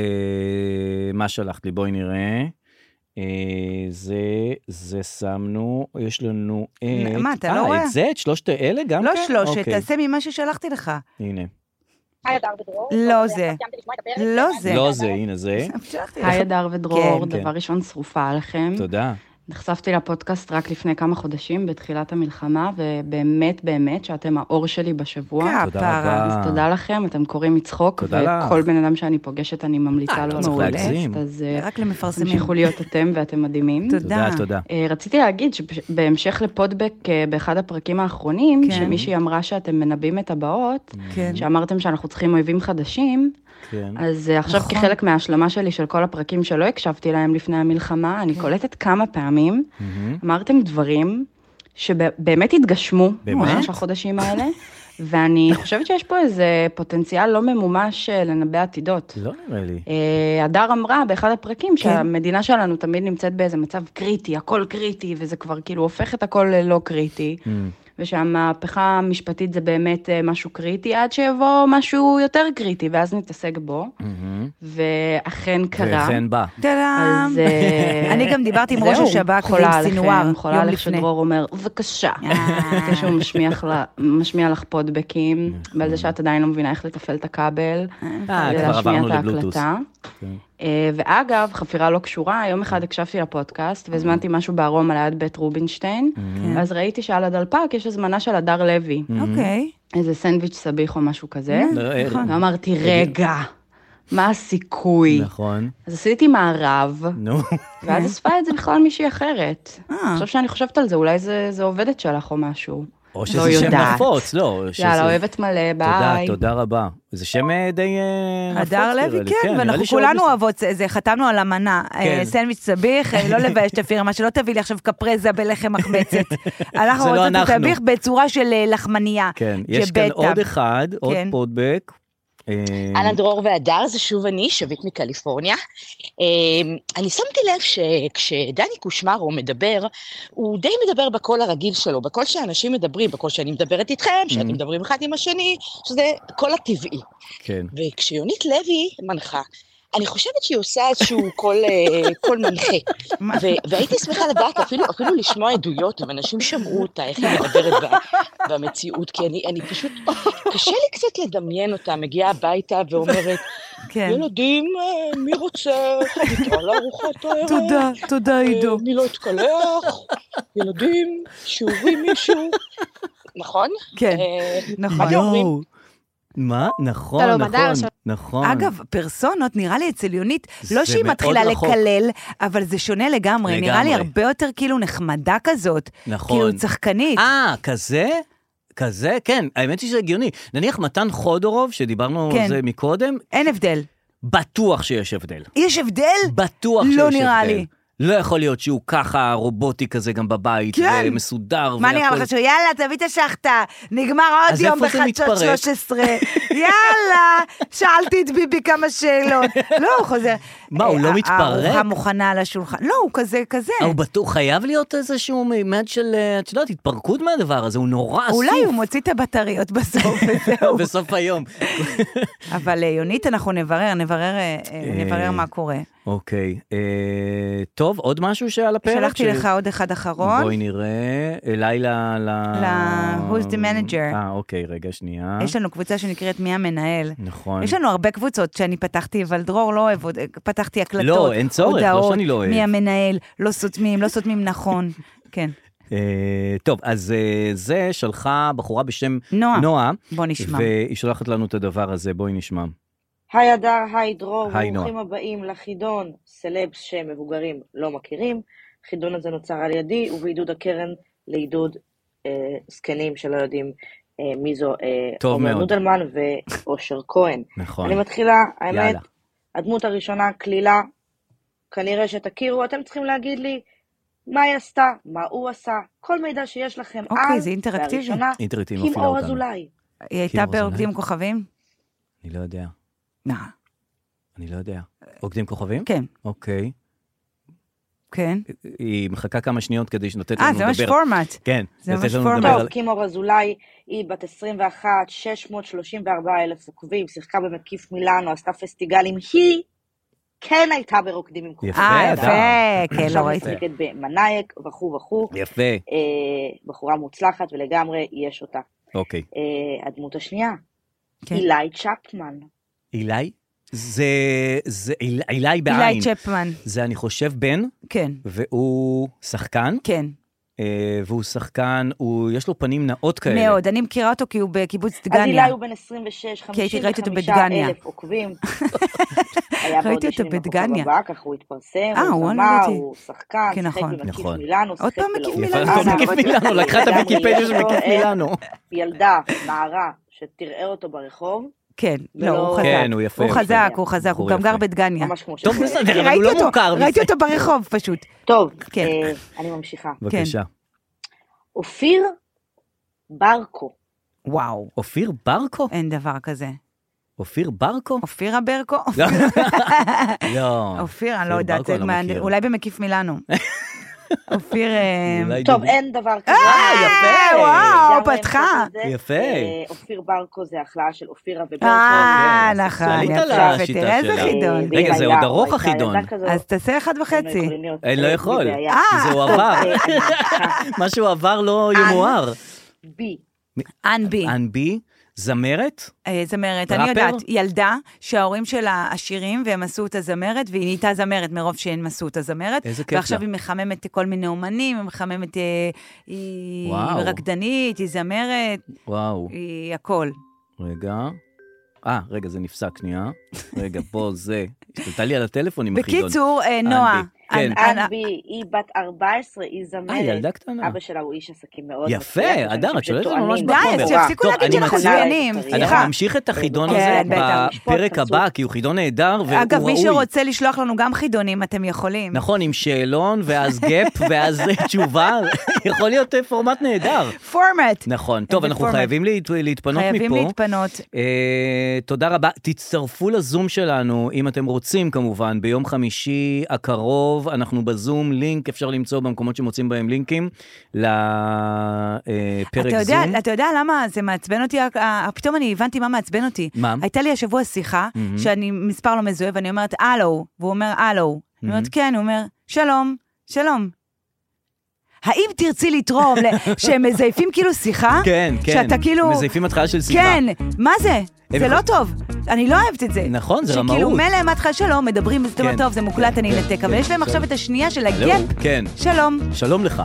Speaker 2: מה שלחת לי? בואי נראה. אה, זה, זה שמנו, יש לנו את...
Speaker 3: מה, אתה לא
Speaker 2: אה,
Speaker 3: רואה?
Speaker 2: את זה? את שלושת האלה גם
Speaker 3: לא
Speaker 2: כן?
Speaker 3: שלושת,
Speaker 2: אוקיי,
Speaker 3: תעשה ממה ששלחתי לך.
Speaker 2: הנה.
Speaker 3: לא זה. לא זה.
Speaker 2: לא זה, הנה זה.
Speaker 3: שלחתי
Speaker 8: היי
Speaker 3: לך.
Speaker 8: אדר ודרור,
Speaker 2: כן, כן.
Speaker 8: דבר ראשון שרופה עליכם.
Speaker 2: תודה.
Speaker 8: נחשפתי לפודקאסט רק לפני כמה חודשים, בתחילת המלחמה, ובאמת באמת שאתם האור שלי בשבוע.
Speaker 2: תודה
Speaker 3: כפרה.
Speaker 2: רבה.
Speaker 8: אז תודה לכם, אתם קוראים מצחוק,
Speaker 2: תודה לך.
Speaker 8: וכל בן אדם שאני פוגשת אני ממליצה
Speaker 2: אה,
Speaker 8: לו
Speaker 2: לא צריך
Speaker 8: לפודקאסט,
Speaker 2: להגזים.
Speaker 8: אז אה,
Speaker 3: רק למפרסמים.
Speaker 8: תמשיכו להיות אתם ואתם מדהימים.
Speaker 2: תודה,
Speaker 3: תודה.
Speaker 2: תודה.
Speaker 8: אה, רציתי להגיד שבהמשך לפודבק אה, באחד הפרקים האחרונים,
Speaker 3: כן.
Speaker 8: שמישהי אמרה שאתם מנבאים את הבאות,
Speaker 3: כן.
Speaker 2: Mm.
Speaker 8: שאמרתם שאנחנו צריכים אויבים חדשים,
Speaker 2: כן.
Speaker 8: אז אה, עכשיו
Speaker 3: נכון.
Speaker 8: כחלק מההשלמה שלי של כל הפרקים שלא הקשבתי להם לפני המלחמה, אני קולטת כמה פעמים,
Speaker 2: כן. מהמם.
Speaker 8: אמרתם דברים שבאמת התגשמו,
Speaker 2: באמת?
Speaker 8: בשלושה חודשים האלה, ואני חושבת שיש פה איזה פוטנציאל לא ממומש אה, לנבא עתידות.
Speaker 2: לא נראה לי.
Speaker 8: אה, הדר אמרה באחד הפרקים
Speaker 3: כן.
Speaker 8: שהמדינה שלנו תמיד נמצאת באיזה מצב קריטי, הכל קריטי, וזה כבר כאילו הופך את הכל ללא קריטי,
Speaker 2: מ,
Speaker 8: ושהמהפכה המשפטית זה באמת אה, משהו קריטי, עד שיבוא משהו יותר קריטי, ואז נתעסק בו.
Speaker 2: מהמם.
Speaker 8: ואכן קרה.
Speaker 2: וכן בא.
Speaker 3: טאדאם.
Speaker 8: אז אה,
Speaker 3: אני גם דיברתי עם
Speaker 8: זהו,
Speaker 3: ראש השב"כ
Speaker 8: חולה
Speaker 3: ועם
Speaker 8: עליכם,
Speaker 3: סינואר
Speaker 8: חולה
Speaker 3: יום
Speaker 8: עליך
Speaker 3: לפני. אה.
Speaker 8: שדרור אומר, בבקשה. לפני שהוא משמיח לה- משמיע לך פודבקים, ועל זה שאת עדיין לא מבינה איך לתפעל את הכבל,
Speaker 2: אה, כבר
Speaker 8: ולהשמיע
Speaker 2: עברנו
Speaker 8: את
Speaker 2: לבלוטוס.
Speaker 8: ההקלטה.
Speaker 2: כן.
Speaker 8: אה, ואגב, חפירה לא קשורה, יום אחד הקשבתי לפודקאסט והזמנתי משהו בארום על יד בית רובינשטיין,
Speaker 2: אה.
Speaker 3: כן.
Speaker 8: ואז ראיתי שעל הדלפק יש הזמנה של הדר לוי,
Speaker 3: אוקיי.
Speaker 2: mm-hmm.
Speaker 8: איזה סנדוויץ' סביח או משהו כזה,
Speaker 2: לא, אה,
Speaker 3: נכון.
Speaker 8: ואמרתי, רגע, מה הסיכוי?
Speaker 2: נכון.
Speaker 8: אז עשיתי מארב,
Speaker 2: נו.
Speaker 8: ואז אספה את זה בכלל מישהי אחרת.
Speaker 3: אה.
Speaker 8: עכשיו שאני חושבת על זה, אולי זה זה עובדת שלך או משהו.
Speaker 2: או
Speaker 8: לא
Speaker 2: שזה שם
Speaker 8: יודעת.
Speaker 2: נפוץ, לא. שזה-
Speaker 8: יאללה, אוהבת מלא,
Speaker 2: תודה,
Speaker 8: ביי.
Speaker 2: תודה רבה. זה שם אה, די אה, נפוץ,
Speaker 3: הדר
Speaker 2: נראה
Speaker 3: לוי,
Speaker 2: לי.
Speaker 3: כן,
Speaker 2: נראה
Speaker 3: ואנחנו
Speaker 2: לי שעוד
Speaker 3: כולנו
Speaker 2: יש-
Speaker 3: אוהבות את זה, חתמנו על אמנה. אה,
Speaker 2: כן.
Speaker 3: סנדוויץ' סביח, אה, לא לבייש את הפירמה, שלא תביא לי עכשיו קפרזה בלחם מחמצת. אנחנו
Speaker 2: זה לא
Speaker 3: רוצות את
Speaker 2: אנחנו.
Speaker 3: הסביח בצורה של אה, לחמנייה.
Speaker 2: כן, יש כאן
Speaker 3: שבטה.
Speaker 2: עוד אחד, עוד
Speaker 3: כן.
Speaker 2: פודבק. אה,
Speaker 9: אהלן דרור והדר, זה שוב אני, שביט מקליפורניה. אמ, אני שמתי לב שכשדני קושמרו מדבר, הוא די מדבר בקול הרגיל שלו, בקול שאנשים מדברים, בקול שאני מדברת איתכם, שאתם מדברים אחד עם השני, שזה קול הטבעי.
Speaker 2: כן.
Speaker 9: וכשיונית לוי מנחה, אני חושבת שהיא עושה איזשהו קול אה, קול מנחה.
Speaker 3: מה?
Speaker 9: ו- והייתי שמחה לדעת, אפילו, אפילו לשמוע עדויות, אם אנשים שמעו אותה, איך היא מדברת ב- במציאות, כי אני, אני פשוט, קשה לי קצת לדמיין אותה, מגיעה הביתה ואומרת,
Speaker 3: כן.
Speaker 9: ילדים, אה, מי רוצה חביתה לארוחת הערב?
Speaker 3: תודה, תודה
Speaker 9: אה,
Speaker 3: עידו.
Speaker 9: מי לא יתקלח? ילדים, שיעורים מישהו. נכון?
Speaker 3: כן,
Speaker 9: אה,
Speaker 3: נכון.
Speaker 9: יואו. אומרים?
Speaker 2: מה? נכון,
Speaker 5: שלום,
Speaker 2: נכון,
Speaker 5: הדר,
Speaker 2: נכון.
Speaker 3: אגב, פרסונות, נראה לי אצל יונית, לא
Speaker 2: זה
Speaker 3: שהיא
Speaker 2: מאוד
Speaker 3: מתחילה
Speaker 2: רחוק.
Speaker 3: לקלל, אבל זה שונה לגמרי. נראה לי
Speaker 2: לגמרי.
Speaker 3: הרבה יותר כאילו נחמדה כזאת.
Speaker 2: נכון.
Speaker 3: כאילו צחקנית.
Speaker 2: אה, כזה? כזה? כן, האמת היא שזה הגיוני. נניח מתן חודורוב, שדיברנו
Speaker 3: כן.
Speaker 2: על זה מקודם,
Speaker 3: אין הבדל.
Speaker 2: בטוח שיש הבדל.
Speaker 3: יש הבדל?
Speaker 2: בטוח
Speaker 3: לא
Speaker 2: שיש הבדל.
Speaker 3: נראה לי.
Speaker 2: לא יכול להיות שהוא ככה רובוטי כזה גם בבית,
Speaker 3: כן.
Speaker 2: ומסודר,
Speaker 3: מה נראה לך שהוא, יאללה, תביא את השחטה, נגמר עוד
Speaker 2: אז
Speaker 3: יום
Speaker 2: איפה זה
Speaker 3: בחדשות
Speaker 2: מתפרץ?
Speaker 3: 13, יאללה, שאלתי את ביבי כמה שאלות. לא, הוא חוזר.
Speaker 2: מה, הוא לא
Speaker 3: אה,
Speaker 2: מתפרק? אה,
Speaker 3: הארוחה מוכנה על השולחן. לא, הוא כזה, כזה.
Speaker 2: הוא בטוח חייב להיות איזשהו מימד של, אה, את יודעת, התפרקות מהדבר הזה, הוא נורא אסוף.
Speaker 3: אולי הוא מוציא את הבטריות בסוף, וזהו.
Speaker 2: בסוף היום.
Speaker 3: אבל אה, יונית, אנחנו נברר, נברר, אה, אה, נברר מה קורה.
Speaker 2: אוקיי, אה, טוב, עוד משהו שעל הפרק?
Speaker 3: שלחתי
Speaker 2: ש-
Speaker 3: לך עוד אחד אחרון.
Speaker 2: בואי נראה, אליי ל... ל...
Speaker 3: ל- Who's the Manager.
Speaker 2: אה, אוקיי, רגע, שנייה.
Speaker 3: יש לנו קבוצה שנקראת מי המנהל.
Speaker 2: נכון.
Speaker 3: יש לנו הרבה קבוצות שאני פתחתי, אבל דרור לא אוהב, עוד- פתחתי הקלטות,
Speaker 2: לא, אין צורך, לא
Speaker 3: הודעות,
Speaker 2: שאני לא אוהב.
Speaker 3: מי המנהל, לא סותמים, לא סותמים נכון. כן,
Speaker 2: אה, טוב, אז אה, זה שלחה בחורה בשם
Speaker 3: נועה.
Speaker 2: נועה,
Speaker 3: בוא נשמע.
Speaker 2: והיא שולחת לנו את הדבר הזה, בואי נשמע.
Speaker 10: היי אדר, היי דרור,
Speaker 2: היי, נועה.
Speaker 10: ברוכים הבאים לחידון סלבס שמבוגרים לא מכירים. החידון הזה נוצר על ידי ובעידוד הקרן לעידוד אה, זקנים שלא יודעים אה, מי זו אה,
Speaker 2: טוב
Speaker 10: עומר
Speaker 2: מאוד.
Speaker 10: נודלמן ואושר כהן.
Speaker 2: נכון.
Speaker 10: אני מתחילה, האמת,
Speaker 2: יאללה.
Speaker 10: הדמות הראשונה, קלילה, כנראה שתכירו, אתם צריכים להגיד לי מה היא עשתה, מה הוא עשה, כל מידע שיש לכם
Speaker 3: אוקיי,
Speaker 10: על,
Speaker 3: זה אינטראקטיבי.
Speaker 10: והראשונה,
Speaker 2: אינטראקטיבי,
Speaker 10: קים
Speaker 2: מפעילה
Speaker 10: אור
Speaker 2: אותנו.
Speaker 10: אזולאי.
Speaker 3: היא הייתה
Speaker 2: אוזניים.
Speaker 3: ברוקדים כוכבים?
Speaker 2: אני לא יודע,
Speaker 3: לא.
Speaker 2: אני לא יודע. רוקדים כוכבים?
Speaker 3: כן,
Speaker 2: אוקיי.
Speaker 3: כן.
Speaker 2: היא מחכה כמה שניות כדי שנותנת לנו
Speaker 3: אה,
Speaker 2: לדבר.
Speaker 3: זה ממש פורמט.
Speaker 2: כן,
Speaker 3: זה
Speaker 2: לתת
Speaker 3: ממש
Speaker 2: לנו
Speaker 3: פורמט.
Speaker 2: לדבר על...
Speaker 10: טוב, קים אור אזולאי היא בת 21, 634 אלף עוקבים, שיחקה במקיף מילאנו, עשתה פסטיגלים, היא כן הייתה ברוקדים עם כוכבים.
Speaker 2: יפה,
Speaker 3: אה, יפה, כן, לא
Speaker 10: עכשיו היא
Speaker 3: ראיתי.
Speaker 10: משחקת במנאייק וכו' וכו'.
Speaker 2: יפה,
Speaker 10: אה, בחורה מוצלחת ולגמרי יש אותה.
Speaker 2: אוקיי.
Speaker 10: אה, הדמות השנייה,
Speaker 3: כן.
Speaker 10: אילי צ'פמן.
Speaker 2: אילי? זה... זה איל- אילי בעין.
Speaker 3: אילי צ'פמן,
Speaker 2: זה אני חושב בן,
Speaker 3: כן,
Speaker 2: והוא שחקן,
Speaker 3: כן,
Speaker 2: אה, והוא שחקן, הוא, יש לו פנים נאות כאלה.
Speaker 3: מאוד. אני מכירה אותו כי הוא בקיבוץ
Speaker 10: אז
Speaker 3: דגניה.
Speaker 10: אילי הוא בן 26,
Speaker 3: כי הייתי ראיתי אותו
Speaker 10: 55
Speaker 3: בדגניה.
Speaker 10: אלף עוקבים. היה
Speaker 3: ראיתי
Speaker 10: בהודו
Speaker 3: אותו
Speaker 10: שלי עם הכוכב
Speaker 3: בדגניה.
Speaker 10: הבא, ככה הוא התפרסם,
Speaker 3: אה,
Speaker 10: הוא
Speaker 3: וואלה,
Speaker 10: זמר,
Speaker 3: ראיתי.
Speaker 10: הוא שחקן,
Speaker 3: כן,
Speaker 10: שיחק
Speaker 3: נכון.
Speaker 10: במקיף
Speaker 2: נכון.
Speaker 10: מילאנו,
Speaker 3: עוד
Speaker 10: שיחק
Speaker 3: פעם מקיף
Speaker 10: בלהוט.
Speaker 3: מילאנו.
Speaker 2: יפה,
Speaker 3: אה,
Speaker 2: מקיף מילאנו, לקחה את
Speaker 10: לגמרי,
Speaker 2: הוויקיפדיה של
Speaker 10: יש לו,
Speaker 2: מקיף
Speaker 10: אה,
Speaker 2: מילאנו.
Speaker 3: כן.
Speaker 10: ילדה, נערה, שתראה אותו ברחוב,
Speaker 3: כן, לא, הוא
Speaker 10: ולא-
Speaker 3: חזק.
Speaker 2: כן, הוא יפה,
Speaker 3: הוא
Speaker 2: יפה.
Speaker 3: חזק, הוא חזק, הוא
Speaker 2: בחור
Speaker 3: גם
Speaker 2: יפה.
Speaker 3: גר בדגניה.
Speaker 10: ממש כמו ש...
Speaker 2: טוב, בסדר, אבל הוא
Speaker 3: ראיתי
Speaker 2: לא
Speaker 3: אותו,
Speaker 2: מוכר מזה.
Speaker 3: ראיתי אותו ברחוב פשוט.
Speaker 10: טוב,
Speaker 3: כן.
Speaker 10: אה, אני ממשיכה.
Speaker 2: בבקשה.
Speaker 10: אופיר ברקו.
Speaker 3: וואו,
Speaker 2: אופיר ברקו?
Speaker 3: אין דבר כזה.
Speaker 2: אופיר ברקו?
Speaker 3: אופירה ברקו?
Speaker 2: לא. לא.
Speaker 3: אופיר, אני לא
Speaker 2: אופיר
Speaker 3: יודעת,
Speaker 2: ברקו, אני לא
Speaker 3: מה-
Speaker 2: מכיר.
Speaker 3: אולי במקיף מילאנו. אופיר, אה,
Speaker 2: אולי
Speaker 10: טוב,
Speaker 2: דידי.
Speaker 10: אין דבר כזה.
Speaker 2: יפה.
Speaker 3: אה, וואו,
Speaker 10: לגמרי
Speaker 3: פתחה.
Speaker 10: המצאתי את זה.
Speaker 2: יפה.
Speaker 10: אה, אופיר ברקו זה החלאה של אופירה וברקו.
Speaker 3: אה,
Speaker 2: אוקיי, אז
Speaker 3: נכון,
Speaker 2: עלית
Speaker 3: יפה,
Speaker 2: על השיטה
Speaker 3: ותראה איזה
Speaker 2: שלה.
Speaker 3: חידון.
Speaker 10: אה,
Speaker 2: רגע,
Speaker 10: ואם
Speaker 2: זה
Speaker 10: היה
Speaker 2: עוד
Speaker 10: או
Speaker 2: ארוך
Speaker 10: הייתה
Speaker 2: החידון.
Speaker 10: ילדה כזאת,
Speaker 3: אז תעשה אחד
Speaker 10: היינו
Speaker 3: וחצי.
Speaker 10: יכולים להיות,
Speaker 2: אה, לא
Speaker 10: אה,
Speaker 2: יכול.
Speaker 10: בלי בעיה.
Speaker 3: אה.
Speaker 2: זה הוא עבר.
Speaker 10: אה, אני ממשיכה.
Speaker 2: מה שהוא עבר לא ימואר.
Speaker 10: בי.
Speaker 3: אנבי,
Speaker 2: אנבי, זמרת?
Speaker 3: אה, זמרת, אני
Speaker 2: ראפר?
Speaker 3: יודעת, ילדה שההורים שלה עשירים והם עשו אותה זמרת, והיא נהייתה זמרת מרוב שהן עשו אותה זמרת.
Speaker 2: איזה כיף
Speaker 3: ועכשיו
Speaker 2: לה.
Speaker 3: היא מחממת כל מיני אומנים, היא מחממת, אה, היא
Speaker 2: וואו.
Speaker 3: רקדנית, היא זמרת,
Speaker 2: וואו.
Speaker 3: היא הכל.
Speaker 2: רגע. אה, רגע, זה נפסק, שנייה. רגע, פה זה. השתלטה לי על לא הטלפון עם החידון.
Speaker 3: בקיצור, אה, נועה.
Speaker 2: כן.
Speaker 3: אנ- אנ-
Speaker 10: אנבי, היא בת 14, היא זמרת.
Speaker 2: אה, ילדה קטנה.
Speaker 10: אבא שלה הוא איש עסקים מאוד.
Speaker 2: יפה,
Speaker 10: מצליח,
Speaker 2: אדר,
Speaker 10: יש אנשים
Speaker 2: את שולטת
Speaker 10: שטוענים נכון
Speaker 2: ממש
Speaker 10: שהוא
Speaker 3: די,
Speaker 2: בחומר.
Speaker 3: אז שיפסיקו
Speaker 2: טוב,
Speaker 3: להגיד
Speaker 2: אני
Speaker 3: שאנחנו
Speaker 2: מציע-
Speaker 3: מצוינים,
Speaker 2: אנחנו
Speaker 3: סליחה.
Speaker 2: נמשיך את החידון
Speaker 10: כן,
Speaker 2: הזה
Speaker 3: בטח.
Speaker 2: בפרק הבא, כי הוא חידון נהדר והוא ראוי.
Speaker 3: אגב, מי שרוצה לשלוח לנו גם חידונים, אתם יכולים.
Speaker 2: נכון, עם שאלון, ואז גאפ, ואז אה, תשובה, יכול להיות אה, פורמט נהדר.
Speaker 3: פורמט.
Speaker 2: נכון. טוב,
Speaker 3: איזה
Speaker 2: אנחנו
Speaker 3: פורמט.
Speaker 2: חייבים להת- להתפנות מפה.
Speaker 3: חייבים להתפנות.
Speaker 2: אה, תודה רבה. תצטרפו לזום שלנו, אם אתם רוצים כמובן, ביום חמישי הקרוב, אנחנו בזום, לינק אפשר למצוא במקומות שמוצאים בהם לינקים לפרק
Speaker 3: אתה יודע,
Speaker 2: אה, זום.
Speaker 3: אתה יודע למה זה מעצבן אותי? אה, אה, פתאום אני הבנתי מה מעצבן אותי.
Speaker 2: מה?
Speaker 3: הייתה לי השבוע שיחה,
Speaker 2: מהמם.
Speaker 3: שאני מספר לא מזוהה, ואני אומרת, הלו, והוא אומר, הלו. אני אומרת, כן, הוא אומר, שלום, שלום. האם תרצי לתרום, ל- שהם מזייפים כאילו שיחה?
Speaker 2: כן, כן.
Speaker 3: שאתה כאילו...
Speaker 2: מזייפים התחלה של שיחה.
Speaker 3: כן, מה זה? זה
Speaker 2: יכול-
Speaker 3: לא טוב. אני לא אוהבת את זה.
Speaker 2: נכון, זה
Speaker 3: שכאילו
Speaker 2: רמאות.
Speaker 3: מילא אמרת לך שלום, מדברים, זה
Speaker 2: כן,
Speaker 3: אומר, טוב, זה מוקלט,
Speaker 2: כן,
Speaker 3: אני
Speaker 2: כן,
Speaker 3: אנתק,
Speaker 2: כן,
Speaker 3: אבל יש להם עכשיו
Speaker 2: שלום.
Speaker 3: את השנייה של
Speaker 2: הלו,
Speaker 3: הגאפ.
Speaker 2: כן.
Speaker 3: שלום.
Speaker 2: שלום לך.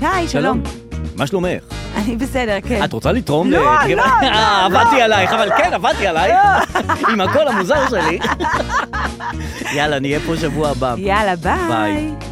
Speaker 3: היי, שלום.
Speaker 2: מה שלומך?
Speaker 3: אני בסדר, כן.
Speaker 2: את רוצה לתרום?
Speaker 3: לא,
Speaker 2: ל-
Speaker 3: לא, לא,
Speaker 2: אה, עבדתי עלייך, אבל כן, עבדתי עלייך. עם הקול המוזר שלי. יאללה, נהיה פה שבוע הבא.
Speaker 3: יאללה, ביי.
Speaker 2: ביי.